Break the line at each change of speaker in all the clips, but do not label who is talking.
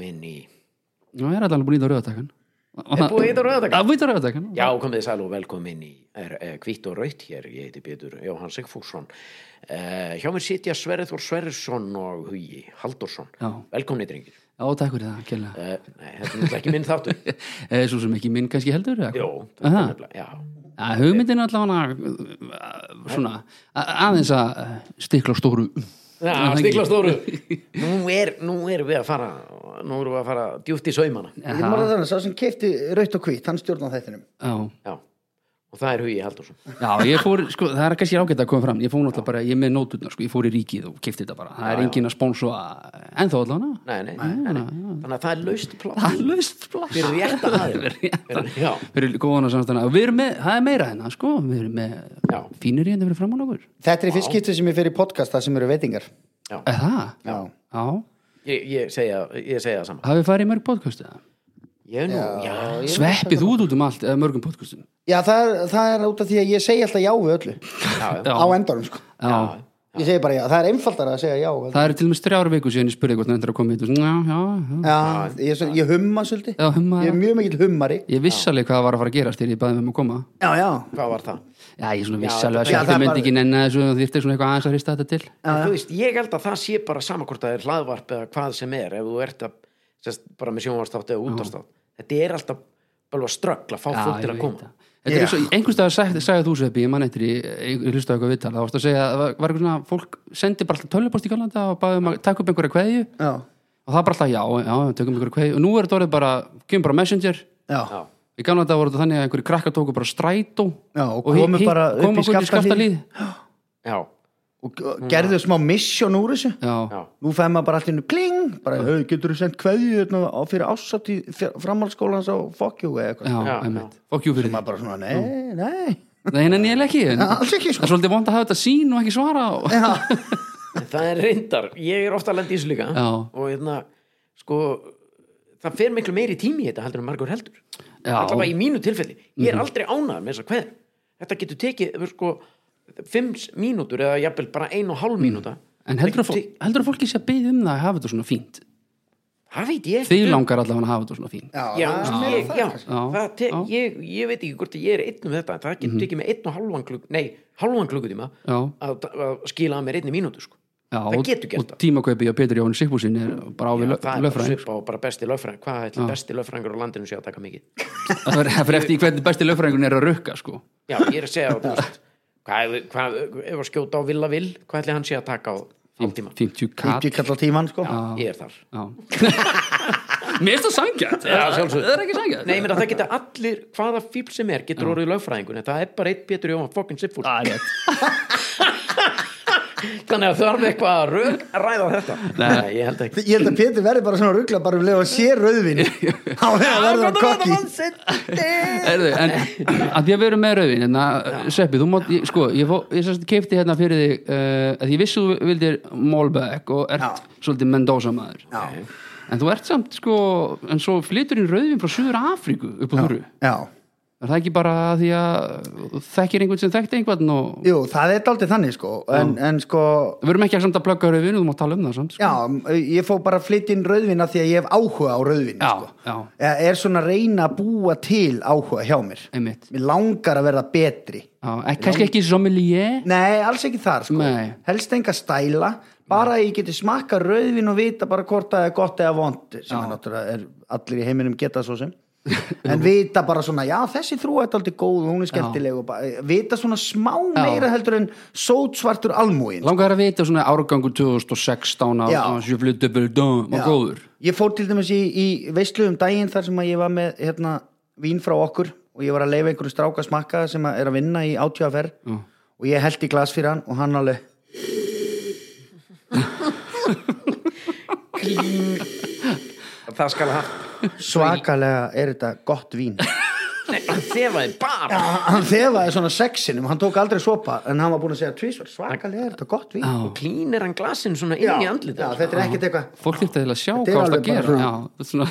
Minni
Já, ég er allan búin í það rauðatakan
Er búið að hita á rauðatakan?
Það búið í rauðatakan
Já, komið þið sæl og velkomin í er, er, Hvítt og Raut hér, ég heiti Pétur Jóhann Sigfússon uh, Hjá mér sitja Sverður Sverðursson og Hugi Haldursson
Já,
Velkomni drengir
já takk fyrir það, kjærlega
uh, Nei, þetta er náttúrulega ekki minn þáttur
eh, Svo sem ekki minn kannski heldur eða hvað?
Jó, þetta er
Aha.
nefnilega, já
Ja, hugmyndin er allavega eh, svona a- aðeins að eh, stikla á stóru
Já, stikla stóru nú er, nú erum við að fara Nú erum við að fara djúft í saumana
Ég má það þannig, um sá sem keipti raut og hvít, hann stjórna þættinum.
Já,
Já, og það er Hugi Haldursson
já, ég fór, sko, það er kannski ágætt að koma fram Ég fór náttúrulega bara, ég er með nóturnar, sko, ég fór í ríkið og kefti þetta bara Það er engin að spónsa ennþá allavega
Nei, nei, nei,
Ah.
nei. Þannig að það er laust plátt
Það er löst plass
Fyrir rétta aðeins
Fyrir rétta.
Já,
Fyrir góðan að samstæna Og við erum með, það er meira hérna, sko Við erum með
Já.
fínir hérna fyrir framann okkur
Þetta er í fyrst skipti sem ég fer í podcast, það sem eru veitingar.
já
Er það?
Já.
Já,
Ég, ég, segja, ég segja það sama
hafið farið í mörg podcast eða?
Ég er nú, já,
Ég-
Sveppið þú út út um allt, eða mörgum podcastum
Já, það er, það er út af því að ég segi alltaf já við öllu.
já, já.
Já.
Á endanum, sko.
Já,
Ég segi bara já, það er einfaldar að segja já. við öllu.
það eru til og með strjára viku síðan ég spurði hvort nefndur að koma í þetta Já, já, já,
Já, ég, er svo- ég humma svolítið.
já, humma
Ég er mjög mikill hummari.
Ég viss alveg hvað var að fara að gerast þegar ég baði með um að koma
Já, já.
Hvað var það?
Já, ég svona viss
Já,
alveg
já,
að sjálfur
það
myndi
var-
ekki nenni þessu og þyrfti svona eitthvað aðeins að hrista þetta til
En Þú veist, ég held að það sé bara sama hvort það er hlaðvarp eða hvað sem er ef þú ert að, sérst, bara með sjónvarstátt eða útastátt Þetta er alltaf bara ströggl að fá fólk til
ég
að
veit
koma
það. Þetta er
Já.
eins og einhvers staðar sagði, sagði þú sveppi, ég man eittir í, ég ég hlustaði á eitthvað viðtal, það varst að segja að það var- var eitthvað svona, fólk sendi bara alltaf tölupost í Galanda og baði um að taka upp einhverja kveðju
Já,
og það var bara alltaf já, já, tökum einhverja kveðju og nú er þetta orðið bara, kemur bara messenger
já.
Já,
í Galanda voru þetta þannig að einhverju krakkar tóku bara strætó
Já, og
hi-
komu
hi-
bara upp
komu
í
okkur
Skaftahlíð.
já,
Og og gerðu smá misjón úr þessu.
Já,
já,
Nú fæði maður bara allt innu kling, bara, hei, getur þú sendt kveðju hérna á fyrir ásatt í framhaldsskólans á Fokkjú eða eitthvað.
já,
Já,
einmitt Fokk jú fyrir
Maður
því,
bara svona, nei, nei,
nei, nei, ég ekki en
alls ekki
Það
sko.
er svolítið vond að hafa þetta sín og ekki svara og...
Já,
En það er reyndar Ég er ofta að lenda í þessu líka
Já.
og hérna, sko það fer miklu meiri tími í þetta heldur en margur heldur
Já. Mhm.
allavega í mínu tilfelli ég er aldrei ánæður með þess að hvað þetta getur tekið sko, fimm mínútur eða jafnvel bara ein og hálf mínúta
Mhm. En heldur að, fólk, heldur að fólki sé að byggja um það að hafa þetta svona fínt
það veit ég
Þið
ekki um.
langar allavega að hafa þetta svona fínt
já,
já,
það er
já,
meira um
ég,
það,
já,
kannski.
Já,
það te-
já. Mhm.
ég, ég veit ekki hvort ég er einn um þetta það getur tekið með einn og hálfan klukk nei, hálfan klukkutíma
Já,
að, að skila að mér einni mínútu sko.
já
Það getur gert
og,
það.
og tímakaupi á Pétur Jóhann Sigfúsin er bara á við
það er bara
löffræðing
svipa og bara besti löffræðing hvað ætli besti löffræðingur á landinu sé að taka mikið
Það er fyrir eftir í hvernig besti löffræðingun er að rukka sko.
Já, ég er að segja þú veist, hvað, hvað, ef að skjóta á Villa Vill, hvað ætli hann sé að taka á hálftíma?
50 kat
50 kall á tíman sko
Ég er þar.
Já. Mér er það sangjart
Já, sjálfsögðu.
Það er ekki sangjart
Nei, ég meina það geta allir, hvaða fíl sem er, getur orðið lögfræðingun, en það er bara eitt Pétur Jóhann fokkin siffúr.
Það er rétt
Þannig að þarf eitthvað að rök ræða þetta. Nei, ég held ekki.
Ég held að Pétur verði bara svona ruggla bara um leið og sé rauðvin á því að verður hann kokki
Erðu, en að því að við erum með rauðin en að, Sveppi, þú mátt, ég, sko ég, fó, ég sérst keipti hérna fyrir þig uh, að ég vissi þú vildir Málbæk og ert svolítið Mendoza maður
Já.
en þú ert samt, sko en svo flytur inn rauðin frá Suður Afríku upp á Þurru,
Já,
er það ekki bara að því að þú þekkir einhvern sem þekkti einhvern og
jú, það er daldið þannig sko en, en sko,
við erum ekki að samt að plugga rauðin þú mátt tala um það samt, sko
já, ég fó bara að flytja inn rauðvin af því að ég hef áhuga á rauðvin
já,
sko.
já
Eða er svona að reyna að búa til áhuga hjá mér
einmitt
Mér langar að verða betri
já, ek, kannski ekki sommelier
Nei, alls ekki þar sko
Nei.
Helst enga stæla Bara að ég geti smakka rauðvin og vita bara hvort það er gott eða vond sem er náttúrulega er allir í heiminum geta svo sem En vita bara svona, já þessi þrú er aldrei góð og hún er skemmtileg og bara, vita svona smá meira heldur en sótsvartur almúin
langar að vita svona árgangu 2016 á,
Já.
á Sjöflutubildum og góður
Ég fór til dæmis í, í veislu um daginn þar sem að ég var með hérna, vín frá okkur og ég var að leifa einhverju stráka að smakka sem að er að vinna í átjáferð
Já.
og ég held í glas fyrir hann og hann alveg
Það skal hafa.
svakalega er þetta gott vín
Nei, hann þefaði bara.
hann þefaði svona sexinum, hann tók aldrei sopa en hann var búin að segja tvísvar, svakalega er þetta gott vín
Já.
Klínir hann glasin svona inn í andlitið.
já, þetta er ekkert eitthvað
fólk þyrfti eiginlega að sjá
Þetta er
hvað það að
alveg bara
gera
svona-
já, svona,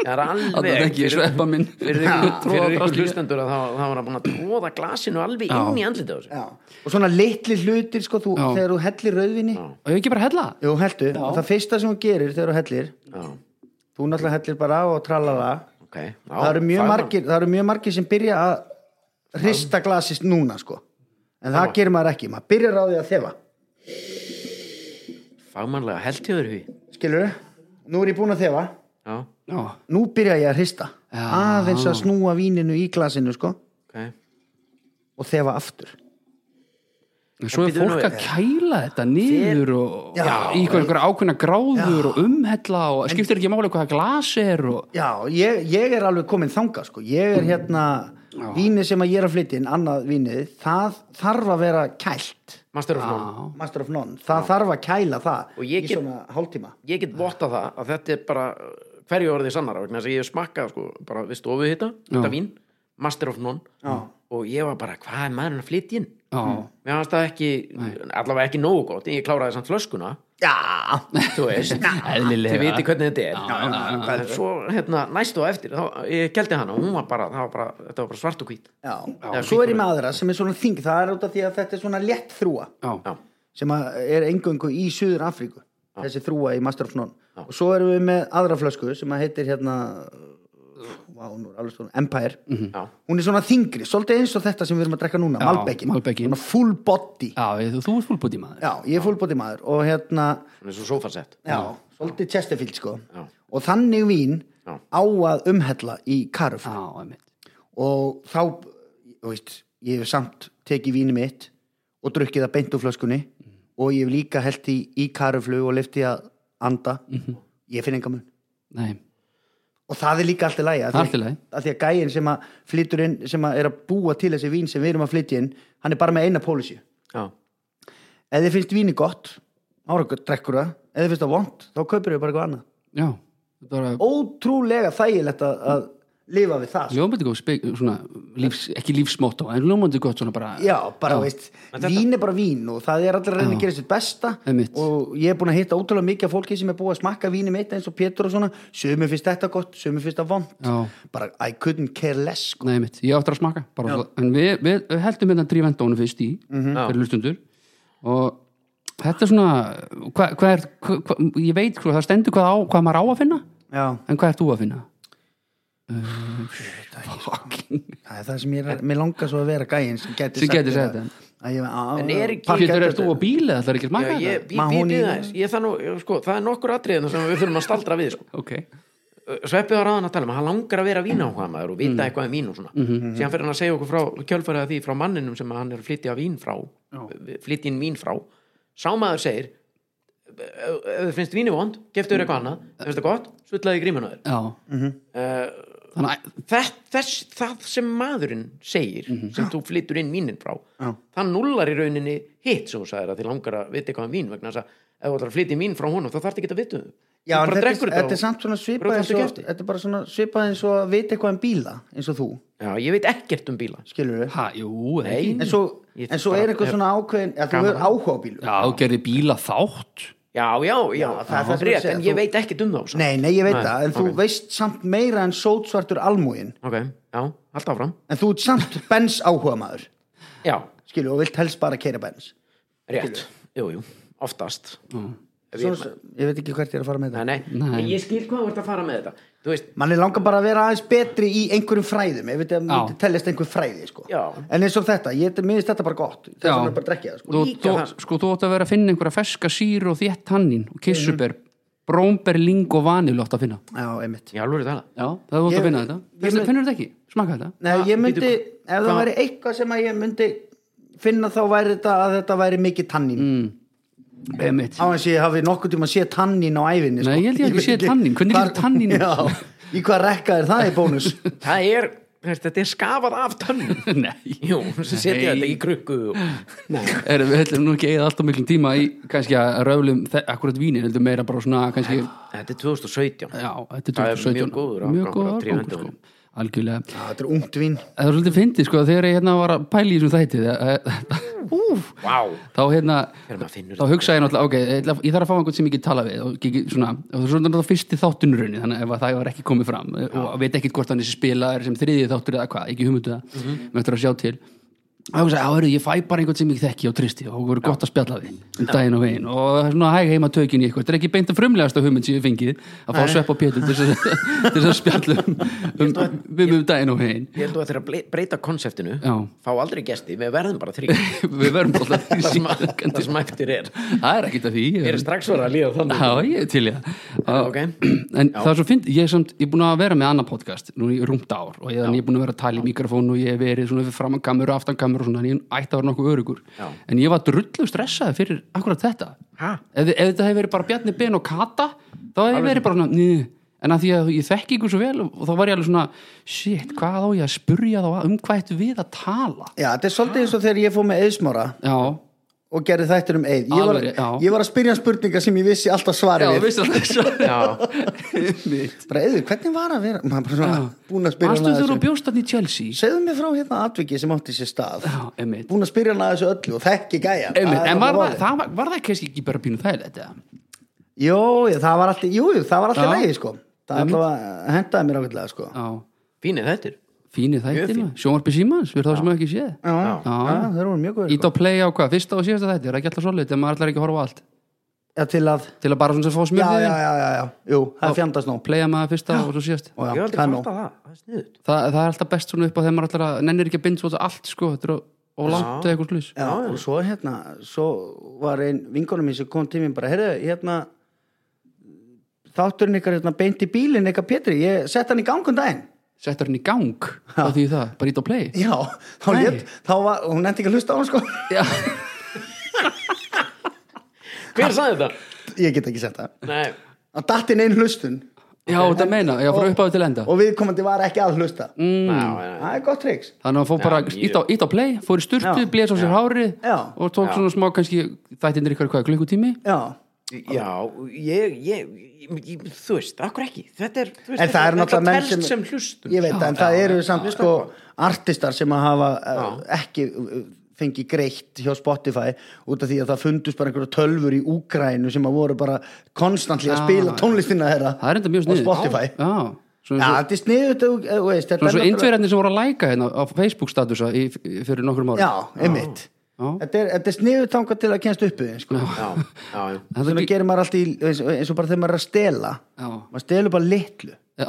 Það er alveg.
að það ekki sveppa minn
Fyrir ykkur, fyrir ykkur
drasli.
hlustendur að það, það var að tróða glasinu alveg inn í andlitið á þessu.
já. og svona litli hlutir sko, þú,
Já.
þegar þú hellir rauðvinni
og ég ekki bara hella
jú, heldu, það fyrsta sem þú gerir þegar þú hellir
Já.
þú þú náttúrulega hellir bara á og tralala
okay. já,
það, eru mjög
er man-
margir, það eru mjög margir sem byrja að hrista glasist núna sko en það gerir maður ekki, maður byrjar á því að þefa
Fagmannlega held ég þér hví
skilur nú er ég búinn að þefa
Já,
já,
nú byrja ég að hrista aðeins að snúa víninu í glasinu sko
ok En
og þefa aftur
en svo er
Býttu nú eh, við.
fólk að kæla þetta niður og já, í einhverja ákveðna gráður og umhella og skiptir ekki máli hvaða glas er og
já, ég, ég er alveg komin þanga sko ég er hérna, vínið sem að ég er að flytja inn annað vínið, það þarf að vera kælt
Master of None
já,
Master of None, það þarf að kæla það
Og ég
í
get-
svona hálftíma
Ég get votta það að þetta er bara uh, hverju orðið sannara vegna þess að ég smakka sko, bara við stofu þetta, þetta vín Master of None
Já.
og ég var bara, hvað er maðurinn að flytja inn?
já,
Mm.
Mér fannst það ekki, allavega ekki nógu gott en ég kláraði samt flöskuna
já,
þú veist,
Eðlilega.
þið viti hvernig þetta er
já, já, já.
En svo hérna, næstu á eftir þá, ég keldi hana og hún var bara, það var bara þetta var bara svart og hvít
já.
Já,
svo er ég með aðra sem er svona þing það er út af því að þetta er svona létt þrúa
já,
já,
sem að er engöngu í Suður Afríku þessi þrúa í Master of None og svo erum við með aðra flösku sem að heitir hérna vá, nú er alveg svona Empire
já,
hún er svona þingri, svolítið eins og þetta sem við erum að drekka núna,
Já,
Malbeckin,
Malbeckin.
Svona full body
já, ég- þú ert fúlbúti maður
já, ég er full body maður og hérna,
hún er svo sofasett
já, svolítið Chesterfield sko,
Já.
og þannig vín
Já.
á að umhella í karf
já, einmitt
og þá, þú veist ég hef samt tekið víni mitt og drukkið það beint úr flöskunni og ég hef líka held í, í karflu og lyfti að anda ég finn enga mun
Nei,
og það er líka allt í lagi af því-
Allt í lagi.
af því að gæin sem að flytur inn sem að er að búa til þessi vín sem við erum að flytja inn hann er bara með eina pólisju
já,
ef þið finnst víni gott, ára drekkur það ef þið finnst það vond, þá kaupir þið bara eitthvað annað
já Þetta var að
ótrúlega þægilegt að, að lifa við það sko.
ljómandi góð spek, svona, lífs, ekki lífsmótt en ljómandi gott svona bara
já, bara veist, vín er bara vín og það er allir að reyna að gera sitt besta
Einmitt.
og ég er búin að hitta ótrúlega mikið af fólki sem er búið að smakka víni mitt eins og Pétur og svona sömu finnst þetta gott, sömu finnst það vond
Já.
bara I couldn't care less sko.
Nei, mitt, ég áttur að smaka bara, svo- en við, við heldum hérna drívendónu fyrst í
Mhm.
fyrir hlustundur og þetta er svona hvað hva er, hva, hva, ég veit hvað það stendur hvað, á, hvað maður á að finna
já,
en hvað ert þú að finna?
það er það sem ég er, mér langar svo að vera gæin sem getur
Sem gæti sagt þetta.
En
en
er ekki-
Pétur, ert þú á bíli? Það er ekki að smaka
já ég
þetta?
býð
Mahóní-
býð aðeins ég, það, nú, ég- sko, það er nokkur atriðin sem við þurfum að staldra við sko.
Ok,
Sveppið var aðan að tala um, að hann langar að vera vínáhugaðmaður og vita
Mm.
eitthvað um vín og svona
Mhm.
síðan fyrir hann að segja okkur frá kjölfærið af því frá manninum sem hann er að flytja vín frá flytja inn vín frá sá maður segir ef ef þið finnst víni vond, geftu þér eitthvað annað ef finnst það gott, svullaði grímuna þér
já
Mhm.
Eh, Þannig að
Þess, þess, það sem maðurinn segir sem þú flyttur inn vínin frá
Mhm. Já.
það nullar í rauninni hitt sem þú sagðir að þið langar að vita eitthvað um vín vegna þess að ef þú ætlar að flytja inn vín frá honum þá þarf ekki að vita um þau.
Já,
Þú
en
bara
þetta,
drekkur
er-
þetta
þetta er
og-
samt svona
Bara
svipað
þú
eins
þarft
og
ekki eftir.
þetta er bara svona svipað eins og að vita eitthvað um bíla eins og þú,
Já, ég veit ekkert um bíla
skilur við
Hæ, jú, eða
Nei.
ekki
en svo,
Ég
en svo
bara-
er eitthvað svona ákveðin að þú
Gaman.
er áhuga á bílu
Já, þú gerði bíla þátt
Já, já, já,
það
það,
er það
er
sem ég
rétt,
segi,
en
þú-
ég veit ekkert um þá samt.
Nei, nei, ég veit
Nei,
það, en
ok.
þú veist samt meira en sótsvartur almúin
Ok, já, halda áfram.
en þú ert samt bens áhuga maður
Já,
skilur, og vilt helst bara keira bens
rétt, jú, jú, oftast. Ef
Svo,
Ég,
ég veit ekki hvert ég er að fara
nei,
með þetta
nei,
Nei.
en ég skil hvað þú ert að fara með þetta. Þú veist,
manni langar bara að vera aðeins betri í einhverjum fræðum ef þetta myndi teljast einhver fræði sko.
Já.
en eins og þetta, ég minnist þetta bara gott þess
Já.
vegna bara drekja það sko.
þú,
Líka
þú,
það. Mhm.
Sko, þú átt að vera að finna einhverja ferska sír og þétt tannin og kissuber, brómber, ling og vanil átt að finna
Já, einmitt
ég alveg er það.
Já, það þú átt
Ég-
að finna þetta Finnst- Finnur þetta ekki? Smaka þetta?
Nei,
Hva-
ég myndi,
bíddu,
ef það
hva-
væri eitthvað sem að ég myndi finna þá væri þetta að þetta væri mikið tannín mm.
Emitt
á eins og ég hafi nokkuð tíma að sé tannín á æfinni
Nei, ég held ég ekki séð tannín. Hvernig
hvar-
getur tannín-
Já, í hvað rekka er það í bónus
Það er, þú veist, þetta er skafað af tönnum.
Nei
Jú, sem setja
Nei.
þetta í krukku og... Nei.
er, Við ætlum nú ekki eða alltaf miklum tíma í kannski að röflum þe- akkurat vínin heldur meira bara svona kannski
Þetta er 2017.
Já, þetta
Það
er
er
2017
mjög góður
Mjög
afgangur á
góður
tríhendunum.
afgangur, sko. Algjörlega
Já, þetta er ungt vín
Það er svolítið fyndið sko þegar ég hérna var að pæla í þessum þætti það- Úf
Vá,
Þá hérna
Þegar maður finnur
Þá hugsa ég náttúrulega, ok, ég ætla- ég þarf að fá einhvern sem ég get tala við og, get, get- svona, og það er svona náttúrulega fyrsti þáttun raunni þannig að ef að það var ekki komið Mhm. fram eh, og veit ekkit hvort hann er spila er sem þriðið þáttur eða hvað, ekki humutu það mm -hmm. að sjá til og ég sagði, já, heyrðu, ég fæ bara einhvern sem ég þekki og tristi og voru gott að spjalla við um daginn og veginn og það er svona hæg heima tökin í eitthvað þetta er ekki beint að frumlegasta hugmynd sem ég hef fengið að fá svepp á pétur til þess að, til þess að spjalla um, um, um, um daginn og veginn
Ég held þú að þeirra ble- breyta konseptinu
Já.
fá aldrei gesti, við verðum bara þrý
við verum alltaf því
það sem, að-
síðan.
það sem eftir er
það er ekkert að því ég
Mér er strax verið að líða þannig
Já, ég er til ég
ok.
En það er svo fint, ég er samt, ég er búin að vera með annað podcast nú í rúmt ár og ég, en ég er búin að vera að tala í mikrofón og ég hef verið svona fyrir framan kamur og aftan kamur og svona, en ég ætti að vera nokkuð örugur
Já.
en ég var drullu stressaði fyrir akkurat þetta
Ha?
ef, þi- ef þetta hefur verið bara Bjarni Ben og Kata þá hefur verið bara svona, njö en að því að ég þekki ykkur svo vel og þá var ég alveg svona, shit, hvað á ég að spurja þá að- um hvað ættu við að tala
Já, þetta er svolítið eins og þegar ég fór með eðsmára
Já,
og gerði þættir um eð ég var,
Alveg, já.
ég var að spyrja hann spurningar sem ég vissi alltaf
já,
svarið við
vissi alltaf svo
Já,
bara eður, hvernig var að vera maður bara svona búin að spyrja
Manstu
hann að
þegar þú
þessu
bjóst þarna í Chelsea
segðu mér frá hérna atviki sem átti sér stað
Já, einmitt
búin að spyrja hann að þessu öllu og þekki gæja
Einmitt, en var, var,
það?
það, var, var það kannski ekki bara pínu þægilegt eða?
Jó, ég- það var alltaf, jú, jú, það var alltaf
Já.
leiði sko það allavega hendaði mér ákveðlega sko
Já,
fínir þettir
fínir
Mjög
þættir
fín.
maður. sjónvarpi símans, við erum það sem ekki séð
Já,
Já.
já, þeir voru mjög góður
Ít
sko.
á play á hvað, fyrsta og síðasta þættir, ekki alltaf svolít en maður ætlar ekki að horfa á allt
Já, til að,
til að bara svona sem fá
já, já,
smjörðið
já, já, já, jú, það fjandast nú
playa maður fyrsta og svo síðast
Og
Ég
já,
hef
það er
aldrei
nú.
fatt að það, það er sniðut
Þa, það er alltaf best svona upp á þegar maður ætlar að nennir ekki að binda svona allt sko, þetta er of- of langt eða eitthvað slús
Já, og svo hérna, svo var einn vingunum minn sem kom til mér bara, heyrðu, hérna, þátturinn ykkar hérna beint í bílinn ykkar Pétri, ég sett hann í gangun daginn.
settur hann í gang, þá því það, bara ít á play
Já, þá
Nei.
lét, þá var, hún nefndi ekki að hlusta á hann sko.
Já,
Hver sagði þetta?
Ég get ekki sett það.
Nei,
Hann datt inn einn hlustun
já þetta meina, já, frá uppáðu til enda
og viðkomandi var ekki að hlusta.
mm. ná,
Það er gott triks.
Þannig að hann fór bara
mjög.
ít á, ít á play, fór í sturtu,
Já.
blés á sér hárið
Já.
og tók
Já.
svona smá kannski þættinir ykkur hvað, klukkutími?
Já,
Já, ég, ég, ég, ég þú veist, akkur ekki þetta er, þú veist,
en það er náttúrulega menn
telst
sem,
sem hlustum
ég veit það, en það
já,
eru
já,
samt
já.
sko artistar sem að hafa uh, ekki uh, fengið greitt hjá Spotify út af því að það fundust bara einhverja tölfur í Úgrænu sem að voru bara konstantli að
Já,
spila
já.
tónlistina þeirra
Það er enda mjög
á
sniðið
Spotify
Já,
Já,
svona svo,
þetta er sniðut veist, þetta
svona
er
svo
náttúrulega-
indverjarnir sem voru að læka hérna á Facebook statusa í, í- fyrir nokkrum árum
Já, einmitt
Já.
Þetta er, þetta er sniðut þangað til að kennst uppu sko.
Já, já, já,
Þetta
Svona
ekki-
gerir maður allt í eins og, eins og bara þegar maður er að stela
Já.
maður stelur bara litlu
Já,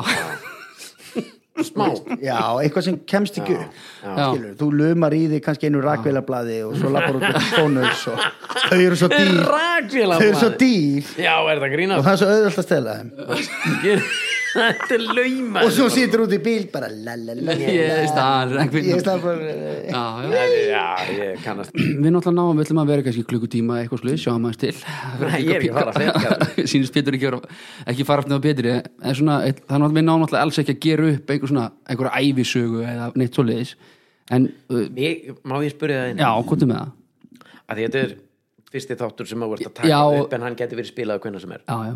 smá
Já, eitthvað sem kemst ekki upp
já.
Skilur, þú lumar í þig kannski einu rakveilablaði og svo lappar út um stónus og þau eru svo dýr
Rakvéla
þau eru svo dýr
Já, er það
og
grínast
það er svo auðvöld að stela þeim
Ég- Þetta er lauma
og svo situr út í bíl bara la, la, la, la,
ég er star
ég er
Við
snart bara eh,
Já, ég kannast
náttúrulega náum, við ætlum að vera kannski klukkutíma eitthvað sluð, sjáum aðeins til
Nei, ég er ekki að fara að segja
Sýnist Pétur ekki, vera- ekki fara aftur á Pétri en svona, eitt- það er náttúrulega við náum náttúrulega alls ekki að gera upp einhver svona, einhverja ævisögu eða neitt svoleiðis en, uh,
ég, Má ég spurði það einu?
já, hvað með það?
Að því þetta er fyrsti þáttur sem maður vart að taka
Já.
upp en hann geti verið spilað hvernig sem er
Já, já,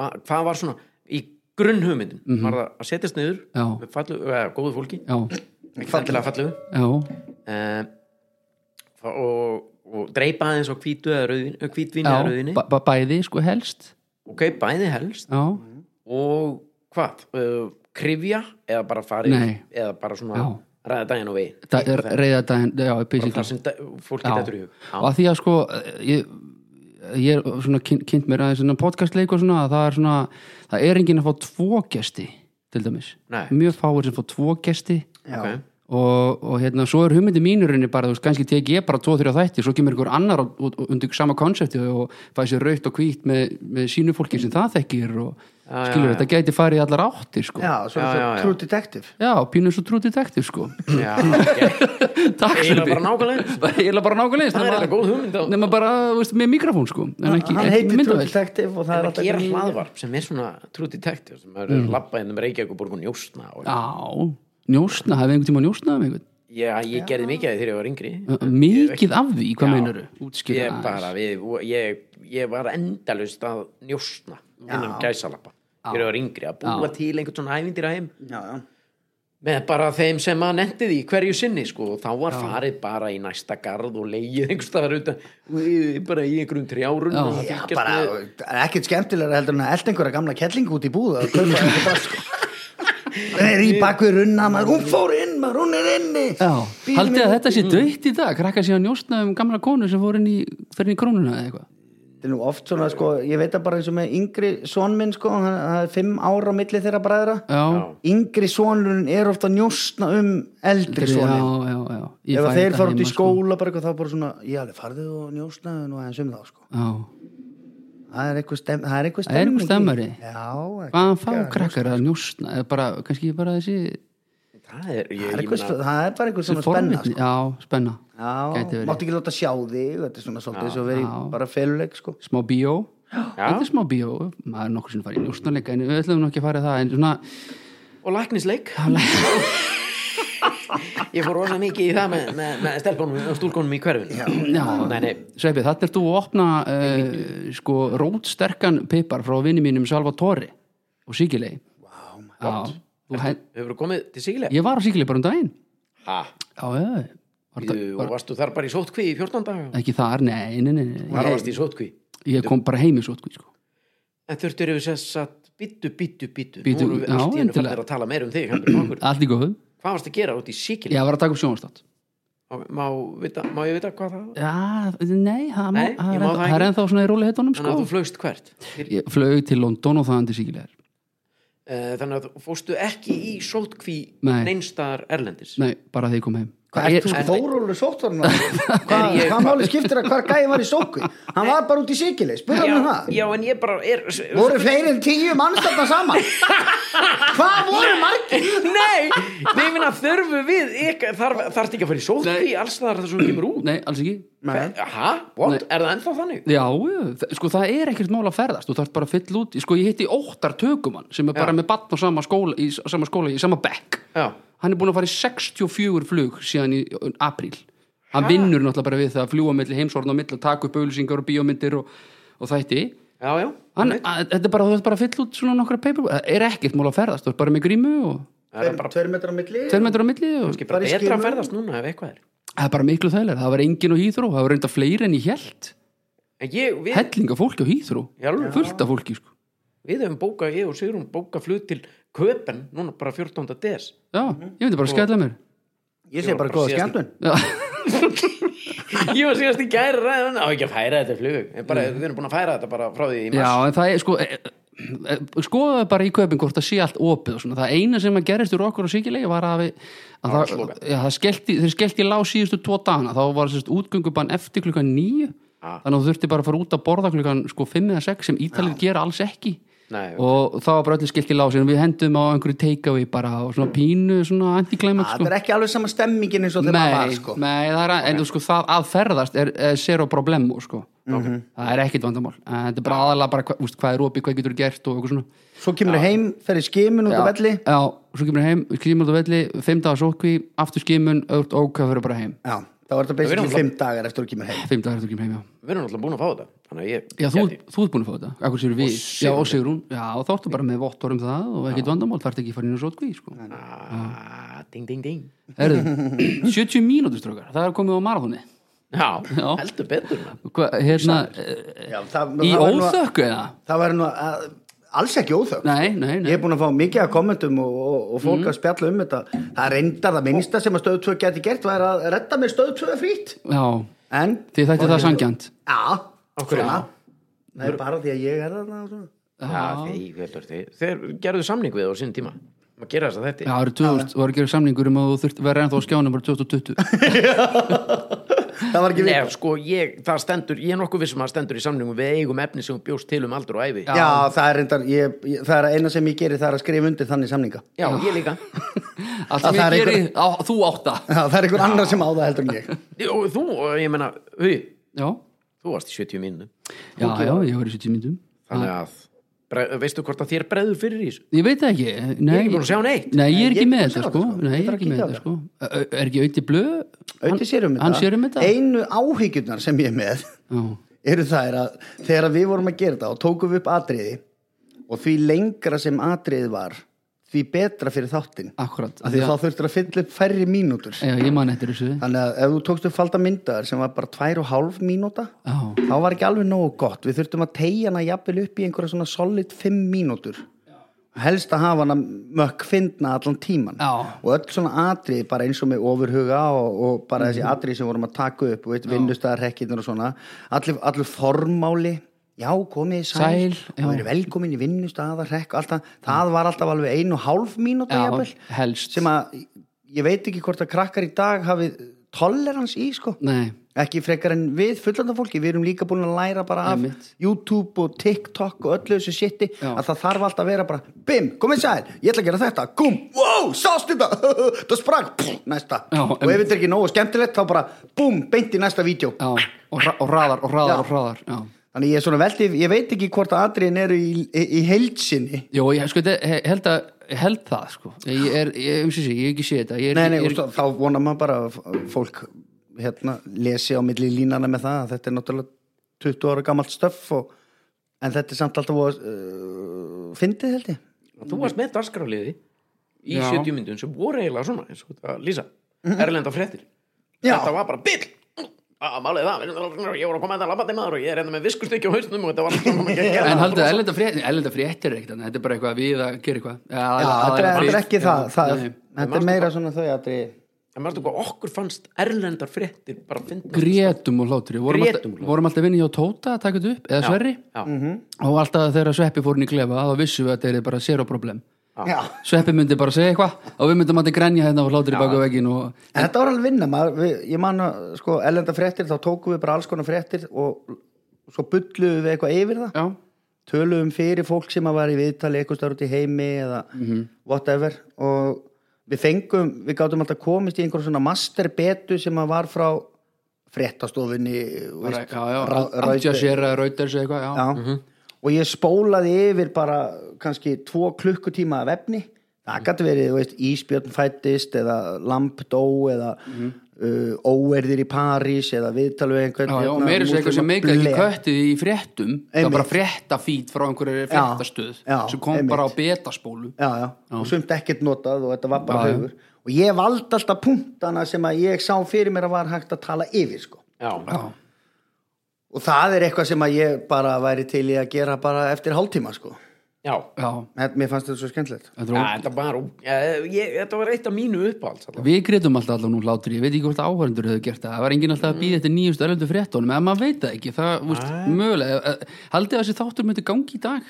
Va, Hvað var svona í grunn hugmyndin?
Mhm.
Var það að setjast niður
Já.
með fallu, eða, góðu fólki
já,
ekki fallega fallugu
já,
uh, og, og dreipa aðeins á hvítu eða rauðin hvítvinni eða
já,
rauðinni
bæ- bæ- bæði sko helst
ok, bæði helst
Já,
og hvað, uh, krifja eða bara farið,
Nei.
eða bara svona
Já.
ræða daginn og veginn
Da- er- reyða daginn já,
þar
basically
sem da- fólki
Já.
þetta er í hug
og að því að sko ég, ég er svona kyn, kynnt mér aðeins svona podcastleik og svona að það er svona það er enginn að fá tvo gesti til dæmis,
Nei.
mjög fáir sem fá tvo gesti
já.
Ok.
og, og hérna, svo er hugmyndi mínurinni bara, þú veist, kannski tek ég bara tvo, þrjá þætti, svo kemur einhver annar og, og, og undir sama konsepti og fæ sér raukt og hvít með, með sínu fólki sem það þekkir og
Já, já,
skilur,
já.
þetta gæti farið í allar áttir sko.
já, svo
Já,
er
já,
það
já.
True Detective
já pínum svo trútið tektir sko.
já, ok,
takk
eiginlega
Sölvi.
bara nákvæmlega eins.
bara eiginlega bara nákvæmlega
það er eitthvað góð
eins,
hugmynd á
nema, nema bara þú veist, með mikrofón sko en ekki,
hann
ekki
heitir True
myndavel
Detective og það
en
er
að
alltaf
gera hlaðvarp sem er svona true detective sem er mm. labba ennum Reykjavíkuborg og njóstna og
já, njósna, hefði einhvern tíma njósnað um einhvern
já, ég gerði mikið af því þegar ég var yngri
mikið af því, hvað
Já.
meinaru útskýra
ég bara, við, ég, ég var endalust að njósna innan gæsalappa þegar ég var yngri að búa til einhvern svona ævindir að heim
já, já.
með bara þeim sem að nendi því hverju sinni sko og þá var farið bara í næsta garð og leið einhvers staðar utan í- bara í einhverjum trjárun
Já.
og
Já,
fylgjast
bara,
með-
það er ekkert skemmtilega heldur en að elda einhverja gamla kellingu út í búða og kaupa eitthvað sko. Það er í bakvið runna, maður, hún fór inn, maður, hún er inni.
Já,
Bílum
haldið að
minn-
þetta sé döitt í dag krakka sé að njóstna um gamla konu sem fór inn í fyrir inn í krónuna eða eitthvað
Þetta er nú oft svona, sko, ég veit að bara eins og með yngri son minn, sko, hann- það er fimm ára á milli þeirra bræðra.
Já,
Já.
Yngri sonurinn er ofta að njósna um eldri
já,
sonin.
já, já Ég
Ef
fæ
að þeir
þetta
fara út í
heima, sko.
skóla, bara eitthvað, þá bara svona, já, alveg, farðu og njósnaðu nú aðeins um þá, sko.
Já,
Það er eitthvað stem- það er eitthvað
Það er einhver
í-
stemmari.
Já.
hvaðan fá krakkar að njóstna eða bara, kannski bara þessi
það er, ég,
Það er,
ég
eitthvað,
meina
það er bara eitthvað svona spenna, sko.
forvitni- Já, spenna Gæti
Já,
verið.
máttu ekki láta sjá þig þetta er svona svolítið eins og verið
Já.
bara feluleik sko.
Smá bíó Þetta
Já.
er smá bíó, maður er nokkur sinni farið í njóstnarleika en við ætlum nú ekki að fara í það en svona,
og læknisleik ég fór rosa mikið í það með, með, með stelpunum og stúlkunum í hverfinu
já,
nei, nei,
Sveppi, þarna ert þú að opna uh, sko rótsterkan pipar frá vinni mínum Salvatore og Sigilei wow,
hefur komið til sígilega
Ég var á Sigilei bara um daginn
ha,
Já, já, já. var, það-
Bíðu, og varstu þar bara í sótkví í 14 daga
ekki þar, nei, nei, nei, nei.
þar varst í sótkví
Ég kom bara heim í svo sko.
en þurftur yfir sess að bítu, bítu, bítu
Bíddu,
nú erum við
já,
allt í hennu
endilega.
fættir að tala meir um þig heldur en okkur.
Allt í góðu
hvað varst að gera út í sígilega
Ég var að taka upp sjónastátt
má, vita, má ég vita hvað það var
Já, nei, það, má,
Nei,
það,
ég
er,
má
ennþá,
það
það er
ekki.
ennþá svona í
þannig
rólihetunum sko.
að þú flögst hvert Til-
Ég flög til London og það andi Sigilei
eh, þannig að þú fóstu ekki í sótkví
Nei.
neinstar erlendis
Nei, bara þegar ég kom heim
Hvað er þú sko
En-
þórólur sóttvarn Hvað
ég-
hvað máli skiptir að hvar gæði var í sóku Hann var bara út í Sikili, spurði hann um
já,
það
já, en ég bara er
Voru fleiri en tíu mannstafna saman Hvað voru margir
Nei, nei, ég minna þurfu við ykkar, þarf, þarfti ekki að fara í sótkví alls þar þar sem þú kemur út
Nei, alls ekki
Hæ? What? Er það ennþá þannig?
Já, já, þa- sko það er ekkert mál að ferðast þú þarf bara að fylla út, sko ég hitti óttar tökumann sem er bara með batn á sama skóla í s- sama skóla, í sama bekk
Já,
hann er búin að fara í 64 flug síðan í ö, apríl hann vinnur náttúrulega bara við það að fljúa milli heimsorna og milli og taka upp auðlýsingar og bíómyndir og, og þætti
já, já
hann, að, þetta er bara, þú þarf bara að fylla út svona nokkra paper það er ekkert mál að ferðast, þú ert bara með grímu og
Það er bara,
Tveir metrar á milli
tveir metrar á milli og
ekki bara
Bara í
betra
skilum.
að ferðast núna ef eitthvað er
það er bara miklu þægilega, það var engin á hýþró það var reynda fleiri en ég held
En ég, við,
hellinga fólki á hýþró,
í alvöru,
fullt af fólki sko.
við hefum bókað, ég og Sigrun bókað flug til Köpen núna bara 14. des
já, ég myndi bara að skella mér
Ég segi bara
bara
góða
síðast-
skemmtun
Já,
Ég var síðast í gæri ræðan á ekki að færa þetta flug En bara, við erum búin að færa þetta bara frá því í mars
já en það er sko e, e, skoðaðu bara í kaupin hvort það sé allt opið og svona, það eina sem að gerist úr okkur á síkilegi var að, við,
var
að það,
slogan.
já, það skellti, þeir skellti lág síðustu tvo dagana, þá var sérst útgöngubann eftir klukkan níu
Ah.
þannig að þú þurfti bara að fara út að borða klukkan sko 5 eða 6 sem ítalið gera alls ekki
Nei,
og þá var bara öllu skellti lág síðan við hendum á einhverju takeaway bara og svona pínu, svona sko. antiklæmaks
Það er ekki alveg sama stemmingin eins og þegar maður var sko
nei, það er að, en þú sko það að ferðast er, er zero problem sko. það er ekkit vandamál en þetta er bara aðalega bara hva, úst, hvað er opið, hvað getur gert og eitthvað svona
Svo kemur þau heim, ferði skimin út á velli
já, svo kemur heim, skimur út á velli fimm dagar sótkví, aftur skimun, öðvort ok það fyrir bara heim,
Já, það var þetta
Við erum
basically
alveg-
fimm dagar eftir þú kemur heim
fimm dagar eftir kemur heim já,
Við erum alltaf búin að fá þetta Þannig að ég
já þú,
gæti-
þú ert búin að fá þetta akkur sér við, já og Sigrún já, og þá ertu bara með vottor um það og ekkit vandamál þarf ekki að fara inn á sótkví sko.
Ah, Ding, ding, ding
Herðu, 70 mínútur strókar, það er komið á marathoni
Já,
Já.
heldur betur man.
Hva, hérna, eh,
Já, það-
í
það var nú að-
óþökku eða?
Það var nú að, alls ekki óþögt
nei, nei, nei
Ég er búin að fá mikið af kommentum og, og, og fólk að spjalla um þetta Það reyndar það minnsta sem að stöðu 2 geti gert var að redda mér stöðu 2 frýtt
já,
En,
Þið þætti það sangjant
já,
Okkur,
svona. Nei, bara því að ég er þarna og svona.
Já, þeir, þeir, þeir, þeir gerðu samning við á sinn tíma um að gera þess að þetta
Já, það eru 2000, þú var að gera samningur um að þú þurft verið ennþá á skjánum bara 2020
Það var ekki við
Nei, sko, ég, það stendur, ég er nokkuð vissum að það stendur í samningum við eigum efni sem bjóst til um aldur og æfi
Já, það er reyndar, ég, ég, það er eina sem ég geri það er að skrifa undir þannig samninga
Já, ég líka
Allt
Það-
sem
það
ég
er
geri, á, þú átta
Já, það er einhver annar sem á það heldur en ég
Og þú, og ég meina, hei,
Já,
þú varst í 70 mínu
já, já, ég var í 70 myndum
Þannig að, bre, veistu hvort að þér breður fyrir í þessu?
Ég veit það ekki, nei
Ég er ekki búin að sjá neitt
Nei, ég er
Nei, ég
ekki
er
með
ekki
þetta
búin að sjá
sko
þetta, sko.
Nei, ég er ekki með þetta sko Ö-
Ég þarf að kíkja á
ö- Er ekki auðvitað blöð?
Auðvitað sér um
Hann sér um
þetta
þetta
Einu áhyggjurnar sem ég er með
Já,
eru þær að þegar við vorum að gera þetta og tókum við upp atriði og því lengra sem atriðið var því betra fyrir þáttinn
akkurat
af því að þá þurftur að fylla upp færri mínútur
Já, ég man eftir þessu
þannig að ef þú tókst upp falda myndaðar sem var bara tvær og hálf mínúta
Já,
þá var ekki alveg nógu gott við þurftum að tegja hana jafnvel upp í einhverja svona solid fimm mínútur helst að hafa hana mökk fyndna allan tíman
Já.
og öll svona atrið bara eins og með ofurhuga og, og bara þessi
Mhm.
atrið sem vorum að taka upp og vinnustæðarhekkinir og svona allir, allir formáli já komið sæl,
Sæl, já.
og verið velkomin í vinnustæðarhekk alltaf, það var alltaf alveg ein og hálf mínúta
Já,
jafnvel,
helst.
sem að ég veit ekki hvort að krakkar í dag hafi tolerans í sko
Nei,
ekki frekar en við fullanda fólki við erum líka búin að læra bara af
Einmitt.
YouTube og TikTok og öllu þessu shiti
Já.
að það þarf alltaf að vera bara bim, komið sæl, ég ætla að gera þetta gum, wow, sástu þetta, það sprang pff, næsta,
Já,
og ef
einmitt.
þetta er ekki nógu skemmtilegt þá bara bum, beint í næsta vídeo
já, og, ra og raðar og raðar
Já.
og raðar já.
þannig ég er svona veldið, ég veit ekki hvort að atriðin eru í, í, í heilsinni
Jó, ég sko, þetta- he- held, að, ég held það sko. ég er, ég, um sísi, ég hef ekki séð þetta ég er,
nei, nei,
ég
og
er,
svo- þá vonar maður bara að f- fólk hérna, lesi á milli línana með það að þetta er náttúrulega 20 ára gamalt stöff og, en þetta er samt alltaf að uh, fyndið held ég
þú varst með darskráliði í
Já.
70 myndun sem voru eiginlega svona eins og þetta Lísa, erlenda fréttir
Já.
þetta var bara bill að málið það, ég voru að koma þetta labbandi maður og ég er enda með viskustykki á hausnum og þetta var svona ekki að gera
en haldið að erlenda frétt erlenda fréttir er ekkert annað, þetta er bara eitthvað við að gera eitthvað já,
Já, þetta er, þetta er ekki það, það
nei.
þetta er meira svona þau að
en maður hvað okkur fannst erlendar fréttir bara að finna
grétum og hlátri vorum,
Grétum og
alltaf,
hlátri.
vorum alltaf vinni hjá Tóta að taka þetta upp eða Sverri og alltaf þegar Sveppi fór inn í klefa þá vissum við að þetta er bara zero problem
Já.
Sveppi myndi bara segja eitthvað og við myndum alltaf grenja hérna og hlátri baka veginn og
En þetta var alveg vinna maður, við, ég man að sko, ellenda fréttir, þá tókum við bara alls konar fréttir og svo bulluðum við eitthvað yfir það
já,
tölum fyrir fólk sem að var í viðtali eitthvað starf út í heimi eða
Mhm.
whatever og við fengum, við gátum alltaf komist í einhver svona masterbetu sem að var frá fréttastofunni
bara,
veist,
já, Mhm. já,
Ra-
Aldja
Reuters.
sér að Rauters eitthvað já.
Já. og ég spólaði yfir bara kannski tvo klukkutíma af efni það gæti verið, þú veist, Ísbjörn fættist eða Lamp dó eða uh, Óerðir í París eða viðtalið einhvern
Mhm. Já, já, og
hérna,
meira sér eitthvað sem
múslima-
meika ekki
blek.
köttið í fréttum það var
Einmitt.
bara fréttafít frá einhverju fréttastöð
já,
sem kom
einmitt.
bara á betasbólu
já, já. og sumt ekkert notað og þetta var bara
Já, já.
hugur og ég valdi alltaf punktana sem að ég sá fyrir mér að var hægt að tala yfir sko.
já,
já,
og það er eitthvað sem að ég bara væri til í að gera bara eftir hálftíma sko.
já
já,
Þetta- mér fannst þetta svo skemmtilegt
þetta
Ja,
var
þetta, var, ja, ég, þetta var eitt af mínu uppáhalds allavega.
Við greitum alltaf allan úr hlátri, ég veit ekki hvort áhverjandur hefur gert það, það var enginn alltaf að býða þetta nýjustu erlendu fréttónum, en maður veit það ekki, það, úst, mögulega, eh, haldið að þessi þáttur myndi gangi í dag?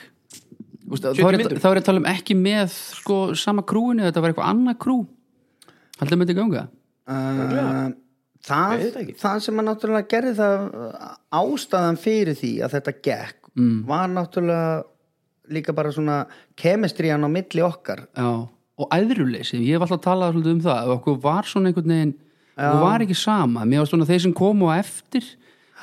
Úst, þá,
70
er,
mínútur.
þá er ég að tala um ekki með sko, sama krúinu, þetta var eitthvað annað krú, haldið að myndi ganga?
uh,
Ég
það,
veit það ekki.
það sem að náttúrulega gerði það uh, ástæðan fyrir því að þetta gekk var náttúrulega líka bara svona kemistriðan á milli okkar
Já, og æðruleysi, ég hef alltaf talað svolítið um það, ef okkur var svona einhvern veginn, okkur var ekki sama, mér var svona þeir sem komu á eftir,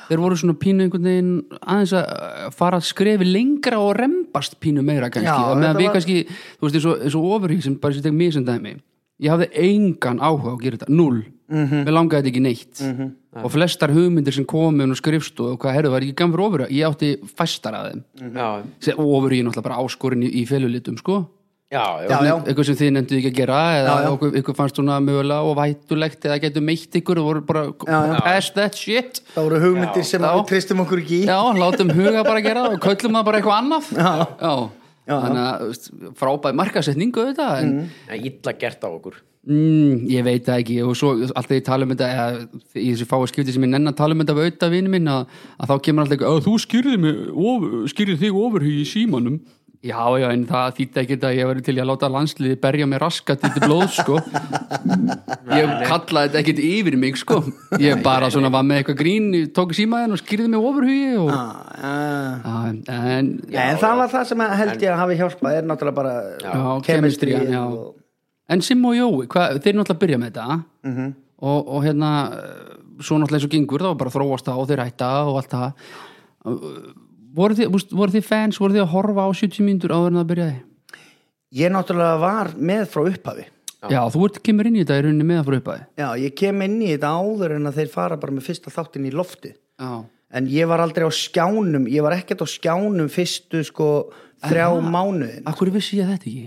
þeir voru svona pínu einhvern veginn aðeins að eh, fara að skrefi lengra og rembast pínu meira kannski,
Já,
já, meðan
þetta
við
var-
kannski, þú veist, eins og, eins og ofurhýr sem bara sem tek mig sem dæmi, ég hafði engan áhuga á að gera þetta, null, mm
Mhm.
-hmm. við langaði þetta ekki neitt og flestar hugmyndir sem komu inn og skrifstu og hvað herðu var ekki gamur ofurhýr, ég átti fæstar af þeim
Mm.
já,
og ofurhýr náttúrulega bara áskorin í, í felulitum, sko
já, já,
Já, já.
eitthvað sem þið nefndu ekki að gera eða Okkur, ykkur fannst svona mögulega og vætulegt eða getur meitt ykkur og voru bara pass that shit
það voru hugmyndir sem að
Já.
við tristum okkur ekki í
já, látum huga bara að gera það og köllum það bara eitthvað annað já, Mm. þannig að þú veist, frábæð markasetningu þetta en
já illa gert á okkur
mm, ég veit það ekki og svo alltaf ég tala um þetta eða, í þessi fáu skipti sem ég nenn að tala um þetta við auðvitað vini minn að, að þá kemur alltaf eitthvað, "Ö, þú skýrði, mig, of, skýrði þig ofurhugi í símanum já já en það þýtti ekki að ég verið til í að láta landsliði berja mig raskat í blóð sko ég kallaði þetta ekkit yfir mig sko ég bara svona var með eitthvað grín ég tók símaðin og skýrði mig ofurhugi og,
Ah, ah.
ah, en
Já, en það var það sem að held ég að hafi hjálpað er náttúrulega bara
Já,
chemistry
chemistry, já.
og-
En Sim og Jói, hva, þeir náttúrulega byrja með þetta og, og hérna eh, svo náttúrulega eins og gengur þá bara þróast það og þeir hætta og allt það Eh, voru þið, vúst, voru þið fans, voru þið að horfa á 70 mínútur áður en það byrjaði?
Ég náttúrulega var með frá upphafi
Já, þú ert kemur inn í þetta í rauninni með að frá uppaði
Já, ég kem inn í þetta áður en að þeir fara bara með fyrsta þáttinn í lofti
Já,
En ég var aldrei á skjánum Ég var ekkert á skjánum fyrstu sko þrjá mánuðin
af hverju vissi ég þetta ekki?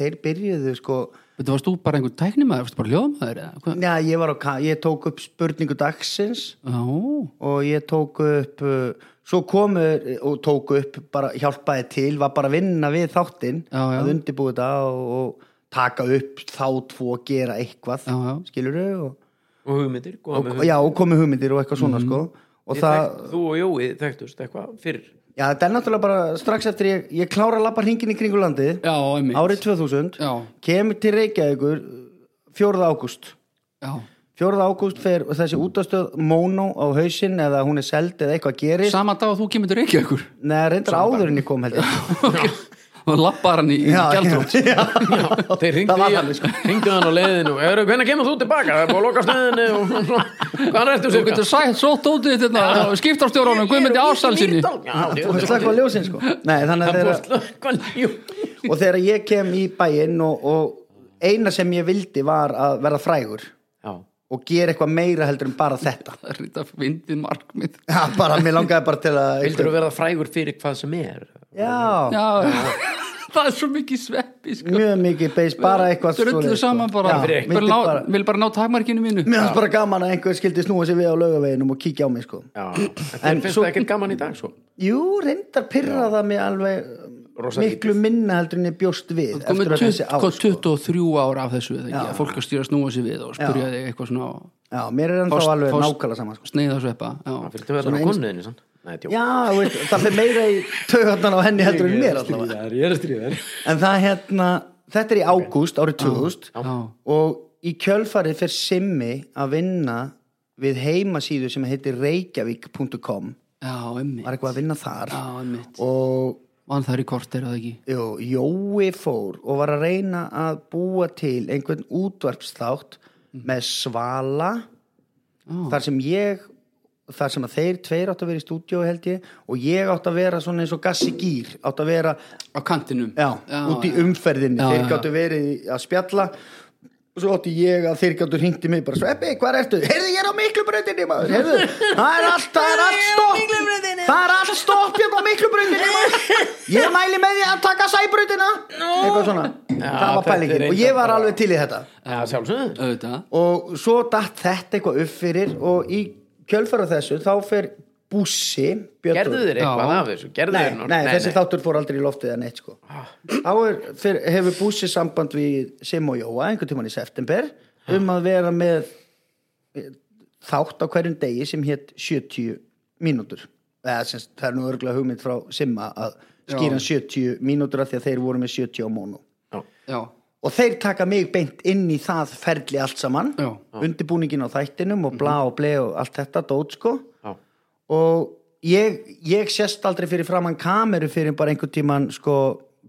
þeir byrjuðu sko
Þetta varst þú bara einhver tæknimaður, varst bara ljóðmaður eða? hvað?
Já, ég var á, ka- ég tók upp spurningu dagsins
Já,
og ég tók upp uh, svo komu og tók upp bara hjálpaði til, var bara að vinna við þáttinn
Já, já.
að undirbúi þetta og, og taka upp þá tvo að gera eitthvað,
Já, já.
skilurðu og,
og hugmyndir, góða
og,
með
já, og komi hugmyndir og eitthvað
Mhm.
svona sko og
Þið
það,
þekkt- þú og Jói þekktust eitthvað fyrir
já þetta er náttúrulega bara strax eftir ég, ég klára að lappa hringin í kringu landið
já, einmitt
árið 2000
Já,
kemur til Reykjavíkur 4. ágúst
já,
4. ágúst fer þessi útastöð Mono á hausinn eða hún er seld eða eitthvað gerist
sama dag að þú kemur til reykja ykkur
Nei, reyndar áður en ég kom heldur
og lappar hann í, í gældrótt
þeir
Það var
ringdu
þannig,
sko. hann á leiðinu eru, hvernig kemur þú tilbaka, það er búið að loka stöðinu og hvað er þetta
Þú getur sætt svo dótið þetta skiptarstjóranum, Guðmundi Ásalsinni
Þú veist slakka á ljósin sko Nei, þannig að þeirra
ljósin
Og þegar ég kem í bæinn og, og eina sem ég vildi var að verða frægur og gera eitthvað meira heldur en bara þetta
Það er þetta fyndið markmið
Já, bara, mér langaði bara til að
vildur þú verða frægur fyrir hvað sem er
Já,
Já, það er svo mikið sveppi sko.
mjög mikið beis, bara eitthvað
Drullu
svoleiðis, sko.
saman bara,
Já,
bara,
vildi
ná,
bara
Vil bara ná takmarkinu mínu
Mér finnst bara gaman að einhver skildi snúa sér við á laugaveginum og kíkja á mig sko
Já, en
En
finnst
svo-
það ekkert gaman í dag sko. svo
Jú, reyndar pyrra það mig alveg
Rosa
miklu minna heldur en ég bjóst við
Komið
eftir að þessi ár sko.
23 ár af þessu eða ekki, að fólk að stýra að snúa sér við og spyrja þig eitthvað svona og
Já, mér er ennþá
Fást-
alveg
fást-
nákvæmlega saman sko.
sneiða sveppa Já,
fyrir þú verður á konniðinu sann Nei, djók.
Já, þú veist, það fyrir meira í taugarnan á henni heldur en
Ég
mér
er að
allavega
stríða þér, ég er að stríða þér.
En það hérna, þetta er í ágúst árið 2000
já,
og í kjölfarið fyrir Simmi að vinna við heimasíðu sem heitir reykjavík.com
já, emmi
var eitthvað að vinna þar
Já, emmitt
og
Vann þær í korter eða ekki
Jó, Jói fór og var að reyna að búa til einhvern útvarpsþátt með svala þar sem ég þar sem að þeir tveir átt að vera í stúdíó held ég og ég átt að vera svona eins og gassi gýr átt að vera,
Á kantinum
já, út í umferðinni
Já,
þeir
já, já.
gáttu verið í- að spjalla og svo átti ég að þeir gáttu hringti mig bara sveppi, hvað ertu? Heyrðu, ég er á miklubröndinni maður, heyrðu, það er allt það er allt stopp, það er allt stopp hérna á miklubröndinni maður ég mæli með því að taka sæbröndina eitthvað svona, það var
þetta er
pælingin og
reyndar
ég var
bara-
alveg til í þetta
Já, sjálfsögðu
Auðvitað
og svo datt þetta eitthvað upp fyrir og í kjölfara þessu þá fer bussi
Gerðu þér eitthvað
Já.
af þessu? Gerðu
Nei,
þér
nei, þessi þáttur fór aldrei í loftið en eitt sko Þá er, fyr, hefur Bússi samband við Sim og Jóa einhvern tímann í september um að vera með eh, þátt á hverjum degi sem hétt 70 mínútur eða sem sagt, það er nú örgulega hugmynd frá Simma að skýra 70 mínútur af því að þeir voru með 70 á mónu
Já.
Já,
og þeir taka mig beint inn í það ferli allt saman
já,
undirbúningin á þættinum og bla og ble og allt þetta dót sko
Já.
og ég, ég sérst aldrei fyrir framann kameru fyrir bara einhvern tíman sko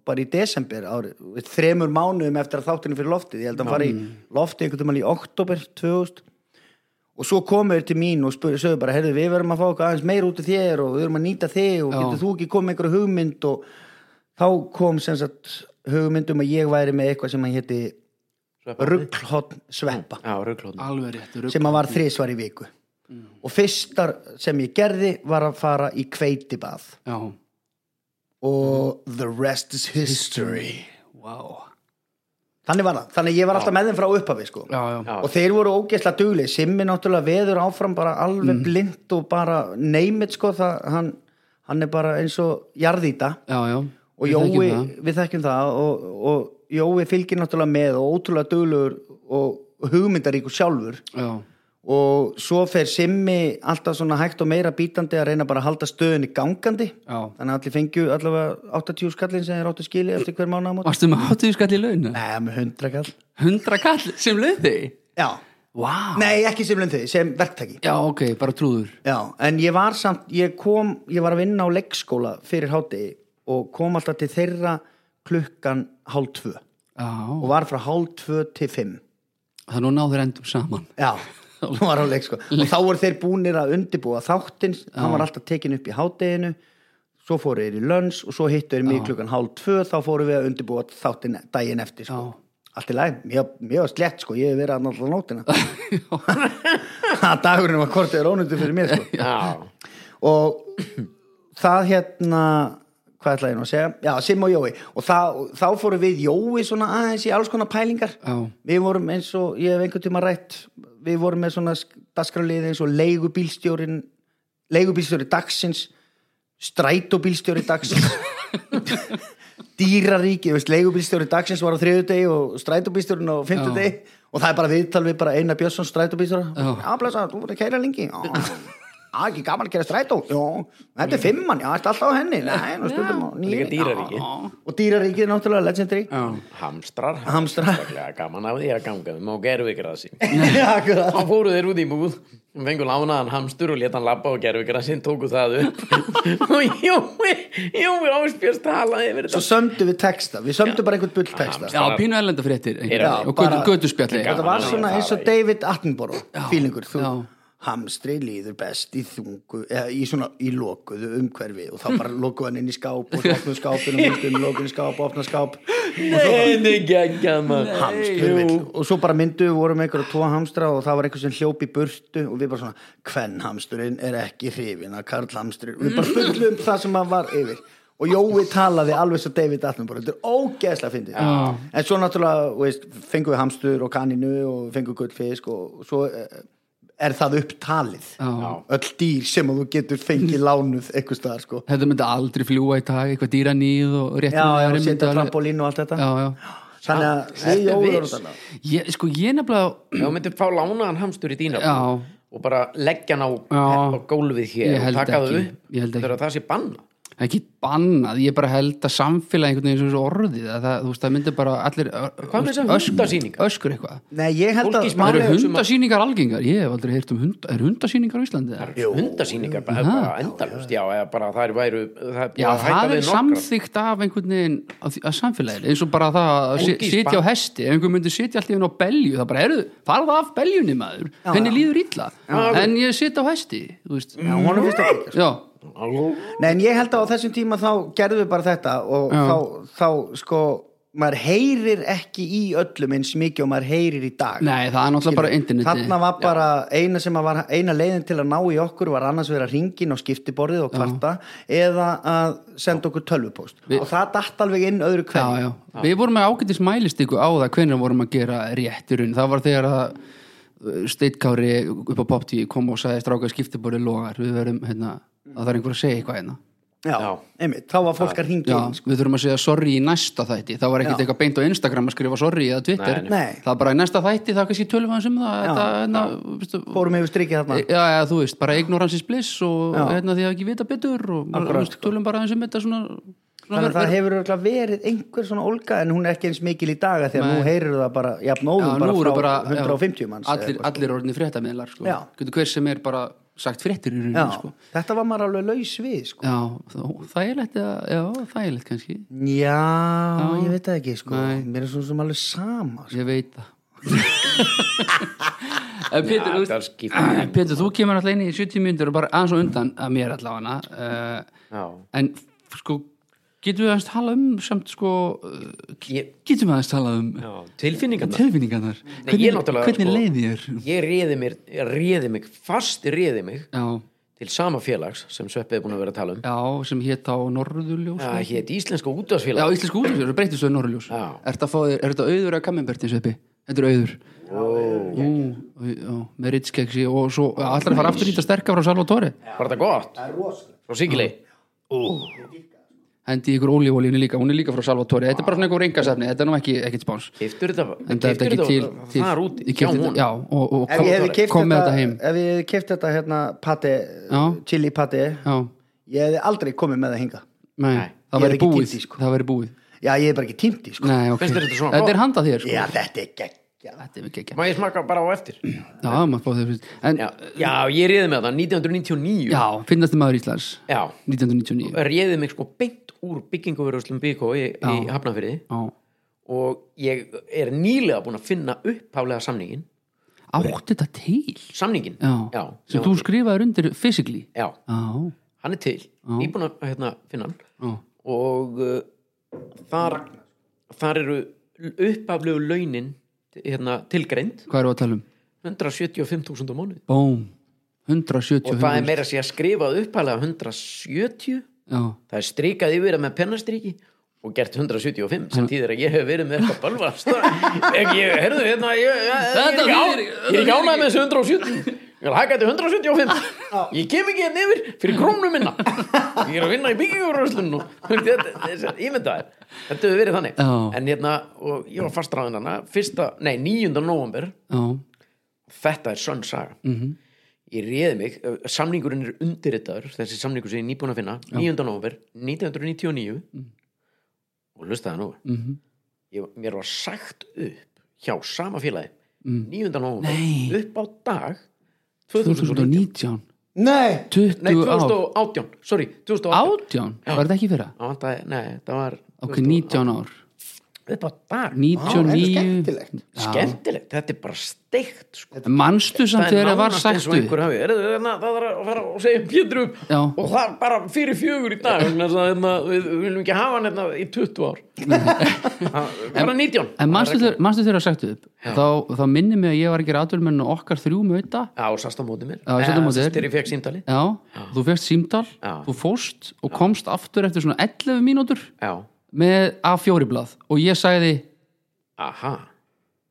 bara í desember árið, þremur mánuðum eftir að þáttinu fyrir loftið, ég held að hann fari í loftið einhvern tíman í oktober 2000 og svo komu þeir til mín og spurðu sögðu bara, heyrðu við verum að fá eitthvað aðeins meir út af þér og við verum að nýta þig og
Já.
getur þú ekki komið einhverju hugmynd og þá kom sem sagt hugmynd um að ég væri með eitthvað sem hann hétti rugglhotn sveppa
Já, rugglóðn
alveg rétt rugl.
sem að var þrisvar í viku og fyrstar sem ég gerði var að fara í kveitibað
Já,
og the rest is history
wow
þannig var það, þannig að ég var alltaf með þeim frá upphafi sko.
Já, já,
Já.
og þeir voru ógeðslega dugli Simmi náttúrulega veður áfram bara
Mm.
alveg blind og bara neymit sko, það, hann, hann er bara eins og jarðýta
já, já
og
Við
Jói,
þekkjum það.
við þekkjum það og, og Jói fylgir náttúrulega með og ótrúlega duglegur og hugmyndaríkur sjálfur
Já,
og svo fer Simmi alltaf svona hægt og meira bítandi að reyna bara að halda stöðunni gangandi
já
þannig að allir fengju allavega 80 skallin sem þeir áttu skili eftir hver mánaðamót
Varstu með hátuðu skall í laun?
Nei, með 100 kall
100 kall sem laun þig?
Já,
Vá
nei ekki sem lönd þau, sem verktaki
Já, ok, bara trúður
Já, en ég var samt, ég kom ég var að vinna á leikskóla fyrir hátegi og kom alltaf til þeirra klukkan hálf tvö
Já,
og var frá hálf tvö til fimm
það nú náður endum saman
Já, hún var á leikskóla og þá voru þeir búnir að undibúa þáttinn hann var alltaf tekin upp í hátteginu svo fóru þeir í lönns og svo hittu þeir mig klukkan hálf tvö, þá fóru við að undibúa þáttinn daginn eftir sko. allt í læg, mjög, mjög slett sko ég hef verið að náttúrulega nótina Það dagurinn var kortið rónundu fyrir mér sko.
Já,
og það hérna hvað ætlaði ég nú að segja, já, Sim og Jói og þá, þá fórum við Jói svona aðeins í alls konar pælingar
Já.
við vorum eins og, ég hef einhvern tíma rætt við vorum með svona dasgrálið eins og leigubílstjórin leigubílstjóri dagsins strætóbílstjóri dagsins dýraríki, þú veist, leigubílstjóri dagsins var á þriðudegi og strætóbílstjórin á fimmtudegi og það er bara viðtal við bara Einar Björnsson strætóbílstjóra,
Já.
já, blessa, þú voru að kæra lengi já, Já, ekki gaman að kæra strætó já, þetta er fimmann, já, þetta er alltaf á henni nei, nú stundum á nýri
Líka dýraríki.
og dýraríkið er náttúrulega legendary
Hamstrar
Hamstrar.
Sérstaklega gaman af því að ganga um og gerðu ykkur að sín
Akkurat.
Þá fóru þeir út í búð og fengu lánaðan hamstur og leta hann labba og gerðu ykkur að sín tóku það upp og Jói Jói áspjörst talaði yfir
svo
þetta
sömdu við texta, við sömdu bara einhvern bull texta
Já, pínu erlenda fréttir einhver.
Já,
og
bara-
götu spjalli
Gaman
þetta var
að
svona
fara
eins og
í.
David Attenborough fílingur, þú
Já.
hamstri líður best í þungu, eða í svona í lokuðu umhverfi og þá bara lokuðu hann inn í skáp og opnuðu skápinu, myndum lokuðu skáp, opna skáp
Nei, nei, geggjað maður
hamstur vill og svo bara myndu við vorum með einhverja tvo hamstra og það var einhver sem hljóp í burtu og við bara svona, hvern hamsturinn er ekki hrifin að karl hamsturinn við bara fullum það sem hann var yfir og Jói talaði alveg svo David Attenborough þetta er ógeðslega fyndið en svo náttúrulega, þú veist, fengum við hamstur og kaninu og fengum gullfisk og svo eh, er það upptalið
Já.
öll dýr sem að þú getur fengið lánuð eitthvað staðar sko
þetta myndi aldrei fljúa í dag eitthvað dýra nýð og rétt
já, já,
maður myndi
setja
alveg-
trampolín og allt þetta
já, já.
þannig að við
Ertu
Jói
viss?
vorum þarna
Ég, sko ég nefnilega
Já, myndum fá lánaðan hamstur í dýna
Já.
og bara leggja hann á,
Já.
á gólfið hér
Ég held
og taka það
ekki.
upp
Ég held ekki.
Þegar það sé banna
ekki bannað, ég bara held að samfélagi einhvern veginn sem þessu orðið að það, þú veist, það myndi bara allir
Hvað með þessar hundasýningar?
öskur eitthvað
Nei, ég held
Fólk
að
í smá- Málið
Eru
er sem að-
hundasýningar algengar? Ég hef aldrei heyrt um hund, er hundasýningar á Íslandi? eða?
Jú, hundasýningar bara, bara endalust já, eða bara það er væru það er búið
Já,
að hætta
það
við
er
nokkrar.
samþygt af einhvern veginn að, að samfélagið, eins og bara það að
Fólk
si-
í
sitja
spa-
á hesti, ef einhver myndi sitja alltaf inn á belju, það bara eru, farða af beljunni maður, henni líður illa en ég sitja á hesti, þú veist
Já, honum finnst það ekki.
Já,
Nei, en ég held að á þessum tíma þá gerðum við bara þetta og þá, þá sko maður heyrir ekki í öllum eins mikið og maður heyrir í dag
nei, það er náttúrulega bara interneti
Þarna var bara eina sem að var eina leiðin til að ná í okkur var annars vera ringin á skiptiborðið og kvarta eða að senda okkur tölvupóst og það datt alveg inn öðru
já,
hverju
já. Við vorum með ágætis mælistíku á það hvernig vorum að gera rétturinn það var þegar að steitkári upp á popti kom og sagði stráka skiptibóri logar, við verum hérna, að það er einhver að segja eitthvað hérna
Já,
Já.
einmitt, þá var fólk að ringja
Já,
inn sko.
við þurfum að segja sorry í næsta þætti það var ekkert
Já.
eitthvað beint á Instagram að skrifa sorry eða Twitter,
Nei,
nei. Nei.
það var bara í næsta þætti það er kannski tölum hans um það
Já,
þetta, hérna, veistu,
fórum yfir strikið þarna
já, já, þú veist, bara ignorance is bliss og hérna, því að ekki vita betur og bara,
Akkurat, sko.
veist, tölum bara hans um þetta svona, svona
Þannig að það hefur örugglega verið einhver svona olga en hún er ekki eins mikil í daga því að nú heyrir það bara
Já,
jafnóðum
nú
bara
eru
frá
bara, já,
150 manns eða
allir, allir orðinni fréttamiðlar sko.
Já.
Getur hver sem er bara sagt fréttir í
Já,
rauninni sko.
þetta var maður alveg laus við sko.
já, þó- þægilegt eða, já, þægilegt kannski
já, ég veit það ekki sko. mér er svona sem alveg sama sko.
ég veit það En Pétur, þú
það
veist-
skiptir
Pétur, þú kemur alltaf inn í 70 myndur og bara aðeins og undan að mér allavega uh,
Já.
en sko getum við aðeins tala um samt sko uh,
Ég-
getum við aðeins tala um
Já, tilfinningarnar
tilfinningarnar
ég
hvernig,
náttúrulega,
hvernig
sko-
leið ég er
ég réði mér, réði mig fast réði mig
já,
til sama félags sem Sveppi er búin að vera að tala um
já, sem hétt á Norðurljós
það
já,
hétt Íslenska
já
útvarsfélag
íslensku útljós, breytist þau í Norðurljós
Já.
er þetta auður að kamminbertin sveppi? Þetta er auður Ú, já, með ritskegsi og svo allra að fara aftur í þetta sterka frá Salvatore
var þetta gott? frá Sigilei
hendi ykkur ólífólíunni líka, hún er líka frá Salvatore þetta er bara svona einhver reyngasefni, þetta er nú ekki, ekkit spáns
keftur þetta
en það er
keyptirðu
ekki til,
þetta
til
þar úti
ég
hjá
keypti þetta-
hún
já, og, og
ef ég hefði keft
kom með þetta heim
ef ég hefði keft þetta hérna pati,
Já.
chili pati
já,
ég hefði aldrei komið með það hinga
nei,
Nei,
það væri
ég hefði ekki
búið
tímt í, sko.
það væri búið
já, ég hef bara ekki tímt í sko.
nei, ok,
Finnst þér þetta svona
þetta er
gott?
handað þér sko
já, þetta er geggja
þetta er ekki ekki,
má ég smaka bara á eftir já,
já, maður fá þér fyrst. en,
já ég réði mig þetta 1999
já, finnast þið maður Íslands
já.
1999
réði mig sko beint úr bygginguvörðslum BK í, í
Já.
Hafnafyrði
já.
og ég er nýlega búin að finna upphálega samningin
átti þetta til
samningin,
já,
já,
sem þú skrifaður undir physically
já
já,
hann er til, ég er búin að hérna, finna hann
já,
og uh, þar, þar eru uppaflegu launin hérna, tilgreind
hvað eru að tala um
175.000 á mánuði
bóm, 175
og það er meira að segja skrifað uppaflega 170
já,
það er strikað yfir það með pennastriki og gert 175 sem þýðir að ég hef verið með eitthvað bölvast ég, ég, herðu, hérna ég, ég, ég, er
Þetta
ekki á,
þýðir-
ég er ekki ánægð með þessu 170 ég vil haka til 175 ég kem ekki hérna yfir fyrir krónu minna ég er að vinna í byggingurröslun ímyndaðir þetta hefur verið þannig
Já.
en hérna, og ég var fastraðin hana fyrsta, nei, 9. november
já, Mhm.
þetta er sönn saga -hmm. ég réði mig, ö, samningurinn er undirritaður þessi samningur sem ég er nýbúin að finna 9. november 1999 og lustaði nú
Mm. mhm,
ég, mér var sagt upp hjá sama félagi 9. november
Mm. Nei.
upp á dag 2019
2019
Nei,
20
nei,
ár,
2018, sorry 2018
18 var þetta ekki fyrra?
Það vantaði, nei, það var
ok, 19 ár
upp á dag
þetta er
99
skemmtilegt
skemmtilegt, þetta er bara steikt sko.
manstu samt þegar það var
nánast
sagt
eins og
upp
einhver hafi, er, er, er, það þarf að fara og segja Pétur upp
Já.
og það er bara fyrir fjögur í dag vegna þess að hérna, við, við viljum ekki hafa hann hérna, í 20 ár Það- bara 19
en manstu þegar- manstu þegar það var sagt upp þá, þá minnir mig að ég var ekki ráturmenn og okkar þrjú möta
já, og sast á móti mér
Já, ég sast á
Eh,
móti þér.
þegar ég fekk símtali
já, þú fegst símtal,
Já.
þú fóst og komst aftur eftir svona 11 mínútur
já,
með A4 blað og ég sagði
aha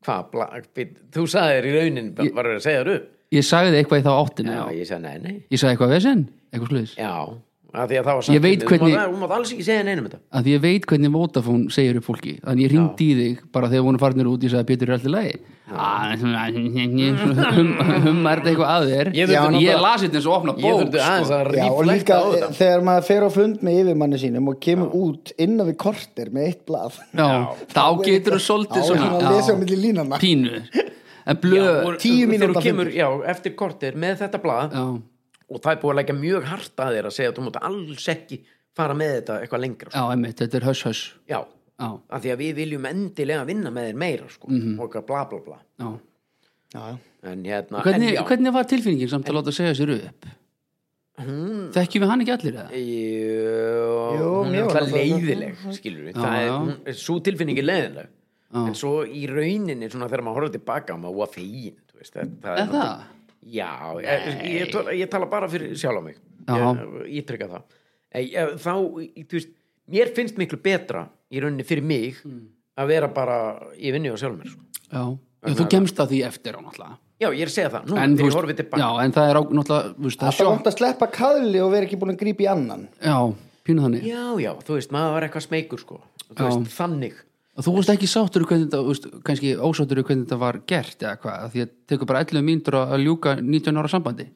hvað, bla, bít- þú sagðir í raunin bara var að segja þér upp
ég sagði eitthvað í þá áttina
já,
já.
ég sagði nei, nei
ég sagði eitthvað vesinn, eitthvað sluðis
já, að því að það var sagt
Ég veit
við-
hvernig-
þú mátt- þú mátt alls ekki segja neinum um þetta
að ég veit hvernig Vodafone segir upp fólki þannig ég ringdi í þig bara þegar voru farnir út ég sagði Pétur er alltaf lægi Ah, hummar þetta eitthvað að þér
Ég þurfti
ég,
náttúrulega-
ég lasi þetta eins og opna
ég
bók sko.
þurfti aðeins að
Já, og líka eh,
ríflekta á þetta
þegar maður fer á fund með yfirmanni sínum og kemur út innan við kortir með eitt blað
já, þá getur þú soldið
Já, svona að lesa á milli línanna.
pínu en blöð
og-
Tíu
þegar
mínútna
þú kemur, já, eftir kortir með þetta blað
já,
og það er búið að leggja mjög hart að þér að segja að þú mútt alls ekki fara með þetta eitthvað lengra sko.
já, emmitt, þetta er höss höss
já,
já,
af því að við viljum endilega vinna með þér meira sko,
Mhm.
og eitthvað bla bla bla
já
Já, já.
en hérna, en
hvernig,
já
hvernig var tilfinningin samt að láta segja sér upp
hún,
þekkjum við hann ekki allir eða?
Jú,
Jú,
hún
mér
er
var
alltaf
náttúrulega-
leiðileg skilur við,
Já,
það er,
já.
hún, svo tilfinning er leiðileg
Já.
en svo í rauninni svona þegar maður horfður tilbaka á maður var fegin þú veist, það, það
er það?
Já, ég, ég, tala, ég tala bara fyrir sjálf á mig
Já.
ég, ég trykka það ég, ég, þá, ég, þú veist, mér finnst miklu betra í rauninni fyrir mig að vera bara í vinnu á sjálf mér sko.
já, já þú kemst að því eftir á náttúrulega
Já, ég er að segja það, nú,
en, þú
þegar ég
veist-
horfið tilbaka
já, en það er á, náttúrulega þú veist, það er
Það er
sjokk
vant að sleppa kaðli og vera ekki búin að grípa í annan
já, pínu þannig
já, já, þú veist, maður var eitthvað smeykur sko. þú
Já.
veist, þannig
og þú veist ekki sáttur við hvernig þetta, þú veist, kannski ósáttur við hvernig þetta var gert eða hvað, af því að tekur bara 11 mínútur að ljúka 19 ára sambandi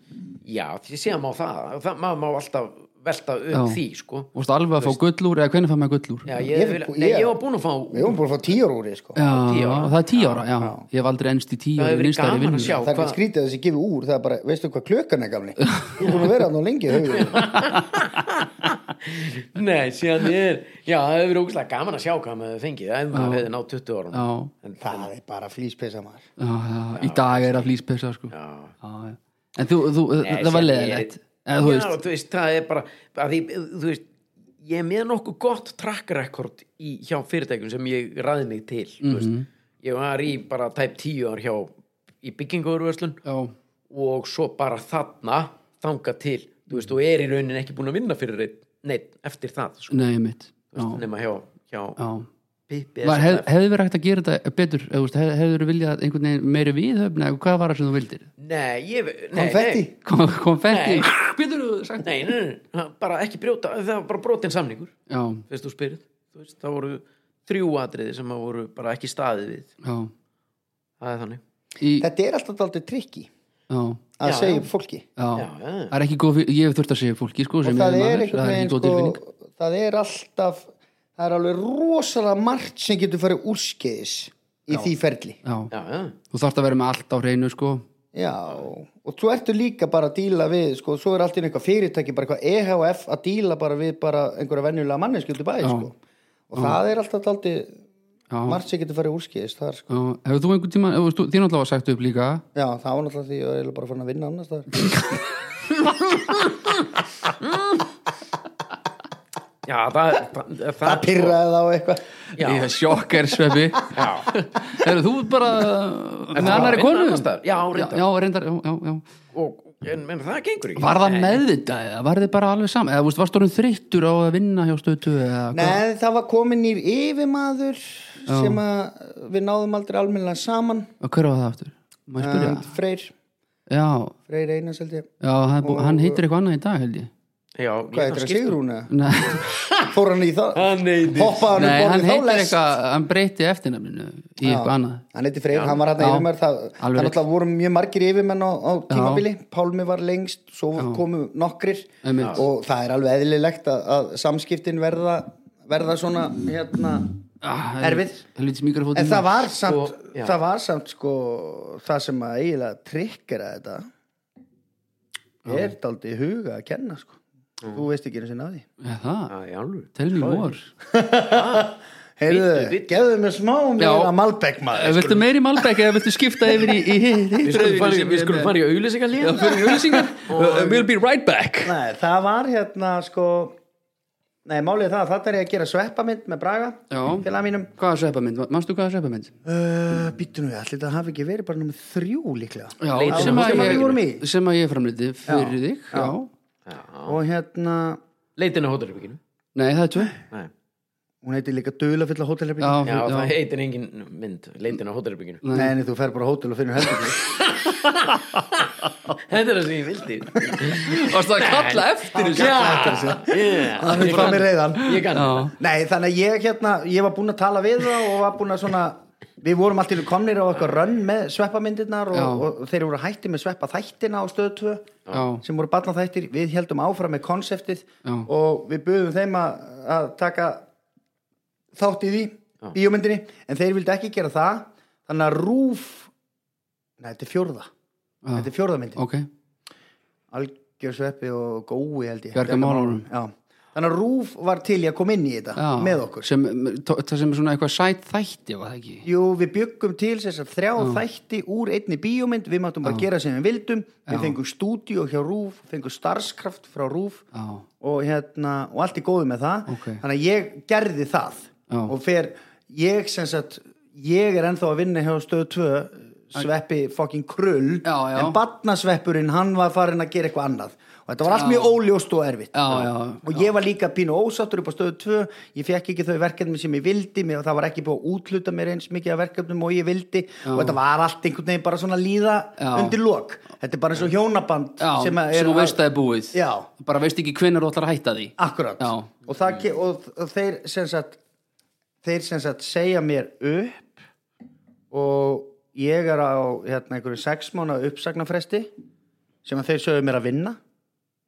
Já, því sé að má það, það maður má alltaf velta upp
Já.
því sko.
og veist alveg að fá gullúr eða hvernig fær maður gullúr
já,
já,
ég,
Ég-
vil,
ég-
nei, ég var búin að fá
Við höfum búin að fá tíur úr því sko
tíu ára.
það er 10 ára, já, ég hef aldrei ennst í
Það
10 ára
hefur verið
vinnstæri
gaman að
vinnu
sjá
Það er ekki
hvað-
skrítið að þessi gefi úr Það er bara, veistu hvað klökan er gamli Þú er búin að vera hann á lengi höfum
Nei, síðan ég er Já, það hefur verið ógæslega gaman að sjá hvað maður fengið ef maður hefði náð 20 árum
já,
Það er bara flýspesa maður
já, já, í dag er að flýspesa sko. já. já. en þú, þú
Nei,
það var
síðan
leðilegt
Eh, ég-
eða þú
Já,
veist,
þú veist, það er bara að því, þú veist, ég er með nokkuð gott track record í, hjá fyrirtækjum sem ég ræði mig til mm
Mhm.
veist. ég var í bara tæp tíu ár hjá í byggingurverslun
já,
og svo bara þarna þanga til, þú veist, og er í raunin ekki búin að vinna fyrir einn, neitt, eftir það sko,
nei mitt
þú
já,
veist, nema hjá, hjá
já
Pippi
Var,
SFF.
hef, hefði verið hægt að gera þetta betur eða, þú veist, hef, hefði verið viljað einhvern veginn meiri viðhöfn eða hvað var það sem þú vildir
Nei, ég nei,
Konfetti
nei.
kom, kom fætti
Nei.
býtur þú sagt
Nei, nei, nei, nei, bara ekki brjóta það var bara brotinn samningur
já,
veist þú spyrir, þú veist, það voru þrjú atriði sem að voru bara ekki staðið við
já,
það er þannig
í, já,
Þetta er alltaf aldrei trikki
já,
að
Já,
segja
já.
upp fólki
já, já,
það er ekki góð fyrir, ég hef þurft að segja upp fólki sko,
Og
sem
það er
maður,
einhvern
það er
veginn
ekki góð
sko
tilfinning
Það er alltaf Það er alveg rosalega margt sem getur farið úrskeiðis í því ferli
já,
já, já,
þú þarft að vera með allt á hreinu sko,
Já, og svo ertu líka bara að díla við, sko, svo er allt í einu eitthvað fyrirtæki, bara eitthvað EHF að díla bara við bara einhverja venjulega manneskjöldu bæði, sko. Og það er alltaf aldrei,
Já.
margt sem getur farið úrskýðist þar, sko.
já, hefur þú einhvern tíma hefur þú, þín alltaf var sagt upp líka
Já, það var náttúrulega því að ég var eiginlega bara fann að vinna annars þar.
já það, það, það,
Það pyrraði þá eitthvað.
Já.
ég er sjokker sveppi
já,
hefur þú bara með
það var
annari
vinna
konu
annars staðar. Já, reyndar.
já, já, reyndar já, já, já.
og, en, en það gengur ekki
Var það meðvitað eða var þið bara alveg saman eða vúst, varst orðin þreyttur á að vinna hjá stötu eða hvað?
Nei, það var komin í yfirmaður sem að við náðum aldrei almennilega saman
Og hver var það aftur? Má ég spyrja?
um, Freyr,
já,
Freyr Einars held ég
já hann, er bú, hann heitir eitthvað annað í dag held ég
Já,
Hvað heitir það, Sigrún? eða?
Nei,
Fór hann í það?
Hann heitir-
Hoppaði hann
nei
upp
hann
borðið þá
heitir
lest?
eitthvað hann breyti eftirnafninu í eitthvað annað
Hann heiti Freyr, hann var hann yfirmaður það,
alveg
hann
rétt.
alltaf voru mjög margir yfirmenn á, á tímabili, Pálmi var lengst svo komu nokkrir
Einmitt.
og það er alveg eðlilegt að, að samskiptin verða, verða svona hérna,
Ah,
erfið
Helvítið mikrofótið
en það var samt,
já.
það var samt sko, það sem að eiginlega trikkera þetta er daldi huga að kenna sko. þú veist ekki einu sinni af því
Já, það,
Það er alveg
tell me more
Bíddu,
heyrðu,
bíddu.
gefðu mér smá meira Malbec
Eh,
maður
Viltu meiri Malbec eða viltu skipta yfir í, í
Við
hitt
skulum fara í- Við skulum fara í auðlýsingar
Já,
líka
fyrir auðlýsingar Uh, We'll be right back
Nei, það var hérna sko Nei, málið er það, að þetta er ég að gera sveppamind með Braga,
Já.
félaga mínum
Hvað er sveppamind? Manstu hvað er sveppamind?
uh, Býttu nú, allir þetta hafi ekki verið bara nummer þrjú líklega
Já,
Leitin
sem
að
að
hótelinu.
ég,
Sem að um við vorum
sem að ég framliti fyrir þig já.
og hérna,
Leitin á hótelherbygginu
Nei, það er tvö
Nei.
hún heitir líka Dula fulla
Já,
hótelherbygging
Já,
já.
það heitir engin mynd Leitin á hótelherbygginu
Nei, nei, þú fer bara á hótel og finnur herbygging
Þetta er það sem ég vildi
Varstu að kalla eftir þessu?
Já, yeah.
Það er hvað mér reyðan
ég kann
Já.
Nei, þannig að ég hérna, ég var búinn að tala við það og var búinn að svona Við vorum allt í einu komnir á eitthvað rönn með sveppamindirnar
Já.
og, og þeir voru hætti með sveppa þættina á stöðu 2
Já,
sem voru barnaþættir, við heldum áfram með konseptið
Já.
og við buðum þeim að, að taka þátt í því, bíómyndinni en þeir vildi ekki gera það þannig að rúf Nei, þetta er fjórða,
já.
þetta er fjórðamyndin okay.
ok
Algjörsveppi og gói held ég
Bjarga
Bjarga
málunum.
málunum. Já. Þannig að rúf var til í að koma inn í þetta
já.
með okkur
sem, tó- Það sem er svona eitthvað sæt þætti var það ekki?
Jú, við byggum til þess að þrjá þætti úr einni bíómynd, við máttum bara gera sem við vildum, við fengum stúdíu hjá Rúf, fengum starfskraft frá Rúf
Já,
og, hérna, og allt í góðu með það
Ok.
þannig að ég gerði það
Já.
og fer, ég sem sagt ég er ennþá að vinna hjá stöðu 2 sveppi fucking krull
Já, já.
en barnasveppurinn hann var farin að gera eitthvað annað og þetta var allt mjög óljóst og erfitt
já, já,
og ég var líka pínu ósáttur upp á stöðu 2 ég fekk ekki þau verkefni sem ég vildi mér, það var ekki búið að útluta mér eins mikið af verkefnum og ég vildi og þetta var allt einhvern veginn bara svona líða
Já.
undir lok þetta er bara eins og hjónaband
já sem,
að
þú veist að
að,
það er búið
já,
Bara veist ekki hvenær þú ætlar að hætta því
Akkurat
Já.
og, það, ke- og, og þeir sem sagt þeir sem sagt segja mér upp og ég er á hérna, einhverju sex mánu uppsagnarfresti sem að þeir sögðu mér að vinna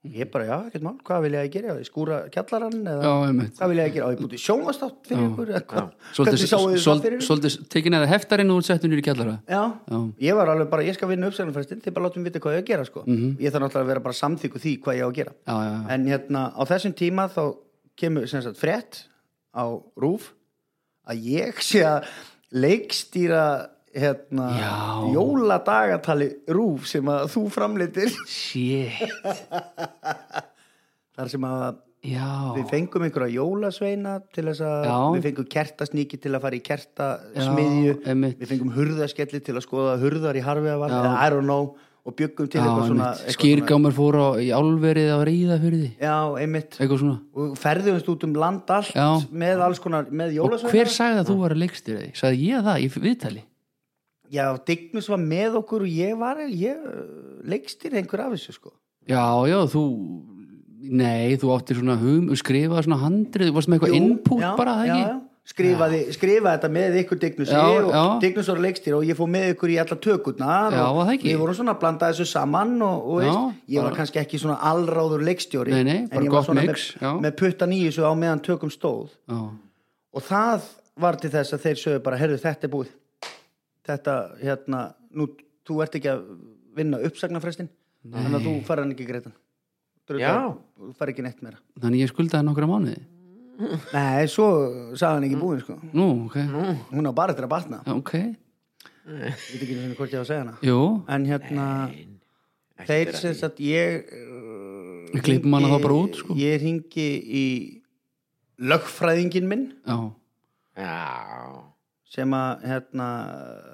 ég bara já, ekkert mál, hvað vil ég að gera ég skúra kjallarann eða
Já, einmitt.
hvað vil ég að gera, á ég búti sjónvastátt fyrir ykkur eða hvað,
Svolítið,
hvernig sáu þið það
svolítið,
fyrir ykkur
svolítið tekin eða heftarinn og settur nýri kjallara
Já.
Já.
ég var alveg bara, ég skal vinna uppsagnarfrestin þið bara látum vita hvað ég á að gera sko
Mhm.
ég þarf náttúrulega að vera bara samþykku því hvað ég á að gera
Já, já, já,
en hérna á þessum tíma þá kemur sem sagt frétt á rúf að ég sé að leikstýra hérna
Já.
jóladagatali rúf sem að þú framleitir
shit
þar sem að
Já,
við fengum einhverja jólasveina til þess að
Já.
við fengum kertasníki til að fara í kertasmiðju
einmitt.
við fengum hurðaskelli til að skoða hurðar í harfiðavar eða I don't know og bjöggum til
já
eitthvað svona,
einmitt.
eitthvað svona
Skýrgámar fór á, í álverið á reyða fyrir því
já, einmitt
Eitthvað svona
og ferðumst út um land allt
Já.
með alls konar, með
Og
jólasveina
hver sagði að þú var að leikstýra því? Sagði ég það í viðtali?
Já, Dignus var með okkur og ég var, ég uh, leikstýr einhver af þessu sko.
Já, já, þú Nei, þú áttir svona hum skrifaði svona handrið, þú varst með eitthvað input bara, það
já,
ekki?
já. Skrifaði, skrifaði þetta með ykkur Dignus
Já,
og
já.
Dignus var leikstýr og ég fór með ykkur í alla tökurnar
Já,
og
var það ekki?
við vorum svona að blanda þessu saman og, og
Já,
veist, ég var
bara-
kannski ekki svona allráður leikstjóri
Nei, nei, bara
en ég var
gott
svona
mix, já.
með, með puttan í þessu á meðan tökum stóð
Já,
og það var til þess að þeir sögðu bara herðu þetta er búið þetta hérna, nú, þú ert ekki að vinna uppsagnarfrestin þannig að þú fara hann ekki greitan
Já.
þú fara ekki neitt meira
þannig ég skuldaði nokkra mánuði
nei, svo sagði
Mm.
hann ekki búin sko.
Nú, ok,
hún á bara eftir að batna,
Já, ok
ég veit ekki einu sinni hvort ég á að segja hana
Jú,
en hérna þeir sem sagt ég
við klippum hana þá bara út, sko
ég ringi í lögfræðingin minn
Já,
Já
sem að hérna,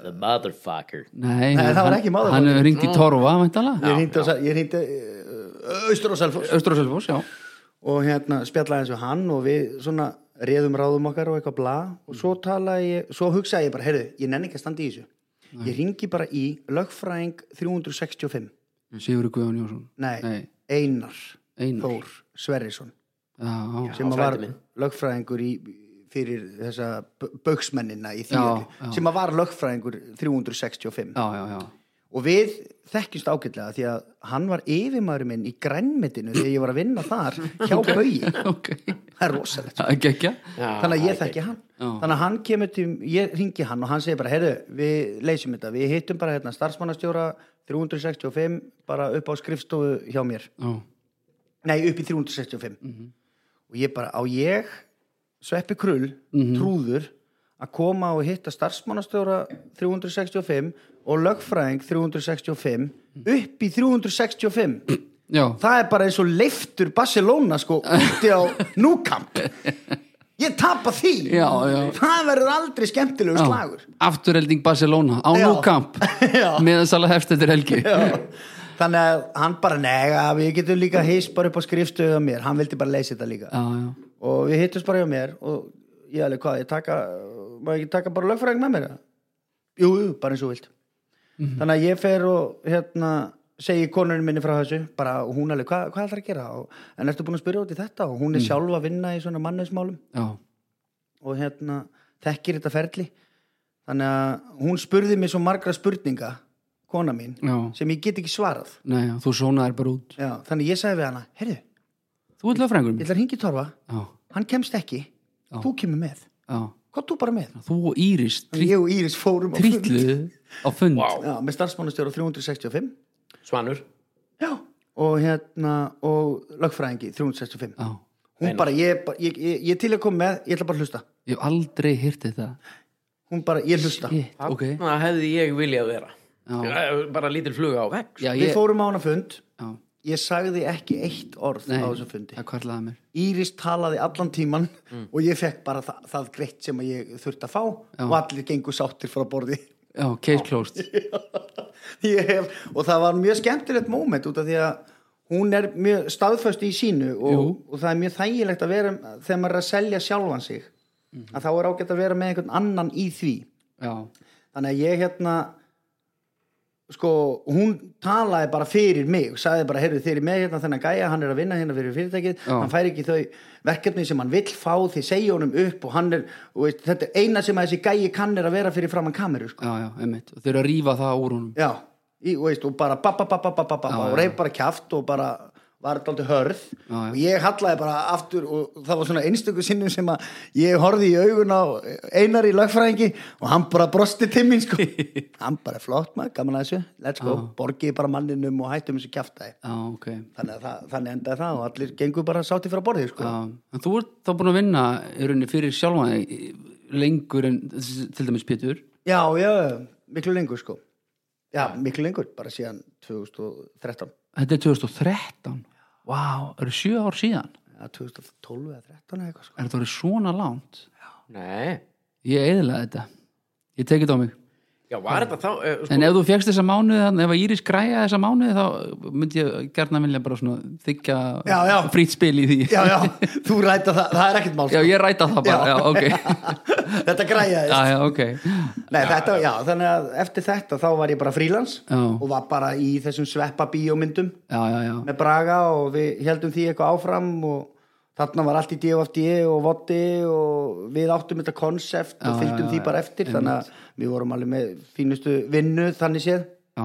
The motherfucker
Nei,
Nei, það var
hann-
ekki maður.
Hann hefur ringt í Torfa, væntalega
ég hringdi á Sel- ég hringdi uh, austur á Selfoss
Östur og Selfos, já
og hérna spjallaði eins við hann og við svona réðum ráðum okkar og eitthvað bla og svo talaði ég, svo hugsaði ég bara heyrðu, ég nenni ekki að standa í þessu ég ringi bara í lögfræðing 365
Sigurður Guðjón Jónsson
nei,
Nei.
Einar,
Einar
Þór Sverrisson
Já, já.
sem að var
frændi minn.
lögfræðingur í fyrir þessa bauksmennina í því
Já,
öllu,
já.
sem að var lögfræðingur 365
já, já, já
og við þekkjumst ágætlega því að hann var yfirmaður minn í grænmetinu þegar ég var að vinna þar hjá baugi,
Ok,
það er rosalegt
það er gekkja
þannig að ég þekki hann
Já.
þannig að hann kemur til, ég ringi hann og hann segir bara, herru, við leysum þetta við hittum bara hérna starfsmannastjóra 365 bara upp á skrifstofu hjá mér,
Já,
nei upp í 365 og ég bara, á ég sveppi krull, trúður að koma og hitta starfsmannastjóra 365 og lögfræðing 365 upp í 365
já,
það er bara eins og leiftur Barcelona sko úti á núkamp ég tapa því
Já, já.
það verður aldrei skemmtilegu
já.
slagur
Afturhelding Barcelona á
Já.
núkamp
Já.
meðan Sala hefst eftir helgi
Já. þannig að hann bara nega við getum líka heist bara upp á skrifstöðu á mér hann vildi bara leysa þetta líka
Já, já,
og við hittumst bara hjá mér og ég alveg hvað, ég taka má ég ekki taka bara lögfræðing með mér eða? jú, jú, bara eins og þú vilt þannig að ég fer og hérna segi konurinn minni frá þessu bara, og hún alveg, hvað, hvað ætlar að gera og, en ertu búin að spyrja út í þetta og hún er sjálf að vinna í svona mannusmálum
já,
og hérna þekkir þetta ferli þannig að hún spurði mig svo margra spurninga kona mín,
já.
sem ég get ekki svarað
Nei, já, þú sónaðir bara út
Já, þannig að ég sagði við hana, herru,
Þú ert lögfrængur
ég
minn
ætlar að hringi í torfa
Já,
hann kemst ekki, þú kemur með
já
hvað þú bara með
Þú og Íris
Ég og Íris fórum á fund.
trýtluðu á fund
Vá.
Já, með starfsmánastjóra 365
Svanur
Já Og hérna, og lögfræðingi 365
Já,
Hún bara, ég, bara- ég, ég, ég er til að koma með, ég ætla bara að hlusta
ég hef aldrei hirti það
Hún bara, ég hlusta
Hitt, ok
það hefði ég viljað vera
Já,
bara lítil fluga á vegg
já,
Við
ég,
fórum á hana fund
já
Ég sagði ekki eitt orð
Nei,
á þessum fundi
það kvarlaði mér
Íris talaði allan tíman og ég fekk bara það, það greitt sem að ég þurfti að fá og allir gengu sáttir frá borði
Já, case closed
Ég hef, og það var mjög skemmtilegt moment út af því að hún er mjög staðföst í sínu og, og það er mjög þægilegt að vera þegar maður er að selja sjálfan sig að þá er ágætt að vera með einhvern annan í því
Já,
þannig að ég hérna sko, hún talaði bara fyrir mig, sagði bara, heyrðu þeir eru með hérna þennan gæja, hann er að vinna hérna fyrir fyrirtækið
Já.
hann fær ekki þau verkefni sem hann vill fá, þið segja honum upp og hann er, og veist, þetta er eina sem að þessi gæji kann er að vera fyrir framann kameru sko.
já, já, einmitt Og Þau eru að rífa það úr honum
Já, í, og, veist, og bara babba, babba, babba, babba og reyf bara kjaft og bara var þetta aldrei hörð
já.
og ég hallaði bara aftur og það var svona einstöku sinnum sem að ég horfði í augun á eh, einar í lagfræðingi og hann bara brosti til mín sko. hann bara flott maður, gaman að þessu let's go, borgiði bara manninum og hættum þessu kjaftaði
Já, ok
þannig, að það, þannig endaði það og allir gengur bara sátti frá borðið sko.
Já, en þú ert þá búin að vinna í rauninni fyrir sjálfan þig eh, lengur en til dæmis Pétur
já, já, miklu lengur sko já, miklu lengur, bara síðan 2013
Þetta er 2013 Vá, wow, eru sjö ár síðan
já, 2012 eða 13 eða eitthvað sko
Er þetta orðið svona langt?
nei,
Ég eðlaði þetta Ég tekið þetta á mig
já var þetta þá eh, sko,
En ef þú fegst þessa mánuði, þannig ef að Íris græja þessa mánuði þá myndi ég gerna vilja bara svona þykja
Já, já.
frýtt spil í því
já, já, þú ræta það, það er ekkert mál
Já,
sko.
ég ræta það bara, já, ok
þetta græjaðist
Já, já, ok
Nei, þetta, já, þannig að eftir þetta þá var ég bara frílans
Já.
og var bara í þessum sveppa bíómyndum
Já, já, já,
með Braga og við heldum því eitthvað áfram og þarna var allt í DFD og Votti og við áttum þetta konsept og
Já,
fylgdum
já,
því
já,
bara eftir þannig að við vorum alveg með fínustu vinnu þannig séð
já,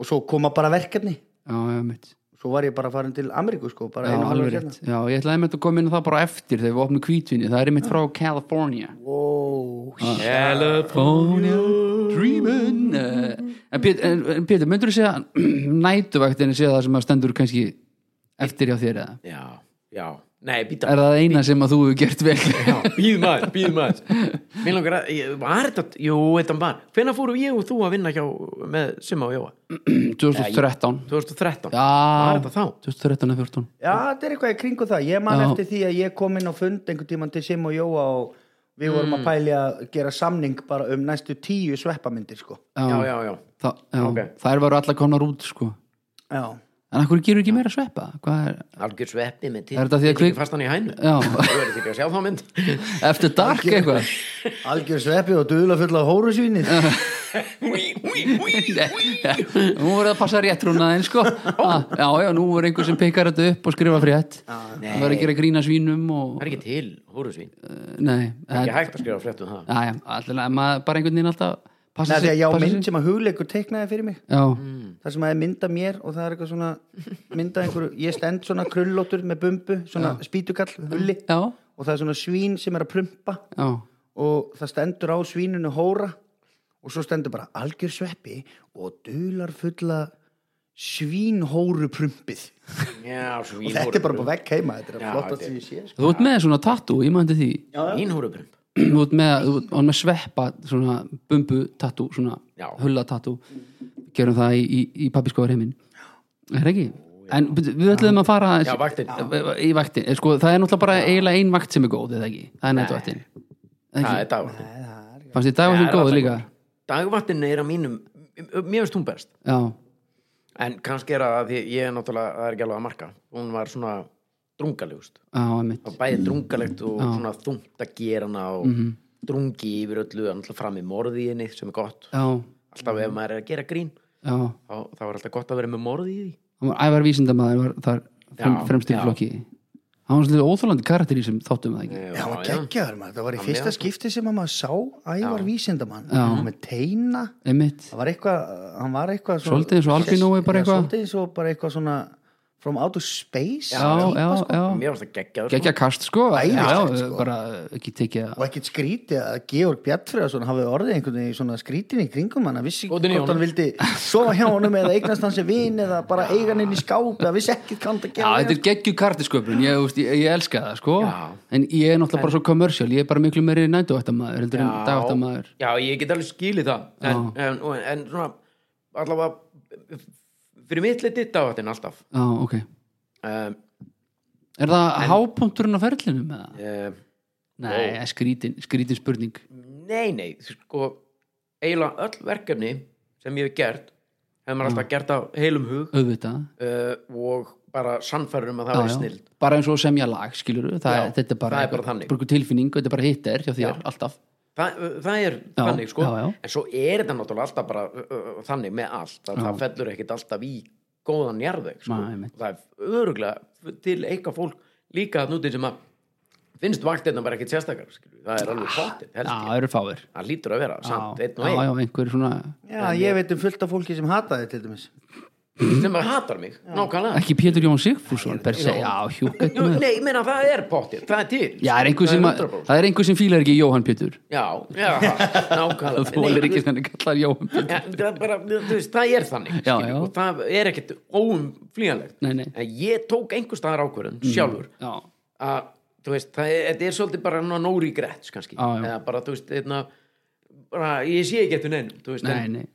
og svo koma bara verkefni
já, já, mitt
svo var ég bara farin til Ameríku sko, bara
Já,
einu og
alveg
halvur hérna
rétt. Já, ég ætlaði einmitt að koma inn á það bara eftir þegar við opnum kvítvinni. Það er einmitt frá California.
wow,
California dreamin' Eh, En Pétur, en- en Pétur, myndur þú segja nætuvaktinni segja það sem að stendur kannski eftir hjá þér eða?
já, já, nei, býta
Er það eina sem að þú hefur gert vel?
býð maður, býð maður mér langar að, ég- var þetta, jú, þetta var hvenær fórum ég og þú að vinna hjá með Simma og Jóa,
2013
2013
Já,
var þetta þá
2013 eða 14
Já, þetta er eitthvað í kringu það. Ég man
Já.
eftir því að ég kom inn á fund einhvern tíman til Sim og Jóa og við vorum að pæli að gera samning bara um næstu tíu sveppamyndir sko
já, já, já
Þa, já,
Ok.
þær voru allar konar út sko
já,
en af hverju gerur ekki meira sveppa hvað er,
algjör sveppi með
Er þetta því að kvik-
fastan í hænu
já,
þú verður því að sjá þá mynd
eftir dark eitthvað
algjör sveppi og duðla fulla hórusvíni
Húí, húí, húí, húí.
nú voru það að passa rétt rúna þeim sko Ah, já, já, nú voru einhver sem pikkar þetta upp og skrifa frétt
Ah, Nei.
það var að gera grína svínum og, eh,
það er ekki til húrusvín
nei,
ekki
en,
hægt að skrifa frétt um það
já, já, allir, maður bara einhvern veginn alltaf passa
Nei, því að
sig-
já,
passa
mynd Mm.
sig.
sem að hugleikur teiknaði fyrir mig
já,
þar sem að er mynda mér og það er eitthvað svona mynda einhverju, ég stend svona krullóttur með bumbu, svona spýtukall hulli
já,
og það er svona svín sem er að prumpa
já
og það stendur á svíninu hóra og svo stendur bara algjör sveppi og dular fulla svínhóru prumpið
já, svo
og þetta er bara bara vekk heima, þetta er
Já,
að flotta
þetta
sem
er-
ég sé sko.
þú ert með svona tattoo, ég maður til því
vínhúrubrump
þú ert með, þú ert með sveppa svona bumbu tattoo, svona
Já.
hulla tattoo, gerum það í, í, í pappiskóður heiminn er ekki? En við við ætlum að fara
Já, vaktin.
í vaktin, Eh, sko, það er náttúrulega bara eiginlega ein vakt sem er góð, eða ekki? Það er nættvaktin,
það er dagvaktin
fannst þið dagvaktin
Já, það
góð
er
líka?
dagvaktin er að mínum mér finnst hún best
Já,
en kannski er það að því ég er náttúrulega það er ekki alveg að marka hún var svona drungalegust
já, einmitt
það var bæði drungalegt og svona þungt að gera hana og
Mhm.
drungi yfir öllu en alltaf fram í morðiðinni sem er gott
Já,
alltaf
Mm.
ef maður er að gera grín
já,
þá, þá er alltaf gott að vera með morðiði
hann var ævar vísindamaður var þar frem,
Já,
fremst í
já.
flokki Hann var svolítið óþólandi karakter í sem þáttum það ekki?
Já, geggjaður maður, það var í fyrsta
já.
skipti sem að maður sá ævar vísindamann
Já.
með teina
Einmitt,
það var eitthvað, hann var eitthvað svona-
Svolítið eins og albinói bara
Já,
eitthvað.
svolítið eins og bara eitthvað svona from out of space
já, já,
típa, sko.
já
mér varst það geggjaður
Gekja kast, sko Já,
Æðislegt,
já,
sko.
bara ekki tekið
og ekkert skrítið að Georg Bjartfriðarsson hafi orðið einhvern veginn í svona skrítinni kringum hann að vissi
Skotin í
hvort hann
honum.
vildi sofa hjá honum eða eignast hans sem vin eða bara eiga hann inn í skáp eða vissi ekkert hvað hann
Já,
það
þetta
gerði
er geggju kartisköpun, ég, þú veist, ég, ég elska það sko
Já.
En ég er náttúrulega bara svo kommersial, ég er bara miklu meiri nættuvættamaður heldur en dagvættamaður
já, ég get alveg skilið það en, en, en, en svona allavega fyrir mitt liti dagvaktin alltaf
Já, ok
um,
Er það hápunkturinn á ferlinu með það?
um,
Nei, það er skrítin, skrítin spurning
Nei, nei, sko eiginlega öll verkefni sem ég hef gert hefur
Mm.
maður alltaf gert af heilum hug
auðvitað
uh, og bara sannfærður um að það
Já,
væri
já.
snild
Bara eins og að semja lag, skilur það,
Já,
er- þetta er bara,
það er bara þannig.
einhver tilfinning, þetta er bara hittir hjá þér, alltaf
það, það er
Já,
þannig sko
já, já.
en svo er þetta náttúrulega alltaf bara uh, uh, þannig með allt að það fellur ekkit alltaf í góðan jarðveg sko.
Nei, einmitt.
Og það er öruglega til eitthvað fólk líka að nútið sem að finnst vaktirna bara ekkit sérstakar skilur. það er alveg potið,
Ah, Já,
helst
það
ég
eru fáir
það lítur að vera, samt,
Já,
einn
já,
og
já, einhver svona
Já, ég veit um fullt af fólki sem hataði til dæmis
einn sem að hatar mig, nákvæmlega
Ekki Pétur Jón Sigfússon, per se, já, hjúkett
Jú, Nei, ég meina það er potið, það er til
Já, er einhver sem, að-
100%.
það er einhver sem fílar ekki Jóhann Pétur
Já, já, nákvæmlega
Það þólir
Nei,
ekki þannig kallar Jóhann Pétur
ja, það, er bara, þú veist, það er þannig
Já,
skilur,
já.
og það er ekkit óumflýjanlegt
Nei, Mhm. nei.
en ég tók einhver staðar ákvörðun sjálfur
Já,
að þú veist, það er, þetta er svolítið bara no regrets kannski
Já, já.
eða bara, þú veist, einna, bara, ég sé ekki eftir neinum þú veist,
nei,
en,
nei,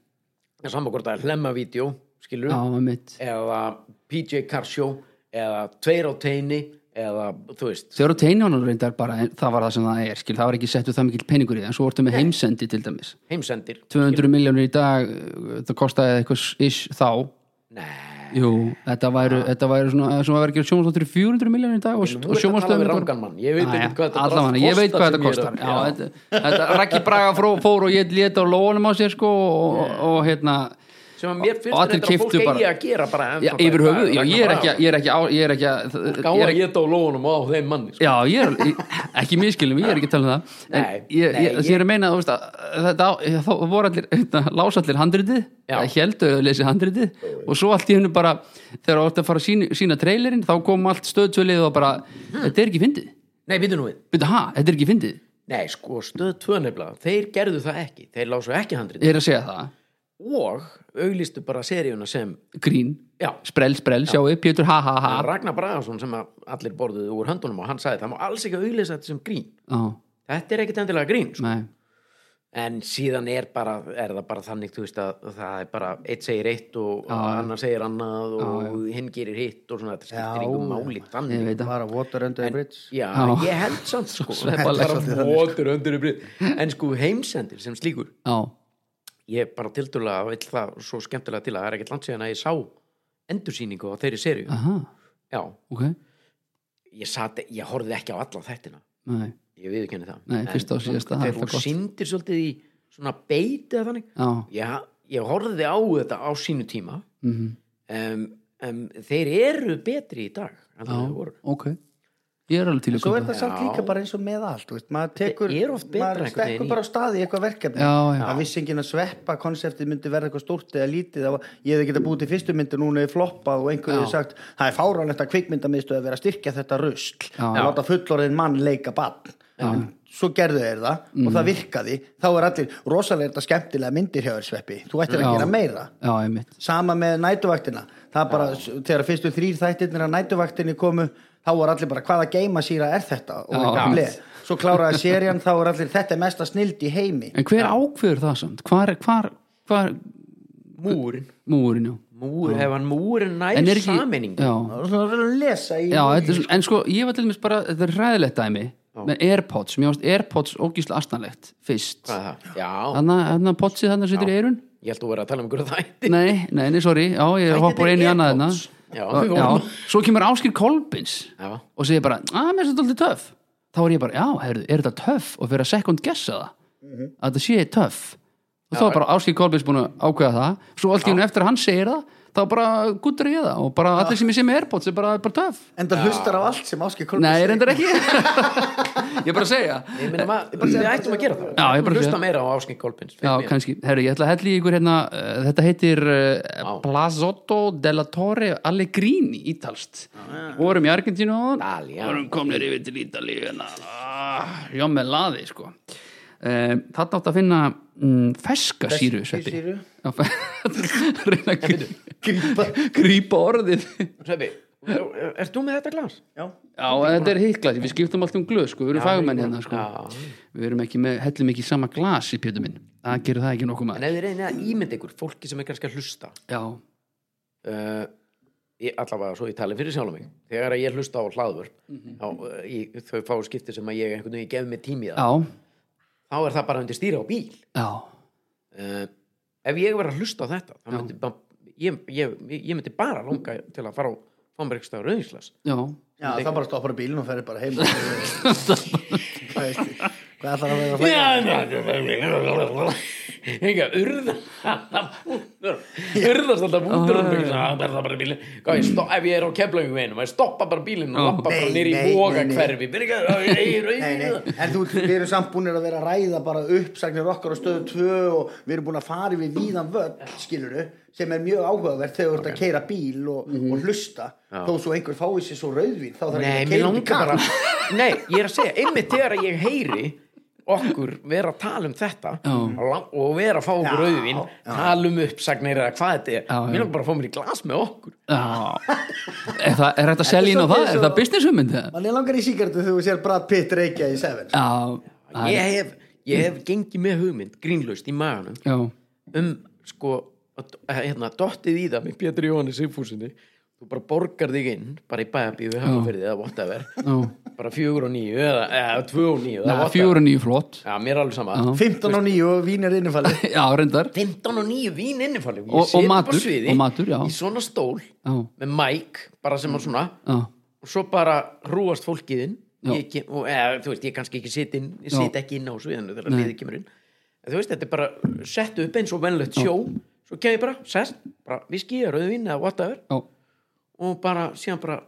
en saman hvort það er hlemmavídjó skilur,
já, mitt
eða PJ Karsjó eða Tveir á teini eða, þú veist,
Þegar á teinjónan reyndar bara, það var það sem það er skil, það var ekki settu það mikill peningur í það en svo vortum við heimsendi til dæmis
heimsendir
200 miljónir í dag, uh, það kostaði eitthvað ish þá
Nei,
Jú, þetta væru,
Ah.
þetta væru svona, eh, svona verið að gera sjónvastóttir 400 miljónir í dag og,
nú er
og
að tala við
sjónvastöðum
rangan mann ég veit ekki hvað þetta
Allavega,
drasl
ég veit hvað
kostar
þetta
sem ég er
kostar
að-
Já, þetta, þetta Raggi Braga fró, fór og ég leta á lóanum á sér sko og, og, og hérna
sem að mér
Og
finnst þetta
allir
að fólk
keyptu bara-
eigi að gera bara
já, yfir höfuð, já, ég er ekki að- ég er ekki á, ég er ekki
gá
að ég
að
er ekki-
geta á lónum á þeim manni sko.
Já, ég er, ég- ekki miskilum, ég er ekki að tala um það en
Nei,
ég, ég,
nei,
ég, ég er að meina þú veist, að þetta á- þá voru allir, hérna, lása allir handritið
Já.
það heldu að lesi handritið og svo allt í hennu bara, þegar þú ert að fara að sína, sína trailerinn, þá kom allt stöðtölið og bara,
Hmm.
þetta er ekki fyndið
nei, býtu nú við,
Byrja, ha, þetta er ekki fyndið,
nei, sko, stöð tvö nefnilega þeir gerðu það ekki, þeir lásu ekki handrið
ég er að segja það
og auglistu bara seríuna sem
grín,
já,
sprell, sprell, sjáu, Pétur, ha, ha, ha
Ragnar Bragason sem að allir borðuðu úr höndunum og hann sagði það má alls ekki auglista þetta sem grín
Já,
þetta er ekkit endilega grín, sko.
nei,
en síðan er bara er það bara þannig, þú veist að það er bara eitt segir eitt og annar segir annað og hinn gerir hitt og svona, þetta
Já,
skiptir ykkur máli þannig
Ég veit það.
bara water under the bridge
Já,
Já.
ég held samt sko
sveppalega
Bara votur undir yfir En sko heimsendir sem slíkur
Já,
Ég bara tildulega vill það svo skemmtilega til að það er ekkert langt síðan að ég sá endursýningu á þeirri serju
aha,
Já,
ok
ég, sat, ég horfði ekki á alla þættina
Nei,
Ég viðurkenni það
Nei, fyrsta og
En
síðasta, það er
Þegar
alltaf
þú
gott.
syndir svolítið í svona beiti eða þannig
já,
Já, ég horfði á þetta á sínu tíma
mhm,
um, um, Þeir eru betri í dag en
já,
það voru
ok Ég er alveg til að
svo er
kaupa
það samt
Já.
líka bara eins og með allt þú veist, maður tekur,
er oft betra
maður
einhvern veginn í-
stekkur bara á staði í eitthvað verkefni
Já, já.
það vissi enginn að sveppa konseptið myndi verða eitthvað stórt eða lítið það var, ég hefði getað búið til fyrstu myndi núna er floppað og einhverju hefði sagt það er fáránlegt að kvikmyndamiðstöð að vera að styrkja þetta rusl
Já.
að láta fullorðin mann leika bann svo gerðu þeir það og
Mm.
það virkaði þá er allir rosalega er þetta skemmtilega myndir hjá þér sveppi þú ættir
Já.
að gera meira
Já, einmitt
sama með nætuvaktina það er bara, þegar fyrstu þrýr þættirnir að nætuvaktinni komu, þá var allir bara hvaða geima síra er þetta og
Já.
eitthvað bleh. svo kláraði serían, þá var allir þetta er mesta snild í heimi
En hver ákveður það samt? Hvar, hvar, hvar
Múrin
múurinn, já
Múr, ef hann múrin nær
En er ekki
sammenning
Já,
það var svona að lesa í
já þetta er, svona- en sko, ég var til dæmis bara Þetta er ræðilegt dæmi með Airpods, mér varst Airpods ógísla astanlegt fyrst
Hvað er það? Já,
Þannig að potsið þannig að situr í eirun
ég held að vera að tala um einhverja þætti
Nei, nei, nei, sorry, já, ég
Þættirnir
hoppa úr einu í annað hérna
Airpods. Já,
Og-
við
já,
vorum-
svo kemur Áskir Kolbins
Já.
og segir bara, að mér er þetta aldrei töff þá er ég bara, já, heyrðu, er þetta töff og fyrir að second guessa það að þetta sé töff og þá er bara Áskir Kolbins búin að ákveða það svo allt í hennu eftir að hann segir það þá bara guttur ég það og bara allir sem ég sé með Airpods er bara, bara töff
en það hlustar á allt sem Áskei Kolbjörn
Nei, reyndar ekki Ég er bara að segja
Ég meina, ma- við ættum að gera það Við ættum
Já, ég bara
að hlusta
sé.
meira á áskeng Kolbins
Já, kannski, herru, ég ætla að hella í ykkur hérna uh, þetta heitir uh, Plazotto della Torre Allegrini ítalst, vorum í Argentínu áðan,
Dali, já.
vorum komnir yfir til Ítalíu hérna, ah, já með laði sko, uh, þarna átt að finna mm, ferska síru sveppi,
sýru.
Já, fe- reyna að grí-
Grípa.
grípa orðið já,
Sveppi, ert þú með þetta glas?
Já.
þetta er hitt glasi, við skiptum allt um glöð sko, við erum fagmenn hérna sko
Já.
við erum ekki með, hellum ekki í sama glas í pjötu minn, það gerir það ekki nokkuð
En
maður
ef þið reynið að ímynda ykkur fólki sem er kannski að hlusta
já,
uh, ég, allavega svo ég tali fyrir sjálf mig þegar að ég hlusta á hlaðvörp
Mhm.
á, uh, í, þau fá skipti sem að ég einhvern veginn gef mig tími í það,
já,
þá er það bara undir stýra á bíl
já
uh, ef ég verið að hlusta á þetta þá myndi bara, ég, ég, ég myndi bara langa til að fara á Fámbergsdag Rauðingslas
Já,
Já, það bara stoppar bílinn og ferði bara heim og- Hvað veist þið? Hvað ætlar að vera að fæða?
Enga, urða Urðast alltaf mútur Það er það bara bílinn Hvað, ég stoppa, Ef ég er á keflaugum einum Ég stoppa bara bílinn og lappa bara
Nei,
nýri í
nei,
boga
nei, nei.
hverfi Byrja, ég er
Nei, nei,
auðvitað
en þú, við erum samt búinir að vera að ræða bara uppsagnir okkar á stöðu 2 og við erum búin að fara við víðan völl, skiluru, sem er mjög áhugavert þegar þú ert að keira bíl og, og hlusta, þó svo einhver fái sér svo rauðvín, þá þarf ekki
Nei,
að
mér
keira út í
langar
kall.
bara Nei, ég er að segja, einmitt þegar ég heyri okkur vera að tala um þetta lang- og vera að fá okkur
Já,
auðvin tala um uppsagnir eða hvað þetta er
Já, já.
mér langar bara að fá mér í glas með okkur
já. Er, það, er þetta að selja inn á
svolítið
það? Er
svo-
það business hugmynd? eða?
Mann er langar í síkertu þegar þú sér Brad Pitt reykja í 7.
Já, það er-
ég hef, ég hef gengið með hugmynd grínlaust í maganum
já,
um sko að- að, hérna, dottið í það með Pétur Jóhanni Sigfúsinni þú bara borgar þig inn bara í bæabífi hafnafyrði eða whatever
já.
bara fjögur og níu eða, eða tvö og níu
Nei,
eða
Fjóra nýju flott
já, mér er alveg sama
15 og 9 og vín er innifalið.
Já, reyndar
15 og 9 vín innifalli
Og- og matur,
sviði,
og matur, já.
í svona stól
Já,
með mæk, bara sem að svona
já,
og svo bara rúast fólkið inn
Já.
Ég kem- og eða, þú veist, ég kannski ekki sit inn ég
Já.
sit ekki inn á sviðinu þegar liðið kemur inn en þú veist, þetta er bara sett upp eins og venlegt sjó svo kem ég bara, sest, bara viski, rauðvín eða whatever
já,
og bara, síðan bara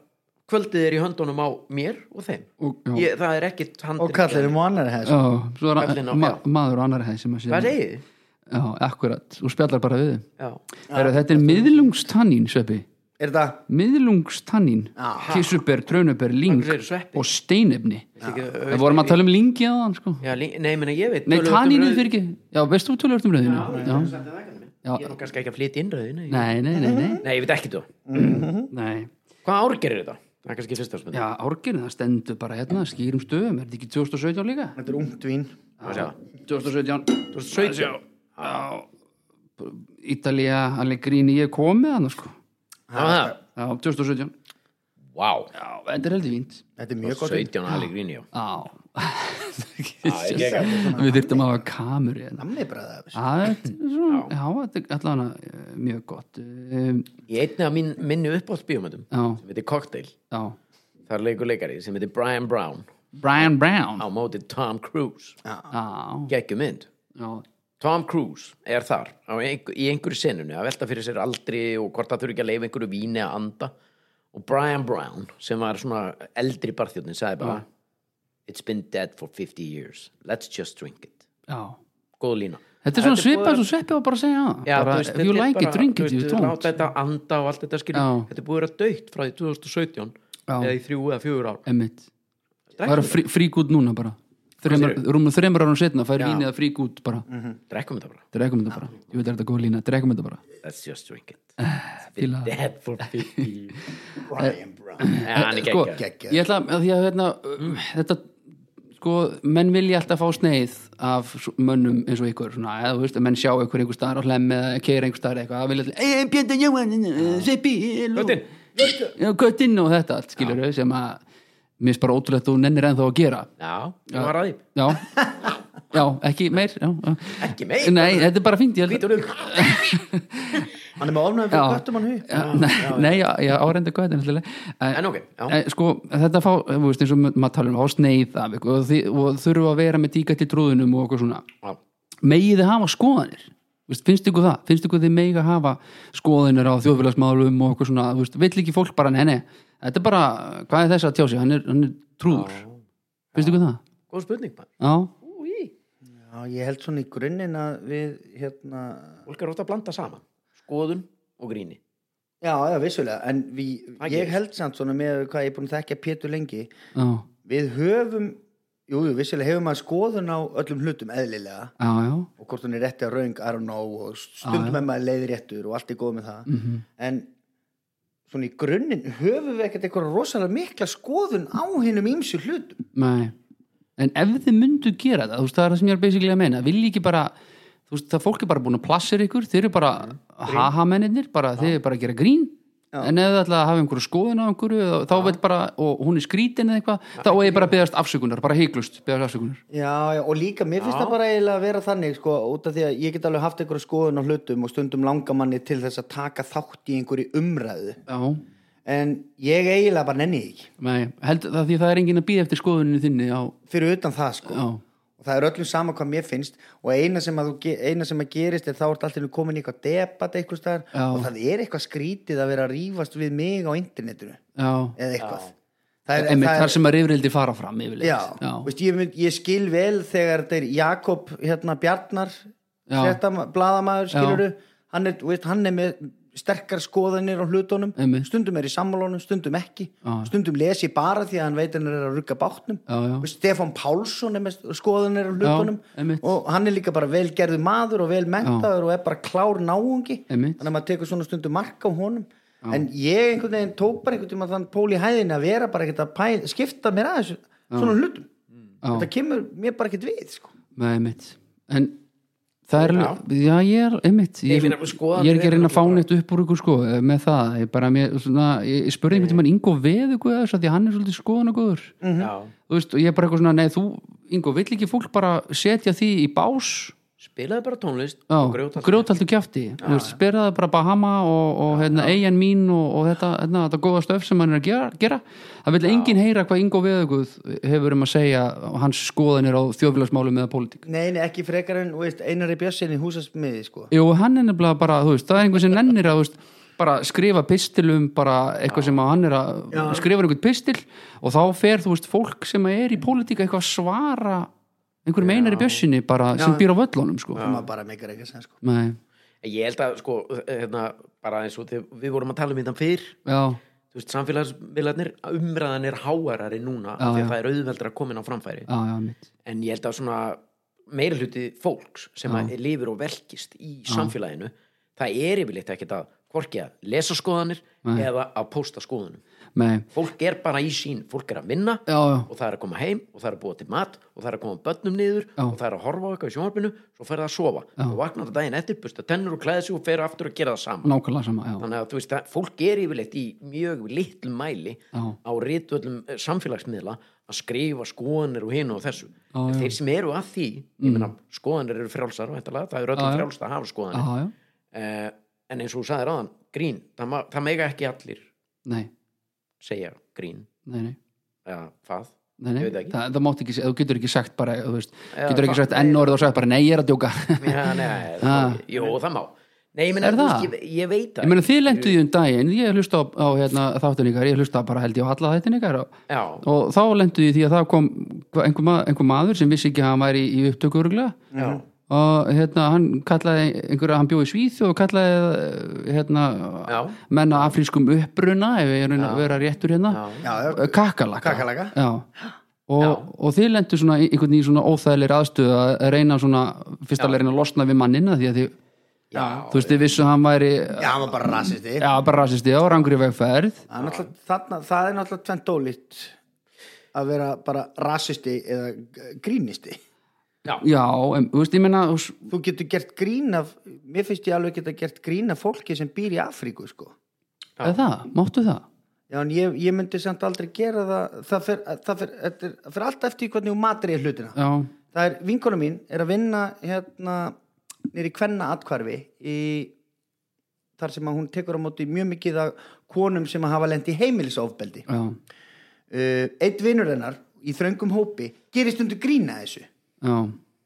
kvöldið er í höndunum á mér og þeim
Og- já.
ég, það er ekkit handrið
Og kallir um á annari hæð.
já. Svo er
Kallinn á-
ma
já.
maður og annar hæð sem að sé
hvað segið þið?
Já, akkurat, og spjallar bara við þið
Já.
Heru, Þetta er miðlungstannín, Sveppi
Er það?
Miðlungstannín, kissuber, trönuber, ling
Af hverju segirðu sveppi?
og steinefni
Ekki,
Það vorum að tala um lingi á hann sko.
Já, lí- nei, meni, ég veit
Nei,
töluvert um
tanninu
rauð-
fyrir ekki Já, veistu þú tölvörtum rauðinu? Já, Já.
Ég er nú kannski ekki að flytja innröðinu nei.
nei, nei, nei, nei,
nei, ég veit ekki þú
nei.
Hvað árgerir þetta? Það er kannski fyrsta spil
Já, árgirni, það stendur bara hérna, skýrum stöðum, er þetta ekki 2017 líka?
Þetta er ungt vín.
Má sjá.
2017
2017
Ítalía, Allegrini, ég kom með hann sko.
Það var það
Já, 2017
Vá,
Já, þetta er heldur fínt
Þetta er mjög gott
17 Allegrini já.
Já
ég gekk
Við þyrftum að hafa kamur í hérna
Nammi bræða af þessu
Já, þetta er svona, já, þetta er allan mjög gott um,
Ég einni af minn, minni uppáhaldsbíómyndum
Já,
sem heitir Cocktail,
já
þar leikur leikari sem heitir Brian Brown
Brian Brown
á
Já,
móti Tom Cruise
já,
geggjum mynd Tom Cruise er þar á einhver, í einhverju sinnunni að velta fyrir sér aldri og hvort það þurfi ekki að leifa einhverju víni að anda og Brian Brown sem var svona eldri barþjóðnin sagði bara It's been dead for 50 years let's just drink it
já.
Góð lína
Þetta er svona
búið
svipað
að-
svo sveppi var bara að segja það
Já,
bara,
þú veist,
If you
þetta er
like it,
bara,
drink
þú
it,
veist,
you don't
Láta þetta anda og allt þetta skilur
Já.
Þetta er búið að vera dögt frá því 2017
Já.
eða í þrjú eða fjögur ár
Emmitt Það er
Drekkum
að frí- frík út núna bara Þremur- Rúmum þreymur árum setna fær vínið að frík út bara
Mhm. drekkum þetta bara
Drekum þetta bara, ég veit að þetta er góð lína Drekum þetta bara
Let's just drink it
Eh,
It's been
fíla það.
dead for 50 years
Eh.
Brian Brown
En hann er
sko,
geggjaður. Mm.
Geggjaður.
ég ætla að því að hérna, uh, þetta sko, menn vilja alltaf fá sneið af svo- mönnum eins og ykkur svona, eða þú veist, menn sjá ykkur einhver staðar á hlemm eða keira einhver staðar eitthvað, það vilja alltaf "Eh, Björn Jóhann, eh, Seppi
Köttinn.
Göttinn og þetta allt skilur við sem að mér finnst bara ótrúlegt að þú nennir ennþá að gera
Já, það var að því
já, já, ekki meir já, já.
Ekki meir?
nei, þetta er bara fínt ég held-
Vítur um
Hann er með ofnum
Já.
fyrir köttum hann hug
Já, nei, nei, já, já, árenda göttin
En
En
ok, já.
en, Sko, þetta fá, þú veist, eins og maður tala um á sneið af ykkur og, þi- og þurfa að vera með díkat í trúðunum og okkur svona
Já.
Megið þið hafa skoðanir Þú veist, finnst ykkur það, finnst ykkur þið megið að hafa skoðanir á þjóðfélagsmálum og okkur svona, þú veist, vill ekki fólk bara, nei, nei þetta er bara, hvað er þess að tjá sig hann er, hann er trúður, finnst ykkur það
Góð spurning bara
Já,
Úi,
Já, ég held svona í grunninn að við hérna
fólk er ofta að blanda saman Skoðun og gríni
Já, já, vissulega En við,
Það
ég
gerist.
held samt svona með hvað ég er búin að þekkja Pétur lengi
já,
Við höfum Jú, jú, vissulega hefur maður skoðun á öllum hlutum eðlilega
já, já
og hvort hún er rétti á raung, I don't know og
Já,
stundum
já.
er maður leiði réttur og allt er góð með það
mm -hmm.
en svona í grunninn höfum við ekkert eitthvað rosalega mikla skoðun á hinnum ímsu hlutum
Nei, en ef þið myndu gera það, þú veist, það er það sem ég er basically að meina vilji ekki bara, þú veist, það fólk er bara búin að plassir ykkur, þeir eru bara
Mm.
haha mennirnir, bara, þeir eru bara að gera grín en ef þið ætla að hafa einhverju skoðun á einhverju þá veit bara, og hún er skrítin eða eitthvað, þá er ég bara að beðast afsökunar bara heiklust, beðast afsökunar
já, já, og líka mér finnst
Já.
það bara eiginlega að vera þannig sko, út af því að ég get alveg haft eitthvað skoðun á hlutum og stundum langar manni til þess að taka þátt í einhverju umræðu
Já,
en ég eiginlega bara nenni því ekki
nei, held það því það er enginn að býða eftir skoðuninu þinni á,
fyrir utan það sko
á,
og það er öllum sama hvað mér finnst og eina sem að, þú ge- eina sem að gerist er þá er allt í einu komin í eitthvað debat eitthvað staðar
Já.
og það er eitthvað skrítið að vera að rífast við mig á internetinu
já
eða eitthvað það er,
einmitt
það
þar
er,
sem að rifrildi fara fram yfirleitt
já, Veist, ég, mynd, ég skil vel þegar þetta er Jakob hérna, Bjarnar
Já.
þetta bladamaður skiluru hann er, þú veist, hann er með sterkar skoðanir á hlutunum,
Einmitt.
stundum er í sammálunum stundum ekki,
Já.
stundum les ég bara því að hann veit hann er að rugga bátnum
Já, já.
Og Stefán Pálsson er með skoðanir á hlutunum
Já, einmitt.
og hann er líka bara velgerðu maður og velmentaður og er bara klár náungi
Einmitt.
þannig að maður tekur svona stundum mark á honum en ég einhvern veginn tók bara einhvern tímann þann pól í hæðin að vera bara ekkert að pæ, skipta mér aðeins svona hlutum
Já.
þetta kemur mér bara ekkert við sko.
Nei, einmitt En það er, já, já ég er einmitt, ég,
Ég meina, skoðanir
ég er ekki að
eru
reyna að fá
bara-
neitt upp úr ykkur sko með það, ég bara mér, svona, ég, ég spurði einhvern tímann Ingo við ykkur þess að því að hann er svolítið skoðan og góður
Já,
þú veist, og ég er bara eitthvað svona, nei þú Ingo, vill ekki fólk bara setja því í bás
spilaði bara tónlist
Já,
og grjóta
grjótaltu kjafti þú veist, spyrraði bara Bahama og, og hérna, eigin mín og, og þetta, hérna, þetta góða stöf sem hann er að gera, gera. það vil enginn heyra hvað Ingo Veðuguð hefur um að segja hans skoðanir á þjóðfélagsmálum eða pólitík
nei, nei, ekki frekar en þú veist, einari bjössin í húsasmiði sko.
Jú, hann er nefnilega bara, þú veist, það er einhver sem nennir að, þú veist, bara skrifa pistilum bara eitthvað sem að hann er að skrifa einhvern pistil og þá fer, þú veist, fólk sem er í pólitíka eitthvað að svara einhverjum einar í bjössinni bara sem býr á völlunum, sko.
sem að bara meikar ekki sem sko.
Nei,
Ég held að sko, hérna, bara eins og þegar við vorum að tala um þetta fyrr
já,
þú veist, samfélagsmiðlarnir umræðan er háarari núna af því að það er auðveldra komin á framfæri
já, já, mitt.
en ég held að svona meira hluti fólks sem að lifir og velkist í samfélaginu það er yfirleitt ekkert að hvorki að lesa skoðanir eða að pósta skoðunum
Nei,
fólk er bara í sín, fólk er að vinna
já, já,
og það er að koma heim og það er að búa til mat og það er að koma börnum niður
Já.
og það er að horfa á eitthvað í sjónvarpinu svo fer það að sofa og vaknar það daginn eftir busta tennur og klæði sig og fer aftur að gera það saman
nákvæmlega sama já,
þannig að þú veist að fólk er yfirleitt í mjög litlu mæli
Já.
á rítvöldum samfélagsmiðla að skrifa skoðanir og hinu og þessu en
Já, já. Mm.
þeir sem eru að því, ég meina skoðanir eru frjálsar væntanlega, það er
Já,
öllum
já.
frjálst að hafa
já,
skoðanir
já,
eh, en eins og þú sagðir áðan, grín það, ma- það mega ekki allir
nei
segja grín
Nei, nei,
eða hvað
nei, nei.
Ég veit það ekki.
Þa, það mátt ekki, þú getur ekki sagt bara, þú veist,
Já,
getur ekki
það-
sagt enn orðið og sagt bara, nei, ég er að djóka
Já, nei,
Ah.
það, jú, það má Nei, ég, meina,
Er
þú veist,
það?
ég, ég veit það
Ég meina, þið lentu því um daginn, ég hlusta á, á hérna, þáttun ykkar, ég hlusta bara held ég á alla þættin ykkar og,
Já,
og þá lentu því því að það kom hva- einhver, ma einhver maður sem vissi ekki að hann væri í, í upptöku örgulega
já,
og hérna, hann kallaði einhverja, hann bjóði svíð og kallaði hérna,
já,
menna afrískum uppruna ef ég er að vera réttur hérna
já.
já, já,
kakalaka,
Kakalaka.
Já. Og,
Já.
og þið lendur svona í- einhvern í svona óþægilegri aðstöð að reyna svona fyrst að reyna að losna við mannina því að þið,
já.
þú veist, þið vissu að hann væri já,
já, hann var bara rasisti já.
bara rasisti á rangri vegferð
Það, er þarna, það er náttúrulega tvent ólíkt að vera bara rasisti eða g- grínisti
já, em, þú veist, ég meina þú s-
þú getur gert grín af mér finnst ég alveg geta gert grín af fólki sem býr í Afríku sko
er það, máttu það
Já, en ég, ég myndi samt aldrei gera það það fer, það fer, það fer, það fer alltaf eftir því hvernig þú matrið hlutina
já,
það er, vinkona mín er að vinna hérna, nýri kvenna atkvarfi í þar sem að hún tekur á móti mjög mikið af konum sem að hafa lent í heimilisofbeldi uh,
já,
eitt vinnur Eh, hennar í þröngum hópi gerist undir grína þessu
já,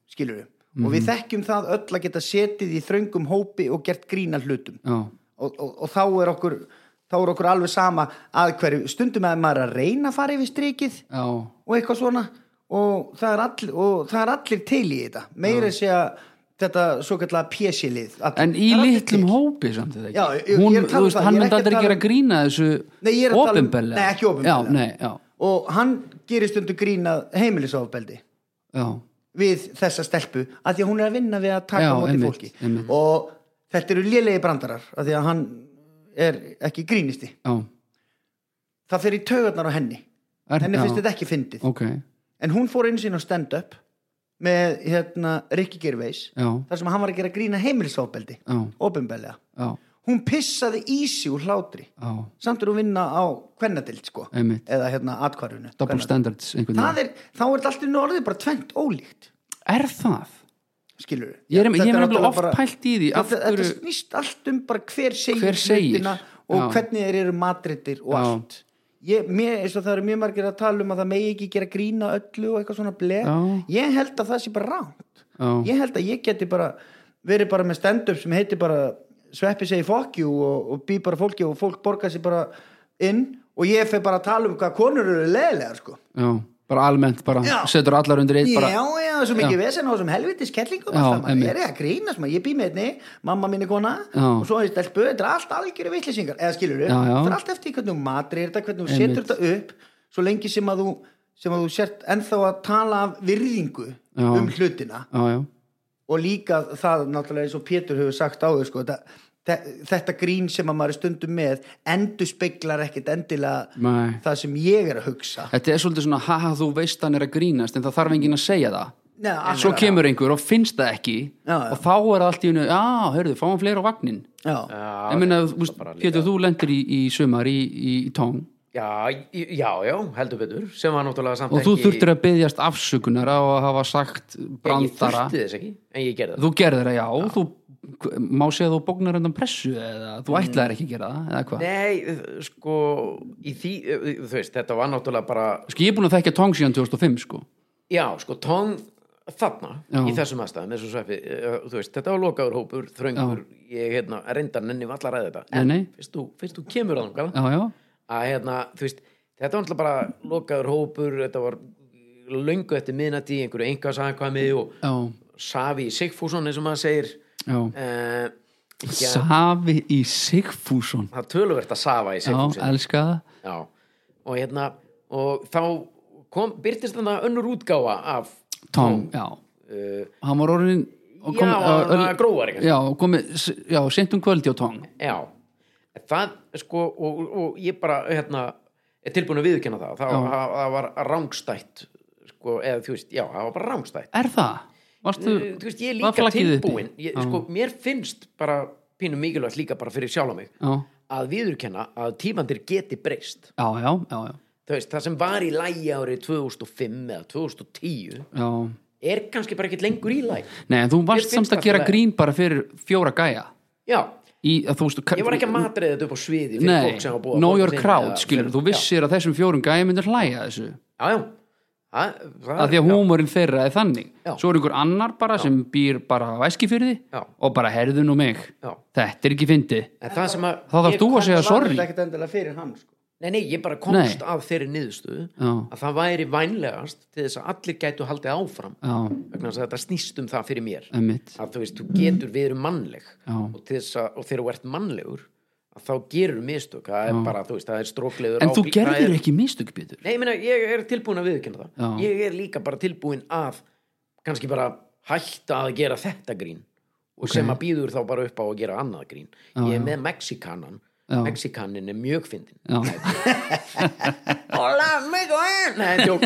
skilur við, og
Mhm.
við þekkjum það öll að geta setið í þröngum hópi og gert grína hlutum
já
og, og, og þá er okkur þá er okkur alveg sama að hverju stundum að maður er að reyna að fara yfir strikið
já,
og eitthvað svona og það er allir, og það er allir til í þetta meira sé að þetta svo kallega pjesilið
en í litlum hópi samt þetta
Já, ég- ég
ekki
er
hún,
að tala
þú
um
veist,
það,
hann
ég er
myndi
ekki að
aldrei
tala
gera
um-
grína þessu
Nei, ég er að tala um-
opinberlega.
Nei, ekki opinberlega.
já, nei, já,
og hann gerir stundu grínað heimilisofbeldi
já,
við þessa stelpu að því að hún er að vinna við að taka
Já,
á móti
einmitt,
fólki
einmitt.
og þetta eru lélegi brandarar að því að hann er ekki grínisti
já,
það fer í taugarnar á henni
Er-
henni
já.
finnst þetta ekki fyndið
ok já,
en hún fór einu sín á stand-up með hérna Rikki Gervais þar sem hann var að gera grína heimilisofbeldi
já,
opinberlega
já,
hún pissaði í sig úr hlátri
já
samt er hún vinna á kvennadild sko
einmitt,
eða hérna atkvarfinu
double standards einhvern veginn.
það er, þá er þetta allir orðið bara tvent ólíkt
Er það?
skilur
Ég er- ég er nefnilega oft pælt í því, af
þetta, þetta
hverju-
snýst allt um bara hver segir,
Hver segir,
hlutina og
já.
hvernig þeir eru matrittir og
Já.
allt ég, mér, eins og það eru mjög margir að tala um að það megi ekki gera grína öllu og eitthvað svona blek
Já.
ég held að það sé bara ránt
Já,
ég held að ég geti bara verið bara með stand-up sem heitir bara sveppi segi fokkjú og, og bý bara fólki og fólk borgar sér bara inn og ég fer bara að tala um hvað konur eru leðilegar sko
já, bara almennt bara
Já.
setur allar undir eitt bara,
já, já, svo mikið vesen á þessum helvitis kellingum
Já,
alltaf, maður
einmitt.
er ég að grína sem ég bý með einni, mamma mín er kona
Já.
og svo er ég stelpu, þetta er allt algjöru vitlýsingar eða skilur
Já, já.
það er allt eftir því hvernig þú matrir þetta, hvernig þú
Einmitt.
setur þetta upp svo lengi sem að þú sem að þú sért ennþá að tala af virðingu
Já.
um hlutina
já, já,
og líka það náttúrulega eins og Pétur hefur sagt áður sko, þetta, þe- þetta grín sem að maður er stundum með endur speiklar ekkit endilega
nei
það sem ég er að hugsa
Þetta er svolítið svona, haha, þú veist hann er að grínast en það þarf enginn að segja það
Nei,
Svo
alveg.
kemur einhver og finnst það ekki
Já, já.
og þá er allt í hennu, já, hörðu, fáum fleira á vagnin
já,
Ég meina, þú
það
veist,
bara líka-
Pétur, þú lendir í, í sumar í, í, í tóng
Já, í- já, já, heldur betur sem var náttúrulega samt
og þú
ekki
þurftir að byggjast afsökunar á að hafa sagt
Ég
brandara
þurfti þess ekki, en ég gerði það
Þú gerðir það, já, þú má segja að þú bóknar undan pressu eða þú ætlaðir ekki að gera það, eða hvað
Mm. Nei, sko í því, þú veist, þetta var náttúrulega bara
Sko ég er búin að þekka Tong síðan 2005 sko
já, sko, tón þarna
Já.
í þessum aðstæðum, þessu sveppi eh, þú veist, þetta var lokaður hópur, þröngur ég, hérna, reyndar nenni vallar að þetta
Nei, nei.
fyrst þú, fyrst þú kemur að þangað
Já, já,
að hérna, þú veist, þetta var náttúrulega bara lokaður hópur, þetta var löngu eftir miðnætti, í einhverju engasakvæmi og
já,
Savi Sigfússon eins og maður segir
já.
uh, já,
Safi í Sigfússon
það er töluvert að Safa í
Já,
Sigfússon
elska það
já, og hérna og þá kom, byrtist þarna önnur útgáfa af
Tong, já,
uh,
hann var orðin og
já,
ö-
það
ö-
grófari kannski.
Já, komið, s- já, sent um kvöldi á Tong
já, það sko og, og ég bara hérna er tilbúin að viðkynna það það,
Já.
það, það var rángstætt sko, eða þú veist, já, það var bara rángstætt
Er það? Varstu,
Eh, þú veist, ég er
var
líka
flaggið uppi?
tilbúin ég,
Já.
sko, mér finnst bara pínum mikilvægt líka bara fyrir sjálf á mig
Já,
að viðurkenna að tímandir geti breyst
já, já, já, já.
þú veist, það sem var í lægi árið 2005 eða 2010
já.
er kannski bara ekkert lengur í lægi
Nei, en þú
Mér finnst
varst samt
það
að gera
allt í lagi.
grín bara fyrir fjóra gæja
já,
í, að, þú veist,
ég var ekki að matriða þetta upp á sviði fyrir
Nei,
fólk sem var búið að
know
borga
your
sinn
crowd,
eða-
skilur, þú vissir að þessum fjórum gæja myndir hlæja að þessu
já, já, já. Það, það,
að því að húmurinn þeirra er þannig
Já.
svo er einhver annar bara sem býr bara á eskifyrði
Já.
og bara herðu nú mig
Já.
þetta er ekki fyndið
en það sem að
þá þarf þú að segja sorry
Það er ekkert endilega fyrir hann sko.
Nei, nei, ég bara komst af þeirri niðurstöðu
Já.
að það væri vænlegast til þess að allir gætu haldið áfram
Já,
vegna þess að þetta snýst um það fyrir mér
emmitt
að þú veist, þú getur verið mannleg
Já.
og, til þess að, og þegar þú ert mannlegur að þá gerur mistök það er bara, þú veist, það er stróklegur
En þú
ábyrg- það
gerðir
er-
ekki mistök, Pétur
Nei, ég meina, ég er tilbúin að viðkynna það
Já.
ég er líka bara tilbúin að kannski bara hætta að gera þetta grín og sem að býður þá bara upp á að gera annað grín ég er með Mexikanan
Já.
Mexikanin er mjög fyndin
Já,
Hola, amigo eh. Nei, djók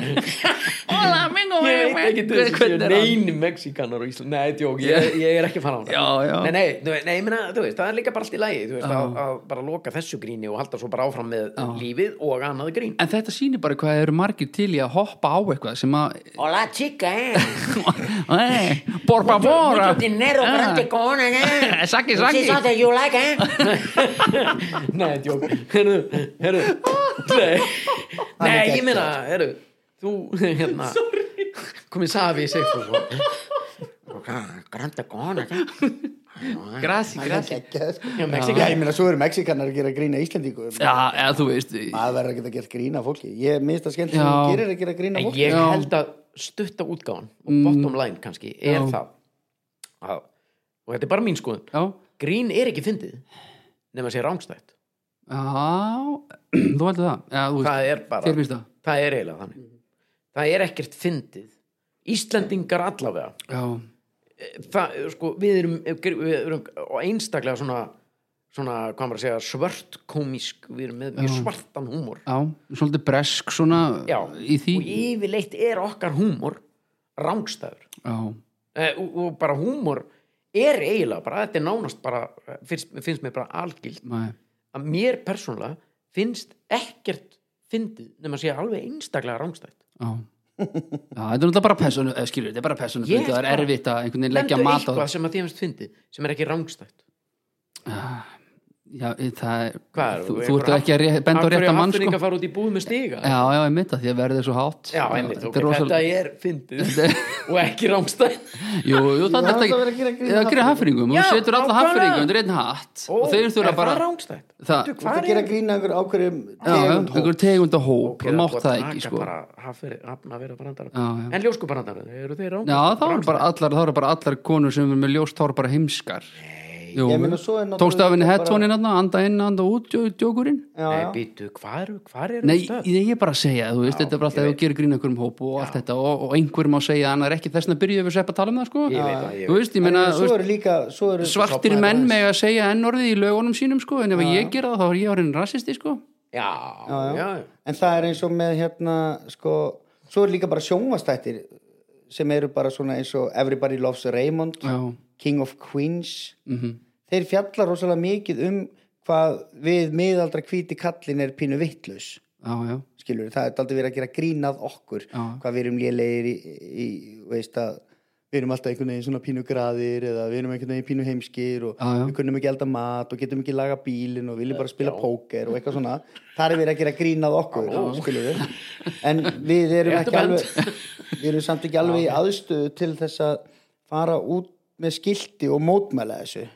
Hola, mingo,
Ég veit ekki til þess að
Hvernig
séu
er hann?
neini Mexikanar á Íslandi Nei, djók, ég, ég er ekki að fara á hana
Já, já.
Nei, nei, þú veist, nei, ég meina, þú veist, það er líka bara allt í lagi Þú veist, að, að bara loka þessu gríni og halda svo bara áfram með lífið og annað grín
En þetta sýnir bara hvað eru margir til í að hoppa á eitthvað sem að
Hola, chica, eh
Nei, Por favor
Mucho dinero,
Ah.
grande con, ¿eh?
Saki,
This
saki
is something you like, ¿eh?
Nei, djók, herru, herru Nei, nei ég meina, herru Þú, hérna Komið safi í sig
Grande con, ¿eh?
Grasi, grasi
Já,
Já,
Mexikanar
ég meina, svo eru Mexikanar að gera grína Íslandíku
Já, eða þú veist
maður verður ekki að gera grína fólki ég minnst að skemmt sem
Já.
þú gerir að gera grína
En
fólki
ég
Já.
held að stutta útgáðan og bottom line kannski er
Já.
það að, og þetta er bara mín skoðun
Já,
grín er ekki fyndið nema sé rángstætt
já Þú heldur það Já, þú veist,
það er bara,
þér finnst það
það er eiginlega þannig
Mhm.
það er ekkert fyndið Íslendingar allavega
Já, Eh,
það, sko, við erum, við erum og einstaklega svona svona, hvað maður að segja, svört komísk við erum með mjög svartan húmor
já, svolítið bresk svona
Já,
í því
og yfirleitt er okkar húmor rángstæður
Já,
Eh, og, og bara húmor er eiginlega bara, þetta er nánast bara eh, finnst, finnst mér bara algild
nei,
að mér persónulega finnst ekkert fyndið nema að sé alveg einstaklega rángstætt
já Já, þetta er náttúrulega bara personu, eh, skilur, þetta er bara personu
Ég
það er
bara-
erfitt að einhvern veginn leggja
Nefndu
mat á
eitthvað sem að því finnst fyndið sem er ekki rángstætt
Já, eh, það er,
Hvað er-
þú, þú
einhver
ert ekki að ré- benda á rétta mann
Af hverju
sko.
hafðir fara út í búð með stiga?
Já, já, ég mitt að því að verðið er svo hátt
Já, einmitt,
þetta
ok,
er
þetta
rosalega
er fyndið og ekki rángstætt
Jú, jú, það er
það
þetta
verður að
ekki
gera grín
Já,
að
gera haffringum, þú
Já,
setur alla
nákvæmlega.
haffringum undir einn hatt og þeir þurfa
er
bara
það rángstætt?
það-
Veitu,
þú ert
hvar
að gera
er-
grína einhver ákverjum
Já, já, einhver tegunda hóp,
Ok, það er
mátt
búið
það
að taka
ekki sko
bara hafnir- hafnavera brandara.
Já, já.
en ljóskubarandar, eru þeir rángstætt?
Já, þá eru bara allar, þá eru bara allar konur sem er með ljóst hár bara heimskar Jú,
Ég meina, svo er náttúrulega
tókst af henni
bara-
headphonein hann, anda inn, anda út, djó- djókurinn
Nei,
já, já.
býtu, hvar, hvar er
Nei,
stöð?
ég er bara að segja, þú veist, þetta er bara alltaf ef þú gerir grín einhverjum hóp og allt þetta og, og einhver má segja að annar ekki þessna byrjuðu við sepp að tala um það, sko
Ég veit það, ég
Þú veist, ég meina, þú
svo
veist,
eru líka svo eru
svartir menn með að segja enn orðið í lögunum sínum, sko en ef ég gera það, þá er ég orðin rasisti, sko
Já, já, já.
en það er eins og með hérna sko, svo eru líka bara sjónvastættir sem eru bara svona eins og Everybody Loves Raymond
Já, Mhm.
King of Queens þeir fjallar rosalega mikið um hvað við miðaldra hvíti kallin er pínu vittlaus
já, já,
skilur, það er aldrei verið að gera grínað okkur
Já.
hvað við erum lélegir í, í veist að við erum alltaf einhvern veginn svona pínu graðir eða við erum einhvern veginn pínu heimskir og
Já, já.
við kunnum ekki elda mat og getum ekki laga bílin og viljum bara spila póker og eitthvað svona það er verið að gera grínað okkur skilur við, en við erum
Réttu
ekki alveg við erum samt ekki alveg í aðstöðu til þess að fara út með skilti og mótmæla þessu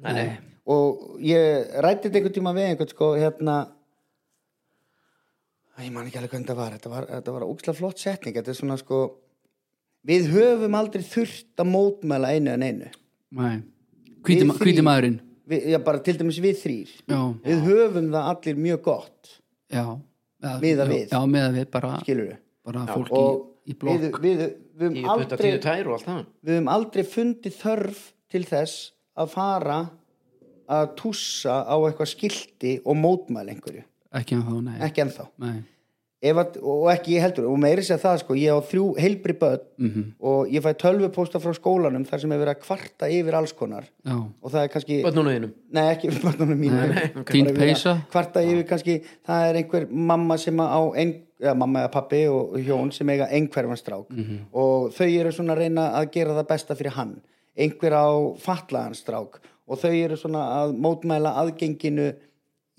Nei.
og ég rætti þetta einhvern tíma við einhvern sko hérna Æ, ég man ekki alveg hvernig þetta var þetta var, þetta var ógislega flott setning þetta er svona sko við höfum aldrei þurft að mótmæla einu en einu
nei Hvíti
Við
ma- hvíti
þrír.
maðurinn,
við, já, bara til dæmis við þrýr
já,
við höfum það allir mjög gott
já Já,
Miðað
já,
við.
Já, miða við, bara,
skilur við
bara fólk í,
og
í blokk
við, við, við,
Ég
höfum
putta
aldrei,
tíu tær og allt það
við höfum aldrei fundið þörf til þess að fara að tússa á eitthvað skilti og mótmæla einhverju
ekki en þá, nei,
ekki ennþá
nei.
Ef að, og ekki ég heldur, og meiri sér það sko ég á þrjú heilbri börn
Mhm.
og ég fæ tölvupósta frá skólanum þar sem er verið að kvarta yfir alls konar
Já.
og það er kannski,
Bönnunum þínum
nei ekki yfir börnunum mínu
ok.
Þín
Bara verið að
peysa?
kvarta yfir kannski, það er einhver mamma sem á ein, ja, mamma eða pappi og hjón sem eiga einhverfan strák
Mhm.
og þau eru svona að reyna að gera það besta fyrir hann, einhver á fatlaðan strák og þau eru svona að mótmæla aðgenginu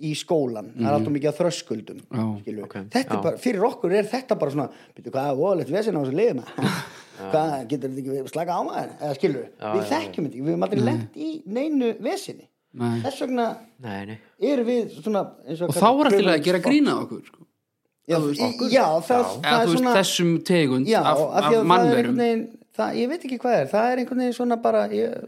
í skólan,
Mhm.
það er alltaf mikið að þröskuldum
Já,
skilur,
ok,
þetta er
já.
bara, fyrir okkur er þetta bara svona, veitu hvað er óalegt vesinn á þessu liðum hvað, getur þetta ekki verið slaka á maður, eða skilur við þekkjum þetta, ekki, við erum
Mm.
aldrei lent í neinu vesinni,
Nei.
þess vegna
Nei, nei
erum við svona eins
og þá er alltaf að gera grína okkur sko.
já, í- já, það, það
eða
er
þú veist
svona
þessum tegund
já,
af,
af,
af,
því að það er
mannverum
einhvern veginn það, ég veit ekki hvað er, það er einhvern veginn svona bara ég,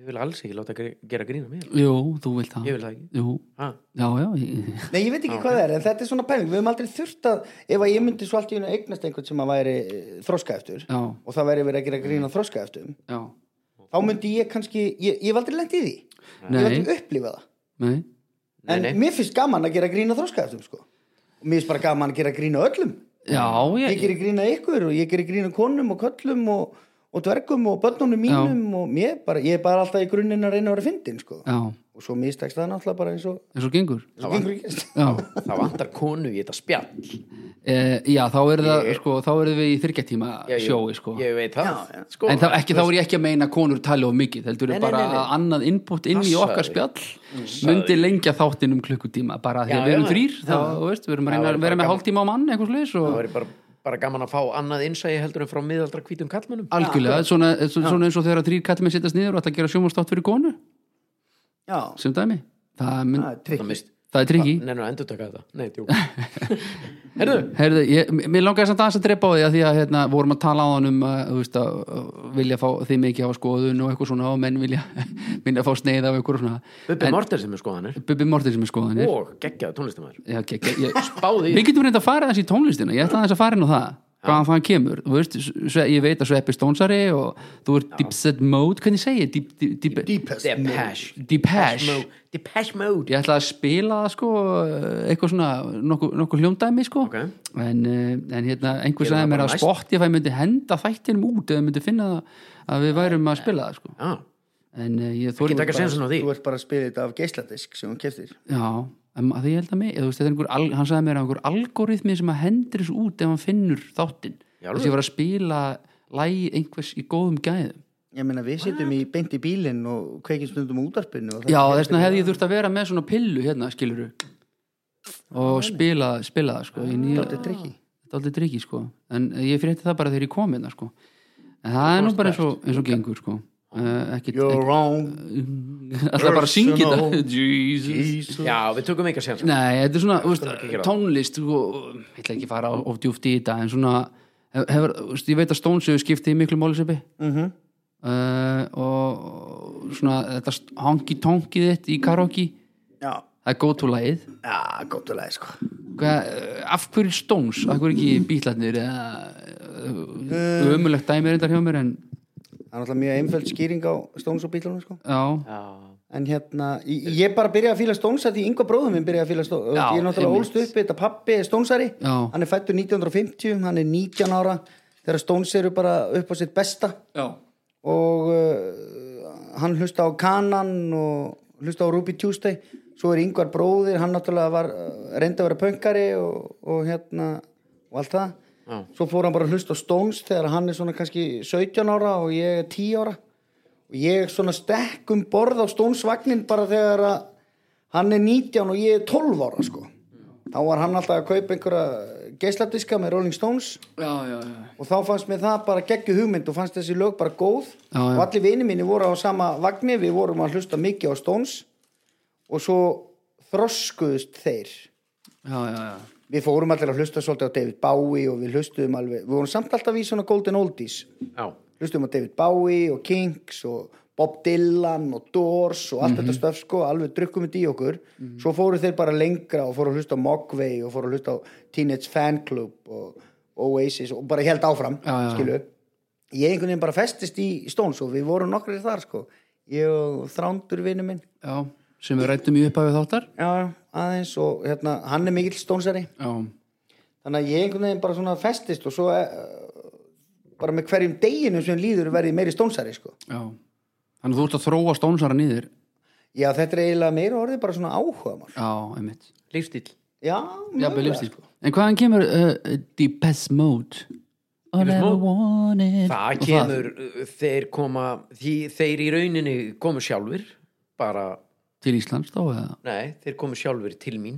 Ég vil alls ekki láta gre- gera grína mér
jú, þú vilt það
Ég vil það ekki
jú,
ha,
já, já, ég,
nei, ég veit ekki hvað það er, en þetta er svona pæling við höfum aldrei þurft að, ef að ég myndi svo allt í einu eignast einhvern sem að væri eh, þroska eftir
já,
og það væri verið að gera grína þroska eftir
já
þá myndi ég kannski, ég, ég hef aldrei lent í því ég hef
nei,
aldrei upplifað það
nei,
Nei,
en
nei.
mér finnst gaman að gera grína þroska eftir sko. og mér finnst bara gaman að gera grína öllum
já
ég
ég,
gerir grína ykkur og ég gerir grína konum og köllum og, og dvergum og börnunum mínum og mér bara, ég er bara alltaf í grunninn að reyna að vera fyndin sko.
já,
og svo mistekst það náttúrulega bara eins og,
eins og gengur
eins og gengur ekki
já,
Það vantar konu í þetta spjall
e, já þá er það sko, þá er við í þyrkjartíma
Já, ég-
sjói sko
Ég veit það
Já, já.
sko,
en þá, ekki, þá er ég ekki að meina að konur tali of mikið heldur
Nei,
er
nei,
bara
nei, nei.
að annað input inn í
Passaðu.
okkar spjall myndi lengja þáttinn um klukkutíma bara því
Já,
að við erum
já.
þrýr þá, þú veist, við erum að reyna
væri
að
bara
vera með
gaman.
hálftíma á mann eitthvað slis
Það
og
væri bara, bara gaman að fá annað innsægi heldur en frá miðaldra hvítum kallmönnum
algjörlega, svona, svona eins og þegar þrýr kallmenn sittast niður og ætla að gera sjómanstátt fyrir konu
já,
sem dæmi, það, mynd,
það er trikk
Það mist
það er tryggi
Nei, nú, endur taka þetta Nei, tjók Herðu
Herðu, ég, mér langaði samt aðeins að drepa á því að því að hérna, vorum að tala á hann um að, þú veist, að að vilja fá þið mikið á skoðun og eitthvað svona og menn vilja minna að fá sneið af eitthvað svona
Bubbi Morter sem er skoðanir
Bubbi Mortens sem er skoðanir
Og geggjaði tónlistamæður
Já, ok, ok, ég,
Báði
Við getum reynda að fara þessi í tónlistina Ég ætla aðeins að fara inn á það Hvaðan það kemur, þú veist, sve, ég veit að Sveppi Stónsari og þú ert Deep Set Mode, hvernig segi ég? Deep, deep, deep, deep,
Deepest
Depeche
Depeche
Mo- Depeche Mode
Ég ætla að spila það, sko, eitthvað svona, nokkuð nokku hljóndæmi sko
Ok.
en, eh, en hérna,
Gerum
einhver
það
sagði mér
bara
að
næst.
Spotify myndi henda þættinum út eða myndi finna það að við værum að spila það sko
Já,
en eh, ég
ekki
þorum
taka sensin á því
þú ert bara að spila þetta af geisladisk sem hún keftir
Já, em, að því ég held að mig eða, þú veist, þetta er einhver, al- hann sagði mér að einhver algoritmi sem að hendur þessu út ef hann finnur þáttinn
Í
þess að ég var að spila lægi einhvers í góðum gæðum
ég meina við sitjum í beint í bílinn og kveikjum stundum útarpinu og það-
Já, þess vegna hefði ég þurft að vera með svona pillu hérna, skiluru og spila, spila það sko Þetta
er tricky.
Þetta er aldrei drikki sko en ég frétti það bara þegar ég kom hérna sko en það er nú bara eins og, eins og gengur sko uh, ekkit,
you're wrong
ekkit alltaf bara að syngja þetta Jesus
Já, við tökum eitthvað sensin
Nei, þetta er svona þú
ekki
veist,
gera það.
tónlist sko, ég ætla ekki að fara of djúft í þetta en svona hefur, þú veist, ég veit að Stones hefur skiptið í miklu málisöpi mm
Mhm.
og svona þetta honky-tonkið þitt í karaoke
já,
það er go-to-lagið
já, góttulega sko
Hvað, eh, af hverju Stones, af hverju ekki bítlarnir eða ömulegt dæmi reyndar hjá mér en
það er alltaf mjög einföld skýring á Stones og bílunum sko
já,
En hérna, ég, ég bara byrjaði að fíla Stones að því yngva bróðum minn byrjaði að fíla Stones
Já,
ég er náttúrulega
einmitt.
ólst upp við þetta pappi er Stonesari
Já.
hann er fættur 1950, hann er 19 ára þegar Stones eru bara upp á sitt besta
já.
og uh, hann hlusta á Kanan og hlusta á Ruby Tuesday svo er yngvar bróðir, hann náttúrulega var uh, reyndi að vera pöngari og, og hérna og allt það
Já.
svo fór hann bara að hlusta á Stones þegar hann er svona kannski 17 ára og ég er 10 ára og ég svona stekk um borð á stónsvagnin bara þegar að hann er 19 og ég er 12 ára sko þá var hann alltaf að kaupa einhverja geisladiska með Rolling Stones
já, já, já
og þá fannst mér það bara geggju hugmynd og fannst þessi lög bara góð
Já, já.
og allir vini mínir voru á sama vagni við vorum að hlusta mikið á Stones og svo þroskuðust þeir
já, já, já.
við fórum allir að hlusta svolítið á David Bowie og við hlustuðum alveg, við vorum samt alltaf í svona Golden Oldies
Já,
hlustum á David Bowie og Kinks og Bob Dylan og Doors og allt
Mhm.
þetta stöf sko, alveg drukkum þetta í okkur svo fóru þeir bara lengra og fóru að hlusta á Mogwai og fóru að hlusta á Teenage Fan Club og Oasis og bara held áfram,
Já, já, já.
skilu ég einhvern veginn bara festist í Stones og við vorum nokkrir þar sko ég og þrándur vinnu minn
já. sem við rættum í upphæfið þáttar
já, aðeins og hérna, hann er mikill stónsari
já,
þannig að ég einhvern veginn bara svona festist og svo uh, bara með hverjum deginu sem líður verði ég meiri stónsari sko.
já þannig að þú ert að þróa stónsara nýðir
já þetta er eiginlega meira orðið bara svona áhuga mál
já, einmitt
lífstíl
já,
já,
sko.
mögulega,
belifstíl
sko.
en hvaðan kemur uh, Deepest Mode All I ever
Mode?
wanted
það
Og
kemur, uh, þeir koma því, þeir í rauninni komu sjálfur bara,
til Íslands þá eða
nei, þeir komu sjálfur til mín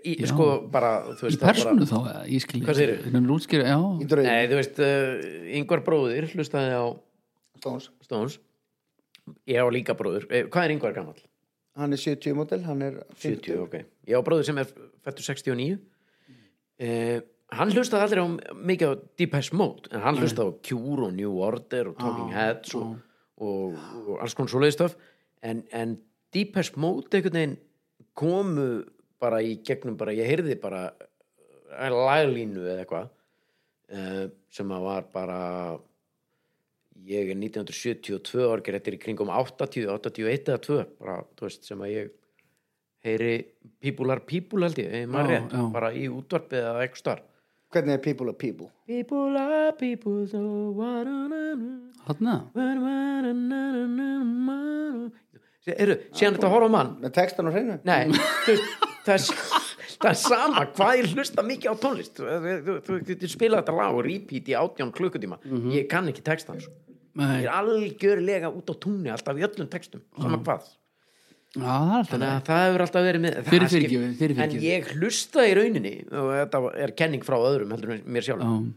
í,
Já.
sko bara, þú
í
veist það
personu þá eða í skil
Hvað segirðu?
útskýra,
í
já,
bara,
draugum
nei, þú veist, uh, yngvar bróðir hlustaði á
Stones
Stones ég á líka bróður, eh, hvað er yngvar gammal?
hann er 70 model, hann er 50
70, ok ég á bróður sem er fættur 69 eh, hann hlustaði aldrei á mikið á Deepest Mode en hann hlustaði á Cure og New Order og Talking Heads og, og, og alls konar svoleiði stöf en, en Deepest Mode einhvern veginn komu bara í gegnum bara, ég heyrði bara eh, laglínu eða eitthvað eh, sem að var bara ég er 1972 orger þetta er í kringum 80, 81 eða 2 bara, þú veist, sem að ég heyri pípular pípul held ég, ég
Já,
maður rétt,
já.
bara í útvarpið eða eitthvað starf
hvernig er people are people
People are people so what on
þarna
Eru, síðan þetta horfa á mann
með textan og hreinu
Nei, þú veist, það er, s- það er sama hvað ég hlusta mikið á tónlist Þú- þú- þú- þú getur spilað þetta lag og repeat í átján klukkutíma ég kann ekki textan sko. ég
Nei,
er
já,
algjörlega út á túnni alltaf í öllum textum, sama hvað
það er
Mhm.
alltaf
þannig að það hefur alltaf verið með það
Fyrir
skip-
fyrirgefið, fyrir
en
fyrirgefið.
ég hlustaði í rauninni og þetta er kenning frá öðrum heldur en mér sjálf
Já.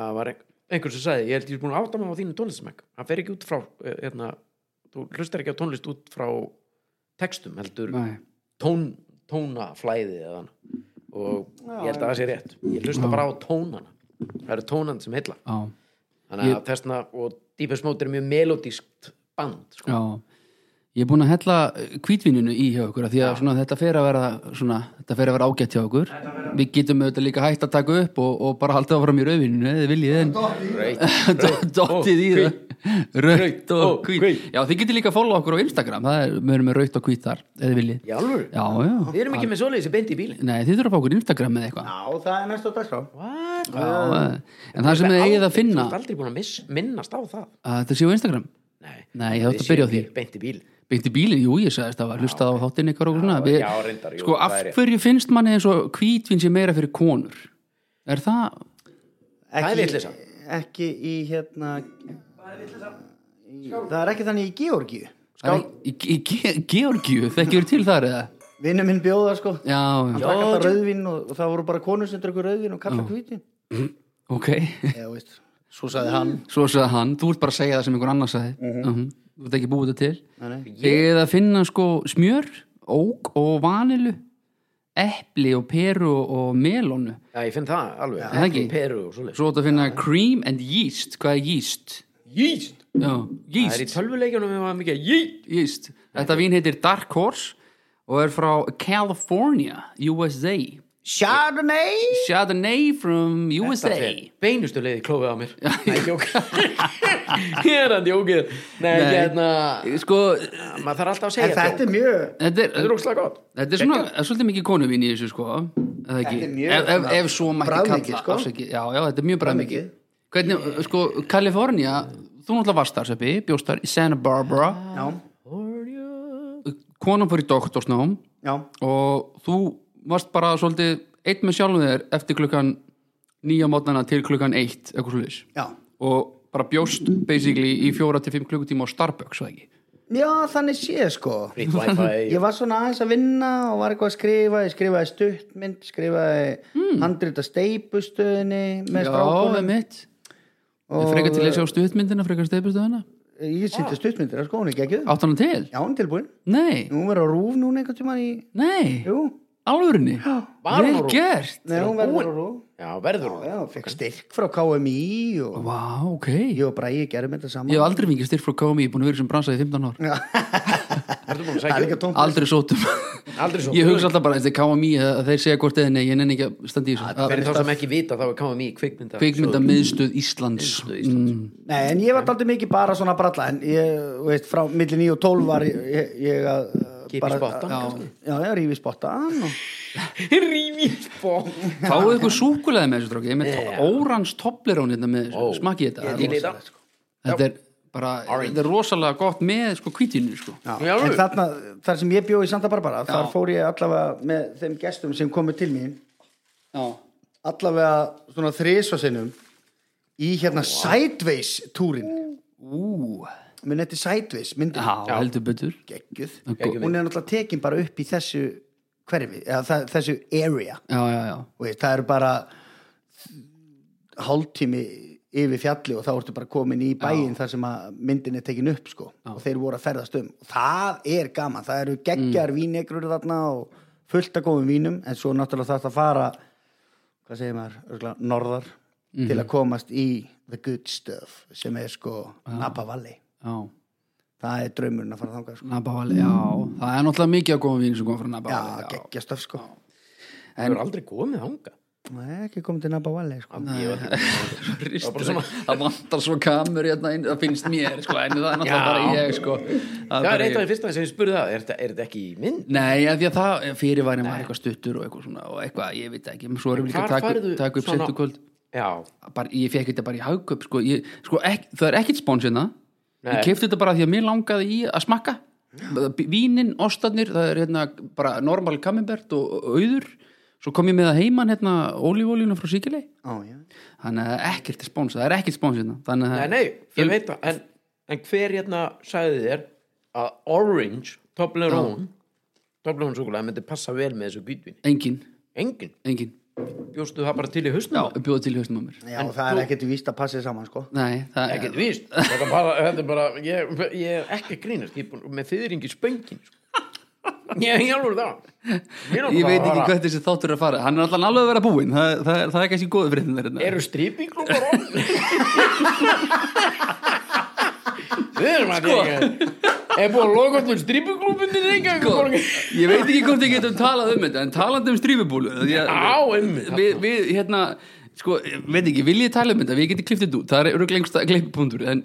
að var ein- einhver sem sagði, ég held ég er búin að átta mig á þínu tónlistsmæk hann fer ekki út frá eh, hérna, þú hlustar ekki á tónlist út frá textum heldur
Nei.
tón, tónaflæði eða hann og ég held að það sé rétt ég hlusta bara á tónana það eru tónan sem heilla
Já,
þannig að þessna og Deepest Mode er mjög melodískt band sko.
já Ég er búin að hella kvítvininu í hjá okkur af því að svona, þetta fer að vera svona, þetta fer að vera ágætt hjá okkur Við getum auðvitað líka hægt að taka upp og, og bara halda áfram í rauðvininu eða viljið en
Great.
dottið í
og
það Raut
og
og kvít
hvít.
Já, þið getur líka að follow okkur á Instagram það er, við erum með raut og kvít þar eða viljið
í alvöru,
Já, já
við erum ekki með svoleiðis í bendi í bílinn
Nei, þið þurfum að fá okkur Instagram eða eitthvað
já, það er næst á dagskrá
What?
Já, En það sem þið eigið að finna
Þú ert aldrei búin að miss, minnast á það
að þetta séu á Instagram
Nei,
Nei, ég
Við
þátt að byrja á
séum
því
hér Beint í bíl
Beint í bílinn, jú, ég sagðist það var hlustað á þáttinn ykkar og svona
Já,
Við-
já, reyndar, jú,
Sko,
það
af
er rétt.
hverju finnst manni eins og kvítvin sé meira fyrir konur? Er það?
Það er
ekki,
vitleysa.
ekki í hérna Í- það er ekki þannig í Georgíu
það er Í, í, í Georgju, þekkjur til þar eða?
vinnu minn bjóða sko hann
Já, já,
drakk alltaf rauðvin og, og það voru bara konur sem drakk rauðvin og kalla hvítin
ok
eða veist, svo sagði hann
Svo sagði hann, þú ert bara að segja það sem einhver annars sagði
Mhm.
uh Þú ert ekki búið þetta til
Nei,
Ég er að finna sko smjör, ók og vanilu Epli og peru og melónu
Já, ég finn það alveg
það ekki.
Peru og svoleiðis
Svo ert að finna cream and yeast Hvað er yeast?
Jíst
Já,
Það
yeast
er í tölvuleikjunum við varum mikið Jíst
Íst, þetta vín heitir Dark Horse og er frá California, USA
Chardonnay
Chardonnay from USA
Beinustu leiði klófið á mér Nei, jók Ég er hann jókið Nei,
Nei.
hérna
Sko,
Maður þarf alltaf að
en
segja
þetta er mjög
þetta
Þetta
er,
er ókslega gott
þetta er svona er svolítið mikið konuvín í þessu sko eða ekki,
Þetta er
ef,
mjög
ef,
svona
ef svo mætti
bragðmikið,
kalla
sko.
afsakið. já, já, þetta er mjög bræðmikið
Bragðmikið.
Hvernig, sko, California þú náttúrulega varst þar, Seppi, bjóst þar í Santa Barbara,
já,
konan fór í doktorsnám
já,
og þú varst bara svolítið eitt með sjálfum þér eftir klukkan nýja mótnana til klukkan eitt eitthvað svolítið
já
og bara bjóst basically í fjóra til fimm klukkutíma á Starbucks eða ekki
já, þannig sé sko
Frýtt wifi
ég var svona aðeins að vinna og var eitthvað að skrifa ég skrifaði stuttmynd, skrifaði mm. handrita steipustöðinni með
Já,
strákunum
emitt og... Frekar til að sjá stuðmyndina, frekar steipustöðuna
ég sýtti stuttmyndir, sko, hún er ekki
Átt hann til?
já, hún er tilbúin
Nei,
Hún verður á rúf núna einhvern tíma í...
nei,
Jú,
alvörinni
Var hún á
Vel
RÚV?
gert
nei, hún verður á rúf.
Já, verður hún
Já, fekk styrk frá KMI og
Vá, ok
ég og Bræði gerum þetta saman.
Ég hef aldrei fengið styrk frá KMI, ég er búin að vera sem bransa í 15 ár
Ertu búin að
Það er
segja
ekki tómt.
Aldrei sótum
Aldrei svo
Ég hugsa alltaf bara, þetta er KMI að þeir segja hvort eða nei, ég nenni ekki að standa í þessu
Fyrir
Að-
þá sem ekki vita þá er KMI kvikmynda
Kvikmynda miðstöð Íslands Mm.
Nei, en ég var aldrei mikið bara svona bralla en ég, þú veist, frá milli 9 og 12 var ég, ég að uh,
Keep
bara-
í spottan,
já,
kannski.
já, já, rífi spottan og
Rífi spottan
Fáðu ykkur súkulega með þessu stróki Ég er með
Já.
órans toblerón hérna með
Ó.
þessu Smakki þetta
Ég
Þetta
líta
er-
sko.
Þetta er bara Þetta er rosalega gott með sko kvítinu sko
Já,
Já,
en
alveg.
þarna, þar sem ég bjó í Santa Barbara þar fór ég allavega með þeim gestum sem komu til mín
Já
allavega svona þrisvasinnum í hérna sideways túrin
Ú
minn þetta er sideways, myndi
Já, heldur betur
geggjuð
Geggjuð
hún er náttúrulega tekin bara upp í þessu hverfi, eða það, þessu area
Já, já, já
og veist, það eru bara hálftími yfir fjalli og þá ertu bara komin í bæinn þar sem að myndin er tekin upp sko og þeir voru að ferðast um og það er gaman, það eru geggjar mm. vínegrur þarna og fullt af góðum vínum en svo náttúrulega þarf að fara hvað segir maður, örgla, norðar til að komast í the good stuff sem er sko Napa Valley
Já
það er draumurinn að fara þangað sko
Nabavali, já Það er náttúrulega mikið að koma vín sem kom frá Nabavali
já, geggja stöf sko
Það er aldrei komið þanga
Nei, ekki komið til Napa Valley sko
Ég var ekki
Ristur, það vantar svo kamur hérna inn, það finnst mér sko, en það er náttúrulega
Já.
bara ég sko. það
Það er eitt
bara
af
ég.
því fyrsta sem ég spurði það, er þetta- er þetta ekki í mynd?
Nei, af því að það fyrirværi maður eitthvað stuttur og eitthvað svona og eitthvað, ég veit ekki, svo erum við líka að
Hvar
taka upp-
færðu
taka upp
svona-
setu kvöld
Já,
bara, ég fekk þetta bara í haugköp sko, ég, sko ek, það er ekkit spons hérna
Nei.
ég kefti þetta bara því að mér langaði í að smakka vínin, ostarnir það er hérna bara normal camembert og, og auður, svo kom ég með að heiman hérna ólífólínu frá Sikilei
Á, já.
þannig að það er ekkert spons, það er ekkert spons hérna þannig að
Nei, nei, ég veit það en, en hver hérna sagði þér að orange, Toblerone Toblerone súkulega myndi passa vel með þessu býtvin
engin,
Engin,
engin
bjóstu það bara til í
Já,
hausnum
bjóða til í haustum á mér
já, það er ekkert víst að passa saman sko
Nei, það
Ekki víst, þetta er bara, þetta er bara ég, ég er ekki að grínast, ég er búin með þyðringi spöngin sko. Ég er alveg það Mér langar
Ég
bara að
veit ekki
fara-
hvað þessi þáttur er að fara Hann er alltaf alveg að vera búinn Það, það, það er kannski góðu fyrir hérna. þetta
Eru strýpinglúmar á? Við erum að sko. Er búin að loka um allir strýpinglúmundin eitthvað
Sko, Ég veit ekki hvort ég getum talað um þetta En talandi um strífubúlu
Já, einmitt.
við, við, hérna, sko, veit ekki, vil ég tala um þetta Við getum kliftið út, það eru glengsta klipppuntur En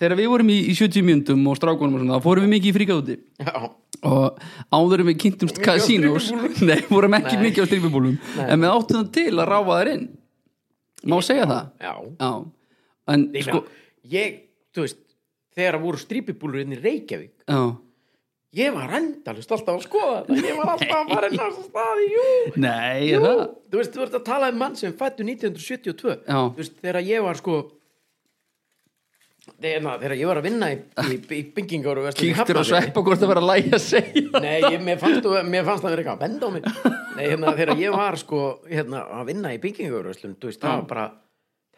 þegar við vorum í, í 70 mínútum og strákunum og svona, þá fórum við mikið í fríkað úti
Já,
og áður en við kynntumst
á
kasínós nei, vorum ekki
Nei.
mikið á strýfubúlum en við áttum það til að ráfa þær inn má segja það
já
Já, en
Ég
sko
meina, ég, þú veist, þegar það voru strýpibúlur inn í Reykjavík,
já.
ég var endalust alltaf að skoða þetta, ég var alltaf að fara inn á þessa staði, jú,
Nei,
jú,
er það
þú veist, þú ert að tala um mann sem fættu 1972,
Já.
þú veist, þegar ég var sko, þegar, hérna, þegar ég var að vinna í, í, í byggingar og verslun í
Kíktir að
Hafnarfirði.
sveppa hvort það var að læja að segja
Nei, ég, mér, fannst, þú- mér fannst það verið eitthvað að benda á mig Nei, hérna, þegar ég var sko hérna, að vinna í bygginguröslum veist, það var bara,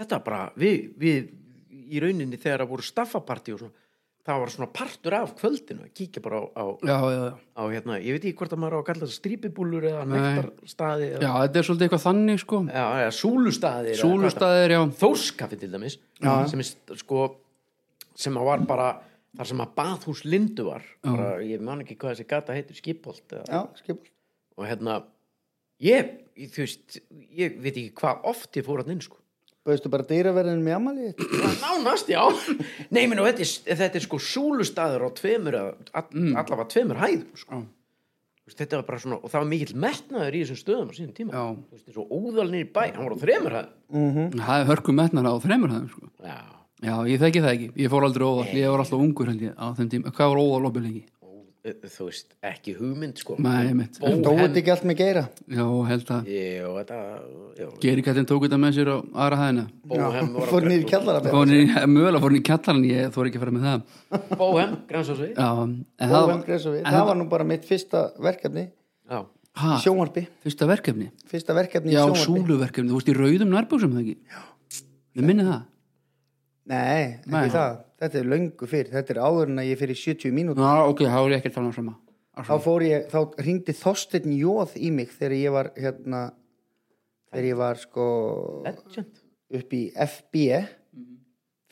þetta var bara við, við í rauninni þegar það voru staffapartí og svona, það var svona partur af kvöldinu, að kíkja bara á, á,
Já, já,
á
já
hérna, ég veit ekki hvort að maður á að kalla það strípibúlur eða nektarstaði
Já,
eða,
þetta er svolítið eitthvað þannig sko
já, eða súlustaði
Súlustaðir, já
Þórskafi til dæmis sem, er, st- sko, sem að var bara þar sem að baðhús Lindu var bara, ég man ekki hvað þessi gata heitir skipholt eða,
já, skipul
og hérna ég, ég- þú veist, ég veit ekki hvað oft ég fór hann inn sko
Bauðstu bara dýraverðin með ammali þitt?
nánast, já nei, minn, og þetta, er, þetta er sko súlustaður á tveimur, eða all,
Mm.
allavega tveimur hæðum sko.
Já.
Þú veist, þetta var bara svona, og það var mikill metnaður í þessum stöðum á sínum tíma
Já.
Þú veist, þessu óðalni í bæ, hann var á þreimur hæðum
Það er hörku metnar á þremur hæðum sko
já,
Já, ég þekki það ekki, ég fór aldrei óðal Ég var alltaf ungur held ég á þeim tíma Hvað var óðal opið lengi?
og, eh, þú veist, ekki hugmynd sko
Nei, mitt
Dóið þetta ekki allt með geira?
Já, held að
Jú, þetta jú,
Gerikallin tók þetta með sér á aðra hæðina
Bóhem var á
Fór niður í kjallara með
Fór hann í- Mögulega fór hann í kallaran, ég þór ekki að fara með það
Bóhem, grænsásvegi
Já, en það
Óvæm gressu við. Það var nú bara mitt fyrsta verkefni í
Já,
Ha,
sjónvarpi.
fyrsta verkefni
Fyrsta verkefni í
Já,
sjónvarpi.
súluverkefni, þú veist í rauðum nærbúksum það ekki? Já Við minni það?
Nei, ekki
Nei.
það. Þetta er löngu fyrr. Þetta er áður en að ég fyrir 70 mínútur.
Já, ok, þá er ég ekkert fann að fram að
Þá fór ég, þá ringdi Þorsteinn Jóð í mig þegar ég var hérna, þegar ég var sko
legend
upp í FB,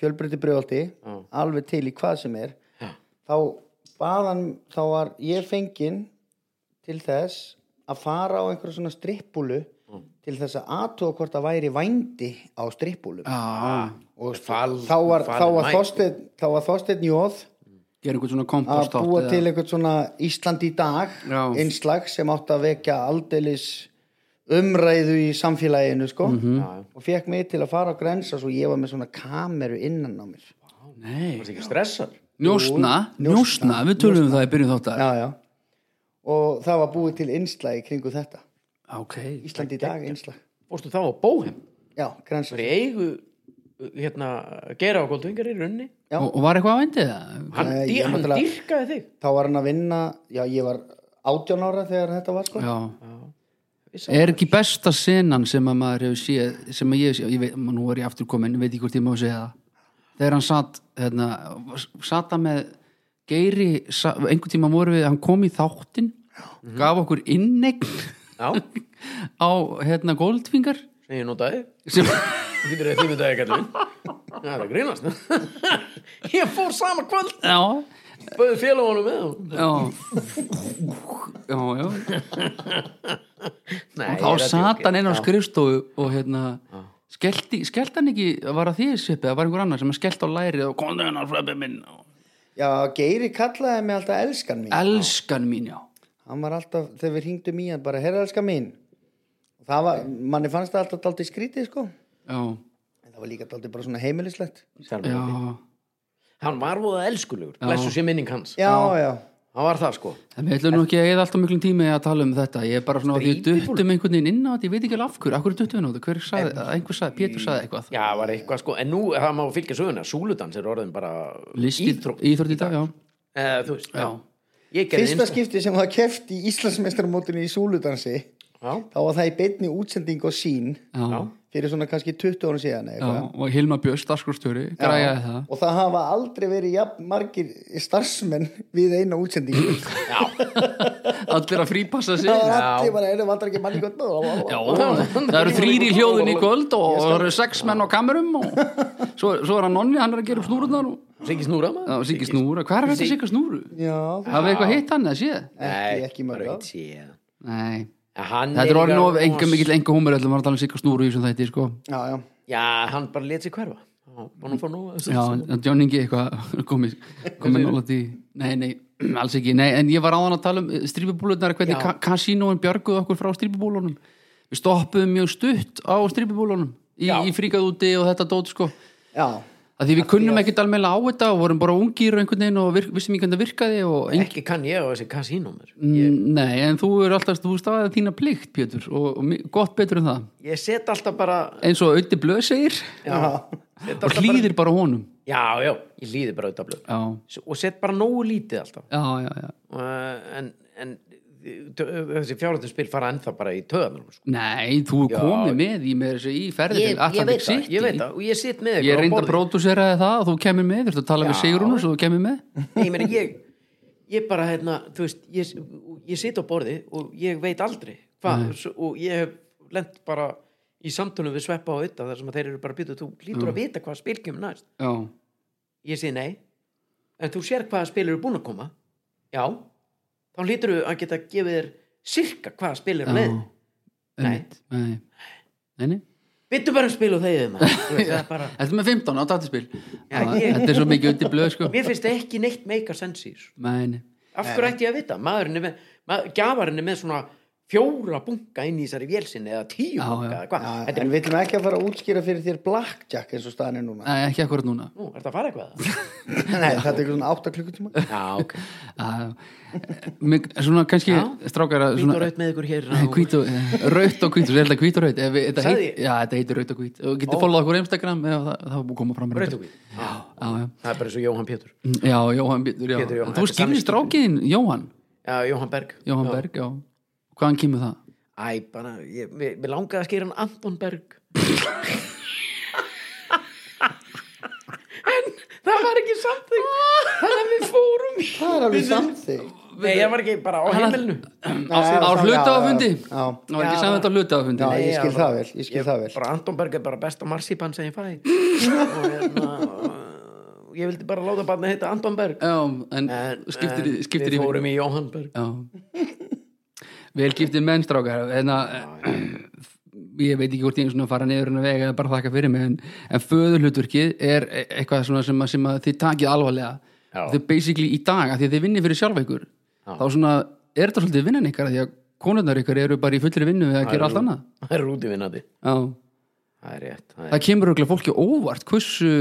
fjölbrytti brjóðaldi,
Já.
alveg til í hvað sem er.
Já.
þá baðan, þá var ég fenginn til þess að fara á einhverja svona strippbúlu til þess að aðtóa hvort það væri vændi á
Ah,
strippbúlum
Já,
og
Fal-
þá var, þá
falin
var
mæ.
Þorsteinn þá var Þorsteinn Jóð
gera einhvern svona
að
kompost
búa til eitthvað svona Ísland í dag
Já.
einslag sem átt að vekja aldeilis umræðu í samfélaginu sko
Já, já.
og fekk mig til að fara á grensa svo ég var með svona kameru innan á mér
Nei,
Það er ekki stressar
njóstna, njóstna, við tölum um það í byrjun þóttar
já, já. og það var búið til innslag í kringu þetta
Ok,
Ísland í dag innslag
Fórstu þá á bóhem
já, grensa
Það er í eigu hérna, gera á góldvingar í runni
Já.
og, og var eitthvað að vendið það?
Hann,
Nei,
dý,
ég
hann
náttúrulega-
dýrkaði þig
þá var hann að vinna, já ég var 18 ára þegar þetta var sko
Já,
Vissi
er ekki besta senan sem að maður hefur séð sem að ég hef séð, ég veit, nú er ég aftur komin veit ekki hvort ég má segja það þegar hann satt, hérna, satt hann með Geiri, sa- einhvern tíma voru við, hann kom í þáttin
Mhm.
gaf okkur innegn
Já,
á hérna Goldfingar
sem ég notaði
sem,
Þú getur að þýmynda ekki allir Það er að grínast Ég fór sama kvöld
já,
Böðu félagunum með honum.
já já, já
Nei,
þá
ég er að
satt
djóka.
hann inn á skrifstofu og hérna skellti, skellti hann ekki var það því svipið, það var einhver annar sem hann skellt á lærið og komðu hennar flöppi minn og,
já, Geiri kallaði mig alltaf elskan mín
elskan mín já
hann var alltaf, þegar við hringdum í hann bara, herra elska mín það var, manni fannst það alltaf daldið skrítið sko en
já,
það var líka daldið bara svona heimilislegt
Sjálfur.
já,
Hann var voða elskulegur Blessu sé minning hans
já, já,
Hann var það sko
en við ætlum nú ekki að eða alltaf miklum tími í að tala um þetta, ég er bara svona á því
Skrítið
duttum einhvern veginn inn á þetta, ég veit ekki alveg af hverju af hverju duttum við nú, þetta? hver sagði, einhver sagði, Pétur sagði eitthvað
Já, var eitthvað sko En nú, það má fylgja söguna Súludans er orðin bara
listi,
Íþrótt
íþrótt í dag, já,
Eh, Þú veist
já.
Ég gerði
fyrsta
innst-
skipti sem það keft í Íslandsmeistarmótinu í Súludansi
Já,
þá var það í beinni útsending og sín
Já.
já
fyrir svona kannski 20 árum síðan
Já,
eða eitthvað
og Hilma Björns, starfskrústjóri, græjaði það
og það hafa aldrei verið jafn margir starfsmenn við eina útsendingu
allir að frípassa sig
það var allir bara, erum aldrei ekki manni gott
Já, það eru þrýri í hljóðun í kvöld og það eru sex menn á kamerum og svo, svo er hann nonni, hann er að gera upp snúrunar og
Siggi Snúra maður
það var Siggi Snúra, hvað er þetta Siggi Snúru?
já,
Hafið þið eitthvað hitt hann eða séð?
Nei,
ekki, ekki
bara
mörg ár.
eitt séð.
Nei,
Hann
þetta er orðin
líka
of enga
rosa-
mikill enga húmur ætlum að tala um Sigga Snúru í þessum þætti sko.
já, já,
Já, hann bara let sér hverfa Og nú fór nú
Já, en John Ingi eitthvað komið komið nála til Nei, nei, alls ekki, nei, en ég var áðan að tala um strípibúlunar, hvernig
Já.
ka kasínóin björguð okkur frá strípibúlunum Við stoppuðum mjög stutt á strípibúlunum í,
Já.
í fríkað úti og þetta dót sko
já.
að því við kunnum ekkert alveg á þetta og vorum bara ungir og einhvern veginn og virk, vissum ekki hvernig það virkaði og engin,
Ekki kann ég á þessi kasínúmer
nei, en þú er alltaf þú stafaði þína plikt, Pétur og, og mi- gott betur en það,
Ég set alltaf bara
eins og Ötti Blöð segir
set
og
alltaf bara,
hlýðir bara honum
Já, já, ég líði bara auðvitað blöð
já,
Og set bara nógu lítið alltaf
já, já, já.
uh, En, en tö- þessi fjárhættu spil fara ennþá bara í töðanum sko.
nei, þú er
Já.
komið með í, með þessu, í ferði
ég,
til
ég
Atlantic
veit það,
City
ég veit það Og ég sit með ykkur
Ég
á
reyndi að
borði.
pródúsera það og þú kemur með, þú ert að tala við
Já.
Sigrun og þú kemur með
Nei, ég meina, ég, ég bara, hérna, þú veist, ég, ég sit á borði og ég veit aldrei hvað, svo- og ég hef lent bara í samtunum við sveppa á auðvitað þar sem að þeir eru bara býtuð, þú lítur að vita hvað spil kemur næst.
Já,
Ég segi nei, en þú sér hvaða spil eru búin að koma, já, þá lítur að geta gefið þér sirka hvaða spil eru leið. Nei,
einmitt, nei Nei, nei
byttu bara um spil og þegiðu maður, þú veist, það er bara,
Þetta er með 15 á dataspil
Já,
Það-
ég-
Þetta er svo mikið Ötti Blöð sko
mér finnst ekki neitt meika sensi í þessu.
Nei, nei
af hverju ætti ég að vita maðurinn er með, mað, gjafarinn er með svona fjóra bunga inn í þessari vélsinni eða tíu
Já,
bunga
já.
eða hvað
Já,
þetta
en
er,
við viljum ekki að fara að útskýra fyrir þér blackjack eins og staðan er núna
Nei, ekki akkurat núna
nú, er þetta að fara eitthvað að?
Nei, þetta er eitthvað svona 8 klukkutíma
já, ok,
Já, Ah, mig, svona kannski
Já.
strákar að
hvít og raut með ykkur hér á-
hvít og, eh, raut og hvít, svo er þetta hvít og raut Ef við- þetta
Sagði
heit-
ég?
já, þetta heitir raut og hvít og getur fólkað okkur á Instagram ef það, það er búið að koma fram
raut og hvít Já,
já, já.
það er bara eins og Jóhann Pétur
já, Jóhann Pétur, já.
Pétur Jóhann, þetta
þú
er sami
skýrir
stíll.
strákiðin Jóhann,
já, Jóhann Berg
Jóhann
Já.
Berg já. hvaðan kemur það?
æ, bara, ég, mér, mér langaði að skýra hann Anton Berg en það var ekki samþygg þannig að við fórum í-
Það er alveg samt þig
nei, ég var ekki bara á heimilinu
á hlutafundi
Já,
það var ekki saman þetta á
já,
hlutafundi
ég
Nei,
skil
já,
það
bara-
vel, ég skil það vel
bara Anton Berg er bara besta marsipan sem ég fæ og hérna og ég vildi bara láta barni heita Anton Berg
já, en skiptir,
en
en, skiptir
við
í-
fórum í Jóhann Berg
Já Vel giftið menn strákar en að ég veit ekki hvort ég er svona að fara niður en að vega eða bara þakka fyrir mig en, en föðurhlutverkið er e- eitthvað svona sem að, sem að þið takið alvarlega
Já.
þau basically í dag, af því að þið vinnir fyrir sjálf ykkur þá svona, er þetta svolítið vinnan ykkar af því að konurnar ykkar eru bara í fullri vinnu við að gera allt annað
það er rútivinnandi
Já.
það er rétt það er,
það kemur auðvitað fólki á óvart hversu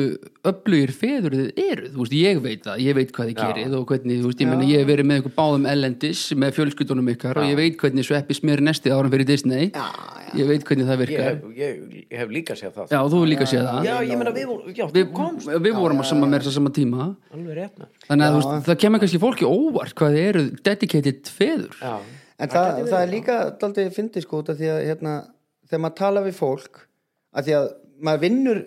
öflugir feður þið eru þú veist, ég veit það, ég veit hvað þið gerið og hvernig, þú veist, ég meina, ég hef verið með ykkur báðum ellendis með fjölskyldunum ykkar og ég veit hvernig sveppi smjöri nesti árum fyrir Disney já, já. ég veit hvernig það
ég,
virkar
hef, ég, ég hef líka séð það
já, þú hefur líka séð það
já ég meina við vorum já,
við,
þú komst
við vorum að sama meira þess að sama tíma
alveg rétt maður.
þannig að þú veist, það kemur kannski fólki á óvart hvað þið eru dedicated feður
já,
En það, það er líka daldið fyndið sko út af því að hérna, þegar maður tala við fólk að því að maður vinnur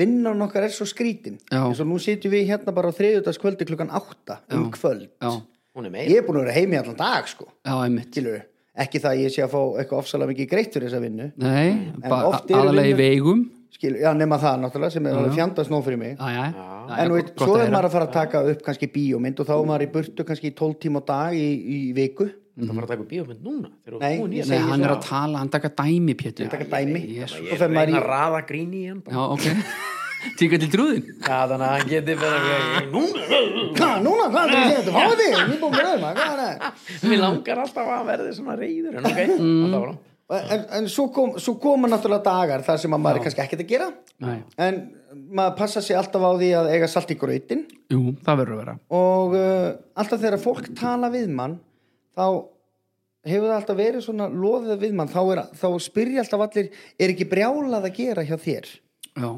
vinnan okkar er svo skrítin
Já.
eins og nú sitjum við hérna bara á þriðjudagskvöldi klukkan átta um kvöld
já,
hún er
ég
meira
er búin að vera heimi allan dag sko
já, einmitt
Skilurðu? ekki það að ég sé að fá eitthvað ofsalega mikið greitt fyrir þessa vinnu
nei, bara
oft eru
aðalega í
vinnu-
veigum
Skilur, já, nema það náttúrulega sem er alveg fjandast nóg fyrir mig
já, já,
en
já,
veit,
gott
svo
að
er
heyra.
maður að fara að taka upp kannski bíómynd og þá er maður í burtu kannski í 12 tíma á dag í, í viku
það var að taka upp bíómynd núna þegar þú
Nei,
búin í
ég
hana.
Nei,
segi
hann er
svo.
að tala, hann taka dæmi Pétur
taka dæmi
Jesus.
svo
ég
fer maður
reyna
í
að raða gríni í hann bara.
Já, ok Tíka til trúðin
já þannig að hann geti verið núna
Hvað, núna, hvað er það að segja þetta? Fáðu þig, við búum rauðum hvað er það?
mér langar alltaf að verði svona reyður en ok,
Mm.
alltaf var hann
En, en svo, kom, svo koma náttúrulega dagar þar sem að maður er kannski ekkert að gera
Nei.
en maður passa sig alltaf á því að eiga salt í gröytin
Jú, það verður að vera
og uh, alltaf þegar fólk tala við mann þá hefur það alltaf verið svona loðið við mann þá, er, þá spyrja alltaf allir er ekki brjálað að gera hjá þér
Já,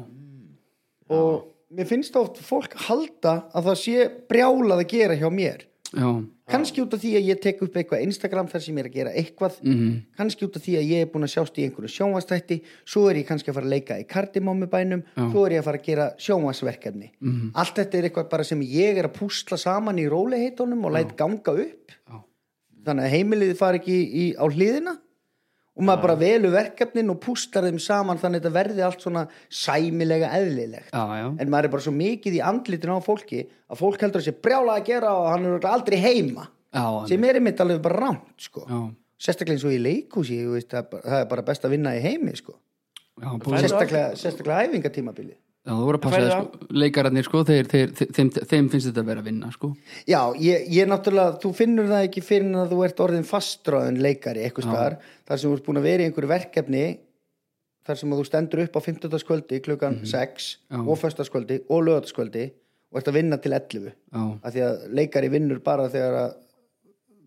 og mér finnst oft fólk halda að það sé brjálað að gera hjá mér
já,
kannski út af því að ég tek upp eitthvað Instagram þar sem ég er að gera eitthvað
Mhm.
kannski út af því að ég er búin að sjást í einhverju sjónvastætti svo er ég kannski að fara að leika í kardimómubænum svo er ég að fara að gera sjónvasverkefni
Mhm.
allt þetta er eitthvað bara sem ég er að púsla saman í róliheitunum og læt ganga upp
Já.
þannig að heimiliði fari ekki í, á hliðina og maður bara velur verkefnin og púslar þeim saman þannig að þetta verði allt svona sæmilega eðlilegt
já, já
en maður er bara svo mikið í andlitinu á fólki að fólk heldur að sé brjála að gera og hann er örugglega aldrei heima
Já,
sem er einmitt alveg bara rámt sko.
já,
sérstaklega eins og í leikhúsi þú veist, það er bara- það er bara best að vinna í heimi sko.
já, búið,
Færðu-
sérstaklega, sérstaklega æfingatímabili
já þú voru að passa það
Færðu
sko Leikararnir sko, þeir, þeir, þeim, þeim finnst þetta að vera að vinna sko
já, ég, ég náttúrulega, þú finnur það ekki fyrir en að þú ert orðin fastráðin leikari eitthvað staðar, þar sem þú ert búin að vera í einhverju verkefni þar sem að þú stendur upp á 15. klukkan 6 og 1. og lögataskvöldi og ert að vinna til 11
Já,
að því að leikari vinnur bara þegar að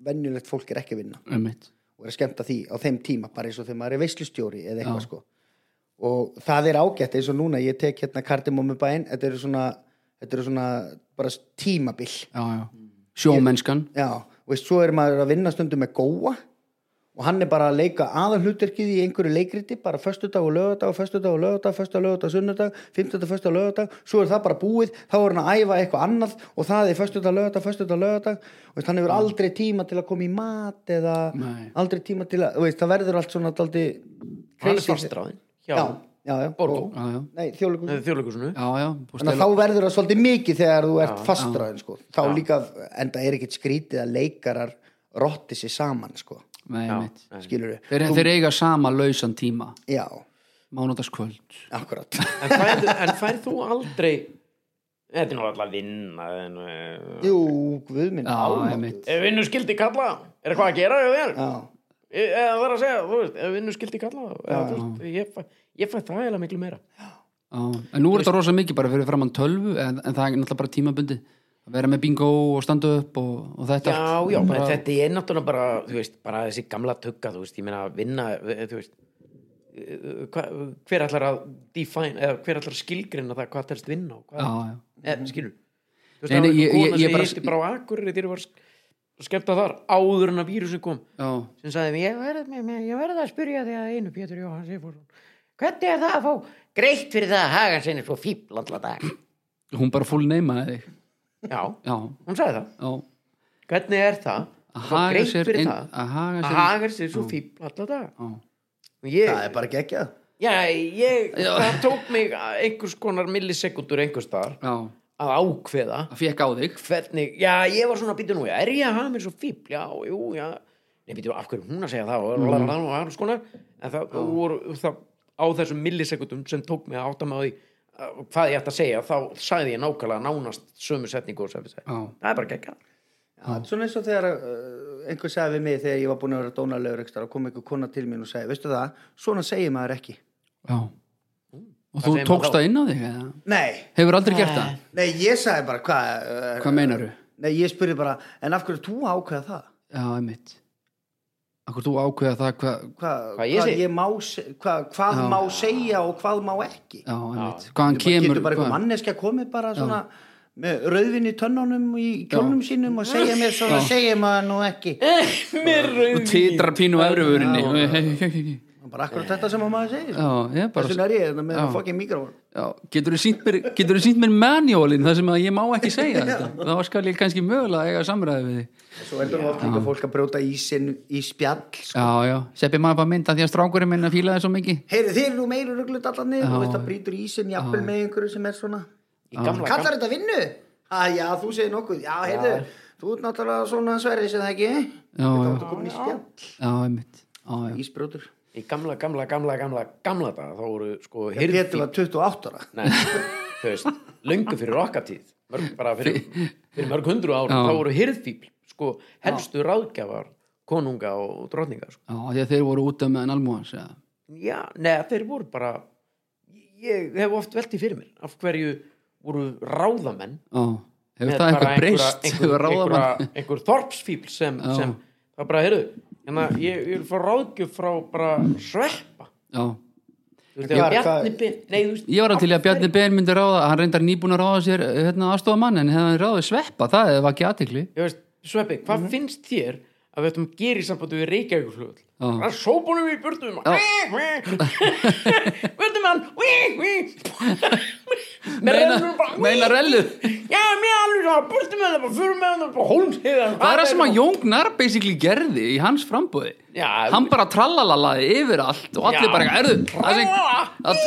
venjulegt fólk er ekki að vinna
einmitt
og er að skemmta því á þeim tíma bara eins og þegar maður er veislustjóri eða eitthvað sko og það er ágætt eins og núna ég tek hérna kardimómi bæinn þetta eru svona, þetta eru svona bara tímabil
Já, já, sjómennskan
já, og veist, svo er maður að vinna stundum með góa og hann er bara að leika aðalhlutverkið í einhverju leikriti bara föstudag og lögadag, föstudag og lögadag föstudag, lögadag, sunnudag, fimmtudag, föstudag, lögadag svo er það bara búið, þá er hann að æfa eitthvað annað og það er föstudag, lögadag, föstudag, lögadag og veist, hann hefur aldrei tíma til að koma í mat eða
Nei.
aldrei tíma til að þú veist, það verður allt svona daldi
hann er fastráðin
já,
hjá
já, já,
Borgó.
og-
Já, já,
nei, þjóðleikum
þjóðleikusinu
já, já búið
Þannig
stela-
að þá verður það svolítið mikið þegar þú ert fastræðin sko. Þá líka, en það er ekkit skrítið að leikarar rotti sér saman sko.
Nei, einmitt
Skilur við?
Þeir, þeir eiga sama lausan tíma
Já,
Mánudagskvöld
akkurat.
en færð, en færð þú aldrei þetta er nú alltaf vinna en, uh,
Jú, guð minn,
Já,
almáttugur.
einmitt
ef vinnu skildi kalla er eitthvað að gera hjá þér
Já,
E- eða það er að segja, þú veist, ef vinnu skildi kalla eða, þú veist, ég, fæ, ég fæ það eða miklu meira
Já, en nú er þetta rosa mikið bara fyrir framann tölvu en, en það er náttúrulega bara tímabundi að vera með bingo og standa upp og, og þetta
já,
allt.
já,
bara,
en þetta er náttúrulega bara þú veist, bara þessi gamla tugga, þú veist, ég meina að vinna, eh, þú veist eh, hva, hver ætlar að define, eða hver ætlar að skilgrina það hvað telst vinna og hvað,
Já, já
eða, skilur þú veist,
Mhm. Nei,
það var
nei, ég-
einhver
ég-
kona
ég
sem
bara-
ég hitti bara á Akureyri þegar ég var sk- skemmt að þar áður en að vírusin kom
Já,
sem sagði mér, ég verð, mér- mér- ég verð að spyrja því að einu Pétur Jóhann Sigfúrsson hvernig er það að fá greitt fyrir það að haga sinni svo fíbl alltaf dag
hún bara full neymaði þig
já,
já,
hún sagði það
já,
hvernig er það að
Að
fá
haga
greitt
sér
fyrir
inn-
það
að haga sér-
að haga sér svo fíbl alltaf dag
já,
Og ég,
það er bara geggjað.
já, ég, það tók mig einhvers konar millisekundur einhvers staðar
já
að ákveða
það fekk á þig
hvernig, já, ég var svona býtu nú, er ég að hafa mér svo fíbl, já, jú, já nei, býtu, af hverju er hún að segja það og
Mhm.
mm. og annars konar, en það voru það á þessum millisekundum sem tók mig að átta mig á því uh, hvað ég ætti að segja þá sagði ég nákvæmlega nánast sömu setningu og sömu setningu
Já.
það er bara gekka
Já, svona eins og þegar uh, einhver sagði við mig þegar ég var búin að vera dónalegur ekstra og kom einhver kona til mín og sagði, veistu það, svona segir maður ekki.
já og
Hvað
þú
segir maður
tókst
þá?
það inn á þig eða?
Nei,
hefur aldrei gert það,
nei, ég sagði bara hvað... Uh,
hvað meinaru?
Nei, ég spurði bara, en af hverju þú ákveða það?
já, einmitt akkur þú ákveða það hvað
Hva,
Hvað ég segi?
má, se- hvað, hvað
Já.
má segja og hvað má ekki?
já, einmitt, hvaðan kemur
Getur bara einhver
hvaðan-
manneskja komið bara svona með rauðvin í tönnunum í kjólnum sínum og segja mér svona,
Já.
segja maður nú ekki.
og titrar pínu efrufurinni já,
Bara akkurat þetta sem að maður segir.
ég
Þessum
bara
er ég hérna með fokkin mikrofón.
já, getur þú sínt mér, geturðu sýnt mér manjólin það sem að ég má ekki segja þetta þá skal ég kannski mögulega eiga samræði við þig
Svo endur oft líka fólk að brjóta ísinn í spjall. sko.
já, já, seppi maður bara mynda því að strákurinn minna fílaði svo mikið
Heyri, þeir eru nú meira rugglut allan niður, þú veist það brýtur ísinn jafnvel með einhverju sem er svona.
í gamla, gamla,
Kallar þetta vinnu? Að já, þú segir nokkuð. Já, heyrðu, þú ert náttúrulega svona sverið sem það ekki.
já,
Þá
já,
ertu komin í spjall,
já, einmitt já, já,
ísbrjótur.
í gamla, gamla, gamla, gamla, gamla daga þá voru sko
Pétur
hirðfíkn
var 28 ára.
Nei, þú veist, löngu fyrir okkar tíð mörg, bara fyrir, fyrir mörg hundru ára
Já.
þá voru hirðfíbl, sko helstu ráðgjafar konunga og drotninga sko.
já, því að þeir voru útaf meðan almúans já,
já, neða, þeir voru bara ég hef oft veltið fyrir mér af hverju voru ráðamenn
já, hefur
með
það
bara
eitthvað breyst
einhver,
hefur
einhver,
ráðamann
einhver, einhver þorpsfíbl sem,
Já.
sem það er bara, heyrðu, hérna ég, ég vil fá ráðgjöf frá bara sveppa
já,
þú veist, ef
Hvað-
Bjarni
hvað-
Ben- nei, þú veist,
ég var að til í að Bjarni Ben myndi ráða hann reyndar nýbúin að ráða sér hérna, aðstofa mann en hefði hann ráðið sveppa, það var ekki aðtikli
ég veist, Sveppi, hvað
Mhm.
finnst þér að við ættum að gera í sambandi við Reykjavík flugvöld?
Já.
Það er sópunum í burtum
Já.
Burtum hann Með rennum bara
meina rellu
Já, mér alveg það, burtum hann bara fyrir með hann og bara hólmsheiðan
það er það sem að Jóngnar basically gerði í hans frambúði
Já,
hann bara tralalalaði yfir allt og allir
Já.
bara, erðu það sem, að,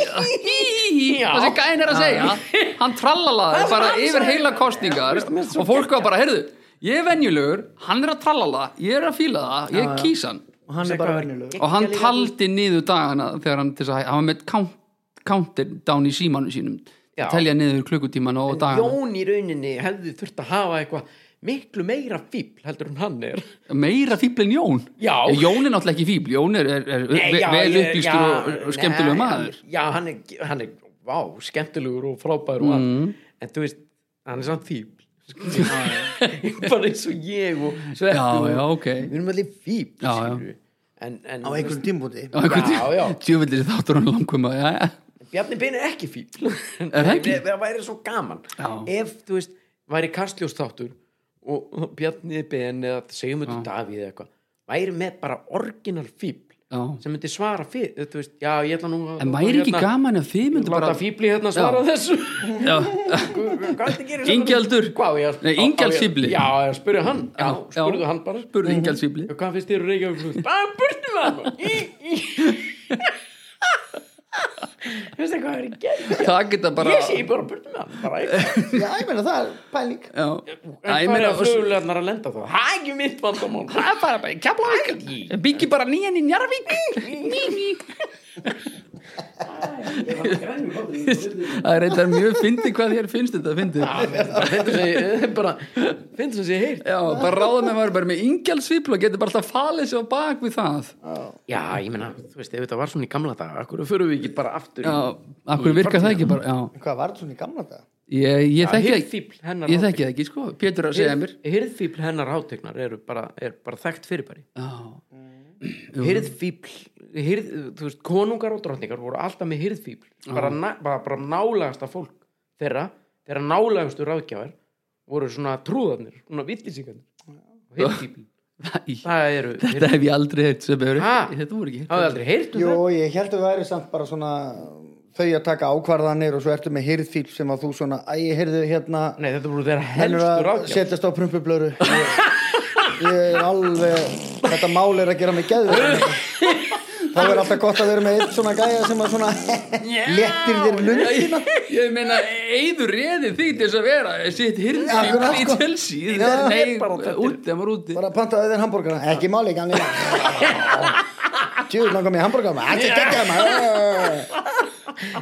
Já.
það sem gæn er að segja hann tralalaði
Það sem
bara
hann
yfir
sagði.
heila kostningar
mér finnst svo
og fólk var bara, herðu ég er venjulegur, hann er að tralala ég er að fíla það, ég er kísan
Og hann er bara venjulegur.
og hann taldi niður dagana þegar hann til þess að hann var með count, countdown í símanu sínum
Já.
að telja niður klukkutíman og dagana
Jón í rauninni hefði þurft að hafa eitthvað miklu meira fíbl heldur en hann er
meira fíbl en Jón Eh,
Já.
Jón er náttúrulega ekki fíbl, Jón er, er, er
Nei, já,
vel
ég- já,
upplýstur og, og skemmtilegu
nei,
maður
Já, hann er, hann er vá, skemmtilegur og frábær og
Mm.
allt En þú veist, hann er samt fíbl Bara eins og ég og sveppi
Já,
og-
já, ok.
Við erum allir fíbl,
Já, já.
skilur En, en
Á einhverjum tímbúti.
Já, einhvern
Já, já.
tímann- djöfullir þáttur hann langkvöma já, já.
Bjarni Ben er ekki fíbl
Er það ekki?
Það væri svo gaman
Já.
Ef, þú veist, væri kastljós og Bjarni Ben eða segjum þetta Davíð eða eitthvað væri með bara orginal fíbl
Já.
sem myndi svara fyrir, þú veist, já, ég ætla nú að-
en væri ekki
hérna-
gaman ef þið myndu
Láta
bara
bara... fíbli hérna svara þessu
já,
Hvað ertu að gera í sambandi-
Ingjaldur.
Hvað, ég
Nei, Ingjald Fífli.
Já, ég spurði hann Já,
Já,
spurðu
já.
hann bara
spurði Ingjald Sýbli
Og Hvað finnst þér úr Reykjavík? Bara burtum hann Í, í Veistu hvað er í gerð?
það geta bara
Ég segi bara burtum hann Bara eitthvað
Já, ég meina það er pæling.
já,
En
Já, ég
hvað er
meina
að flugulefnar að lenda þá? Það er ekki mitt vandamál Það er bara bara kjafla
byggi bara nýjan í Njarvík það er reyndar mjög fyndi hvað þér finnst þetta fyndi
Bara, finnst þess að ég heirt
já, bara ráða með maður bara með Ingjald Sýbli og getur bara alltaf falið sér á bak við það
Já, ég meina, þú veist, ef þetta var svona í gamla dag Akkur fyrir við ekki bara aftur í-
já, akkur virka það ekki bara já,
Hvað var þetta svona í gamla dag?
ég, ég þekki það
hirðfífl hennar
ég þekki það ekki sko, Pétur er að segja mér
hirðfíbl hennar hátegnar eru bara, er bara þekkt fyrirbæri
já
hirðfíbl hirð, þú veist, konungar og drottningar voru alltaf með hirðfíbl bara, na, bara, bara nálagasta fólk þeirra, þeirra nálagastu ráðgjafar voru svona trúðarnir svona vittisingarnir hirðfíbl,
Æ,
það eru
Þetta hef ég aldrei heilt sem hefur
Ha?
Þetta voru ekki
hafðu aldrei heyrt um
Jú, ég held að það væri samt bara svona þau að taka ákvarðanir og svo ertu með hirðfíl sem að þú svona, æ, ég heyrðu hérna
það nei, þetta voru þeirra
hann er
helstu
að
ráðgjafar
setjast á prumpublöru ég, ég er alveg þetta mál er að gera mig geður þá er alltaf gott að vera með eitt svona gæja sem að svona léttir þér lundina
Ég meina, eiður reði því til þess að vera sitt hirðfíl
Akkurat,
í
sko.
Chelsea
Já.
Þetta er bara úti, það var úti
bara pantaði þér hambúrgara, ekki máli gamli Tjúið langar mér hambúrgar maður. Þetta er geggjað maður.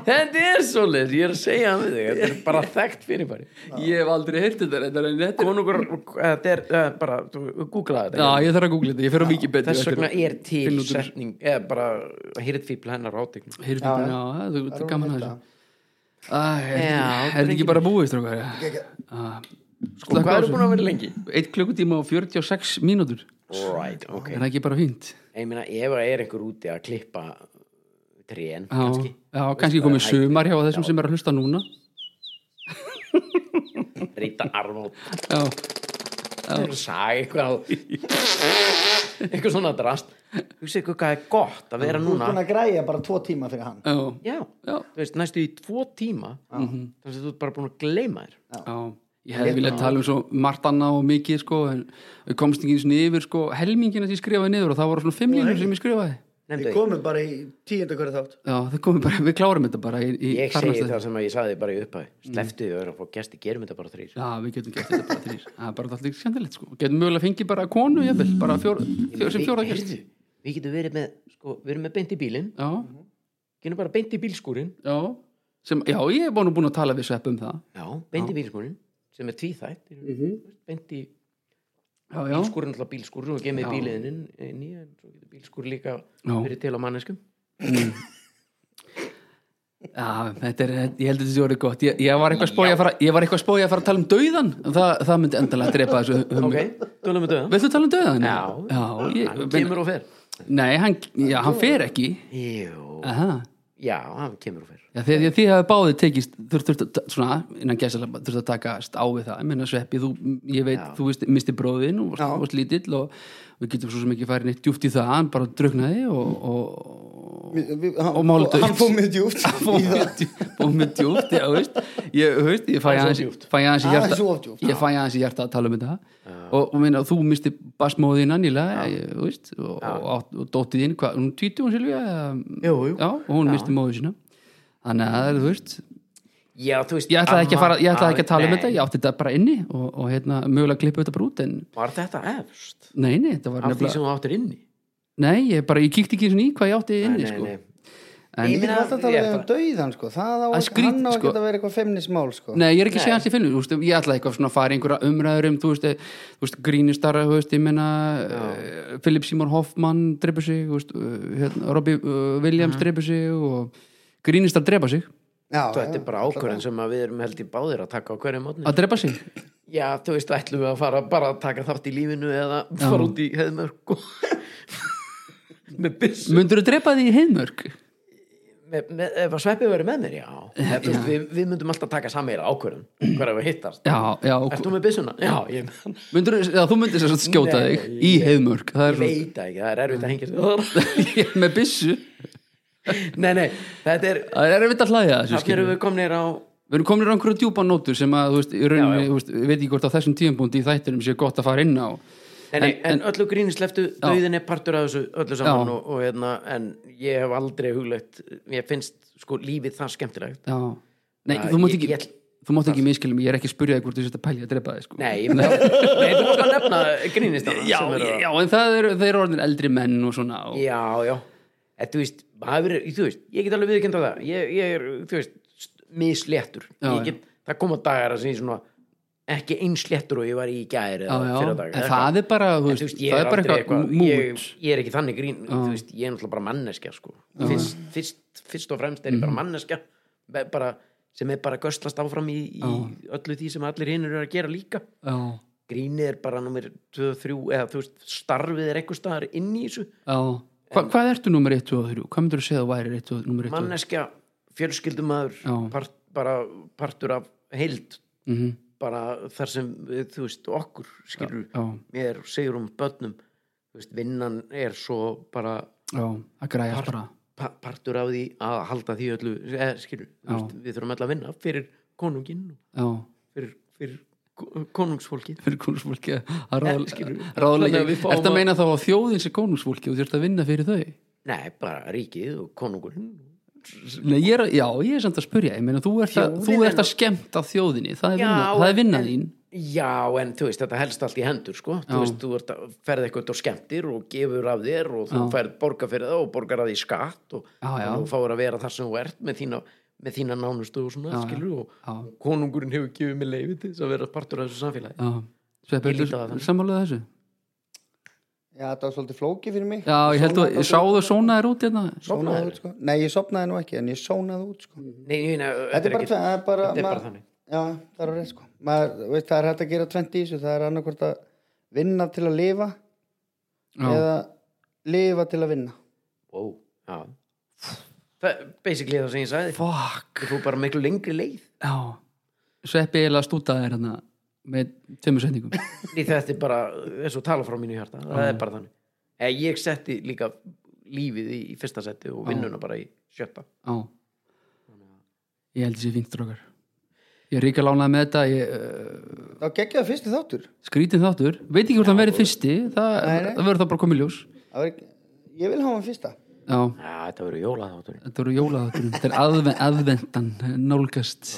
Þetta er svoleiðis, ég er að segja það við þig Þetta er bara þekkt fyrirbæri
ég hef aldrei heyrtið þetta reyndar, en þetta er
Konungur, þetta er uh, bara, þú googlaði
já,
þetta
ég þarf að googla þetta, ég fer á Wikipedia
Þess vegna er til
Finn út úr þessu.
setning eða bara hirtfíbl hennar átegnum
heyrðu
Já,
þetta,
já.
já, þú- þetta er gaman að þessu
Þetta.
Æ, er
Já,
þetta- er þetta ekki bara búið, strókar
Sko, hvað eru búin að vera lengi?
1 klukkutíma og 46 mínútur
Right, ok
er það ekki bara fínt
Ég meina, ef það er einhver úti að klippa trén,
já,
kannski
já, kannski komið
hægt.
sumar hjá þessum sem er að hlusta núna
Rita Arnold
já,
Sæ, eitthvað Eitthvað svona drast Þú veist eitthvað hvað er gott að vera
Þú ert
núna
búin að græja bara tvo tíma fyrir hann.
já,
Já,
já,
þú veist, næstu í tvo tíma Þannig að þú ert bara búin að gleyma þér
Mhm. já. ég hefði viljað tala um svo margt annað og mikið sko, en við komst ekki eins og yfir sko, helmingin að ég skrifaði niður og það voru svona fimm línur sem ég skrifaði
Nefndu
Við
ég,
komum bara í tíunda hverju þátt.
já, það komið bara, við klárum þetta bara í, í
ég
þarnasta-
segi það sem að ég saði bara í upphæði Sleftu þau að fá gesti, gerum þetta bara þrýr
já, við getum gert þetta bara þrýr það er bara alltaf skemmtilegt sko, getum mögulega fengið bara konu, ég vil, bara fjór, fjór, sem fjóra gert
Heyrðu, Við getum verið með, sko, við erum með beint í bílinn
já,
Getum bara beint í bílskúrin
já sem, já, ég er búin að búin að tala við svepp um það
Já, beint í bílskúrin sem er tvíþætt
Mhm.
Beint í
já, já,
bílskúrin alltaf bílskúr og gemið
Já.
bíliðin inn, inn í en svo getur bílskúr líka
Já.
verið til á manneskum
Já, þetta er, ég held að þetta sé orðið gott ég, ég var eitthvað spóið að fara ég var eitthvað spóið að fara að tala um dauðan það, það myndi endalega drepa þessu hugmynd.
ok, tölum við döðan
Viltu tala um dauðan?
já,
já ég,
hann
menn,
kemur og fer
Nei, hann, já, hann fer ekki
Jú,
Aha.
já, hann kemur og fer
Já, því, því, því hafi báði tekist þurft, þurft, að- svona, innan gæsalega þurft að takast á við það, ég meina sveppi þú, ég veit, þú veist, misti bróðin og varst, varst lítill og við getum svo sem ekki farið neitt djúpt í það, hann bara druknaði og, og, og máli dautt.
Hann fóð mjög djúpt. í það.
búið með djúpt já, veist, ég, veist, ég fæ aðeins
djúpt.
fæ aðeins í
Aðeins
hjarta
of djúpt,
ég fæ aðeins í hjarta að tala um þetta og, og minna, þú misti basmóðina nýlega ég, þú veist, og, og, átt- og dóttið inn hvað, hún týtti hún Silvía eða-
Jú, jú.
já, og hún misti móðu sína þannig að það er, þú veist
Já, þú veist
ég ætlaði ekki að, fara, ég ætlaði ekki að tala um
Nei.
þetta ég átti þetta bara inni og, og hérna, mögulega klippa þetta bara út en
Var þetta efst?
nei, nei, þetta var
Af því
nefnilega
sem þú áttir inni
nei, ég bara, ég kíkti ekki eins og ný hvað ég átti inni
Nei,
sko.
nei, nei.
En-
meina,
Ég myndi alltaf að tala
ég
um
bara-
dauðan sko. Það á
Það er
ekki,
skrýt,
hann á ekki
sko.
að vera eitthvað femnismál sko.
Nei, ég er ekki að segja hans í finnum, þú veist, ég ætla eitthvað svona að fara í einhverja umræður um, þú veist, eh, þú veist grínistara, þú veist, ég menna Philip Seymour Hoffman drepa sig, þú veist, eh, hérna, Robbie eh, Williams
Mhm.
drepa sig og grínistar drepa sig,
Já,
Þetta
já.
er bara ákvörðin sem að við erum held í báðir að taka á hverju mótni
að drepa sig
Já, þú veist, ætlum við að fara bara að taka þátt í lífinu eða fara út í heðmörk og- með byssu
Mundurðu drepa því í heimörk?
með, með, ef að sveppið verið með mér, Eh, já, Ef, þú veist, Við, við myndum alltaf taka sammeira ákvörðum hverja við hittast
Já, já,
Ert þú með byssuna? Já, ég,
mundurðu, já þú myndir þess að skjóta
Nei,
þig í heimörk, það
ég
er
veit það ekki, það er erfitt að hengja sig
svo með byssu,
Nei, nei, þetta er
það er erfitt að hlæja að þessu
Þannig
skilur
erum við komnir á
Við erum komin í einhverju djúpa nótur sem að, þú veist, í rauninni, þú veist, ég veit ekki hvort á þessum tíumbúndi í þættinum sé gott að fara inn á
En, en, en öllu gríni sleftu, dauðin er partur af þessu öllu saman
Já.
og, og hérna en ég hef aldrei huglegt ég finnst sko lífið það skemmtilegt
Já, nei,
Já,
þú mátt
ég-
ekki
ég-
þú mátt ekki miskilja mig, ég er ekki að spyrja þig hvort þú sért að pælja að drepa þig, sko
Nei, ég, nei þú mást að nefna grínistana
já,
sem eru að-
já, en það eru, þeir eru orðin eldri menn og svona og,
Já, já en, þú, veist, hafir, þú veist, ég get alveg viðkjönda það ég, ég er, þú veist, st- misléttur
Já,
Ég get, það koma dagar að sem ég svona ekki einsléttur og ég var í gæri
já, já, en það er bara, þú
En,
veist,
þú veist, ég er
það er bara
aldrei
eitthvað
eitthvað, ég,
mút
ég er ekki þannig grín þú veist, ég er náttúrulega bara manneskja sko. fyrst, fyrst, fyrst og fremst er ég
Mhm.
bara manneskja be- bara, sem er bara að göstlast áfram í, í öllu því sem allir hinn eru að gera líka
Já,
grínið er bara nummer 2-3 eða þú veist, starfið er eitthvað staðar inn í þessu
já Hva, Hvað ertu nummer 1 og 3? Hvað myndur þú segja að þú væri 1 og nummer 1 og 3?
manneskja, fjölskyldumadur
Já.
part, bara partur af heild
Mm -hmm.
bara þar sem, við, þú veist, okkur skilur,
Já,
mér segjur um börnum þú veist, vinnan er svo bara
já, það græðast bara
pa partur af því að halda því öllu eða, skilur, þú veist, við þurfum alltaf að vinna fyrir konunginn og
Já,
fyrir, fyrir ko- konungsfólkið
fyrir konungsfólki að
skilur við. Þannig
ráðlega
að við fáum
Er það
að-
meina þá að þjóðin sé konungsfólki og þú ert að vinna fyrir þau?
nei, bara ríkið og konungurinn
Nei, ég er, að- já, ég er samt að spurja, ég meina þú ert að, þú
Þjóðin
ert
er-
að skemmta þjóðinni, það er,
Já,
vinna, það er vinna
en-
þín
Já, en þú veist, þetta helst allt í hendur sko.
Já.
þú veist, þú ert að ferð eitthvað og skemmtir og gefur af þér og þú
Já.
ferð borga fyrir það og borgar af því skatt og,
Já, já.
og þú fáir að vera þar sem þú ert með þína, með þína nánustu og svona
Já, já.
skilur og
Já.
og konungurinn hefur gefið mér leiði til þess að vera partur af þessu samfélagi
Já, Sveppi,
Ég lít á það
ertu
þannig.
sammálaðið þessu?
Já, þetta var svolítið flókið fyrir mig
Já, ég held að, ég sá þau sónaðir út hérna
Sónaði
Sofnaðirðu?
út, sko. Nei, ég sopnaði nú ekki, en ég sónaði út sko.
Nei, ég meina,
Þetta er bara,
ekki-
tvennt, það er bara,
þetta er bara
maður-
þannig.
Já, það er á reynd sko maður, þú veist, Það er hægt að gera tvent í þessu Það er annarkvort að vinna til að lifa
Já,
eða lifa til að vinna
wow. Já. Það er basically það sem ég sagði
fuck
Þú fór bara miklu lengri leið
Já, Sveppi eiginlega stútaði þér hérna með tveimur setningum
Í þetta er bara, eins og tala frá mínu hjarta það er bara þannig Eh, ég setti líka lífið í, í fyrsta seti og vinnuna bara í sjötta
Já Ég held þessi fínt drókar Ég er ríka lánaði með þetta ég, uh,
Þá geggja það fyrsti þáttur
Skrítin þáttur, veit ekki hvort hann verið fyrsti Það,
Nei, nei.
það verður það bara komið ljós
Það var ekki, Ég vil hafa hann fyrsta
Já,
Já, þetta verður jólað áttur
þetta eru jólaðátturinn Þetta er aðven, aðventan, nálgast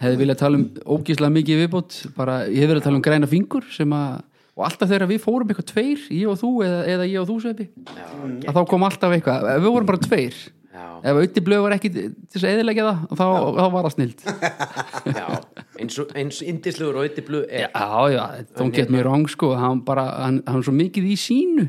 Hefði viljað tala um ógislega mikið í viðbót bara, Ég hef verið að tala um græna fingur sem að Og alltaf þegar við fórum eitthvað tveir, ég og þú eða, eða ég og þú sveppi að þá kom alltaf eitthvað, ef við vorum bara tveir
Já,
ef auðvitað blöð var ekki til þess að eðilegja það þá, þá var það snild
já, eins og eins indislegur og yttiblu er já.
Já, já, don't get me wrong sko hann bara, hann, hann er svo mikið í sínu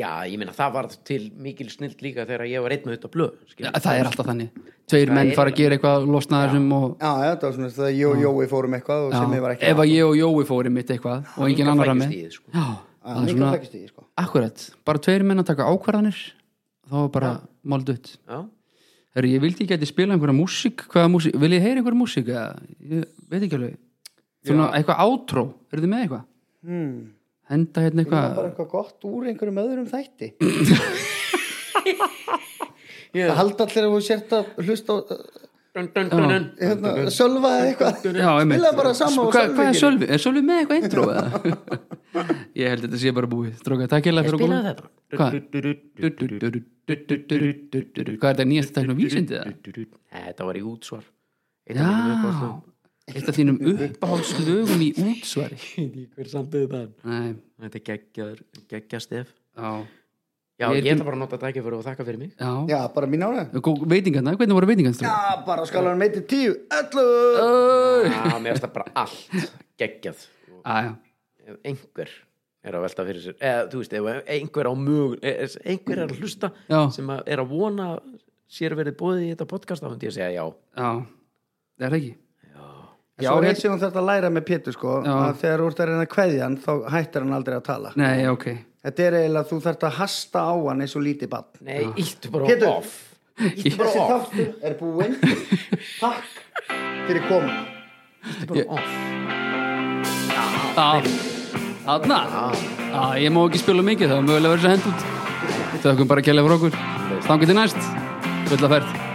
ég meina það var til mikil snild líka þegar ég var einn með þetta blö
Já, það er alltaf þannig Tveir menn fara að gera eitthvað losnaður sem og
Já, já, það var svona þess að ég og Jói fórum eitthvað og
já,
sem ég var ekki
ef að ég og Jói fórum mitt eitthvað og engin
líka
annar að með
flækjustigið, sko.
Já, það er svona,
flækist í, sko
akkurat bara tveir menn að taka ákvarðanir þá var bara máld upp
Já,
Herri, ég vildi ekki að spila einhverja músík hvaða músík, vil ég heyra einhverja músík eða, ég veit ekki alveg svona eitthvað átró, eru þið með eitthvað?
hmm.
Henda hérna
Það er
eitthvað
bara eitthvað gott úr einhverjum öðrum þætti
Já.
Það halda allir að þú sért að hlusta á, eh,
dun, dun, dun, dun.
hérna, Sölva eða eitthvað Spila bara sama á
Hva, Sko, Hvað er
Sölvi
Sölvi? Er Sölvi með eitthvað intro? eða? ég held þetta sé bara búið Dróka, takk ég fyrir að koma
Spilaðu þetta
Hvað? Hvað er þetta nýjast tækn á vísindi það?
Nei, Þetta var í útsvar Eitt af mínum uppáhaldslögum.
Já Eitt af þínum uppáhaldslögum í útsvari
Ég veit ekki Hver samtidig það
Nei,
Þetta er geggjaður, geggjastef
já
Já,
Ég er
ég
til-
ætla bara að nota þetta ekki fyrir og þakka fyrir mig
Já,
Já, bara mín ára
Gó- veitingarnar, hvernig voru veitingarnar?
Já,
strákar?
bara á skalanum 1 til 10 11
Æ,
Já, Ah, mér finnst það bara allt geggjað Og
Ah, Já, já
ef einhver er að velta fyrir sér eða þú veist, ef einhver á mög einhver er að hlusta
Já.
sem að er að vona sér verið bóðið í þetta podcast þá hundi ég að segja já
Já, það er ekki
Já, Svo
ég-
reynd sem hún þarf að læra með Pétur sko að þegar þú ert að reyna að kveðja hann þá hættir hann aldrei að tala
Nei, ok
Þetta er eiginlega að þú þarf að hasta á hann eins og lítið bann
Nei, íttu bara
Pétur.
off Íttu bara
Þessi
off
þáttur er búinn Takk fyrir komin
Íttu bara off
Já, þarna Já, ég má ekki spila mikið, það er mögulega verið þess að henda út Þau okkur bara að kella fyrir okkur Stangið til næst, fulla ferð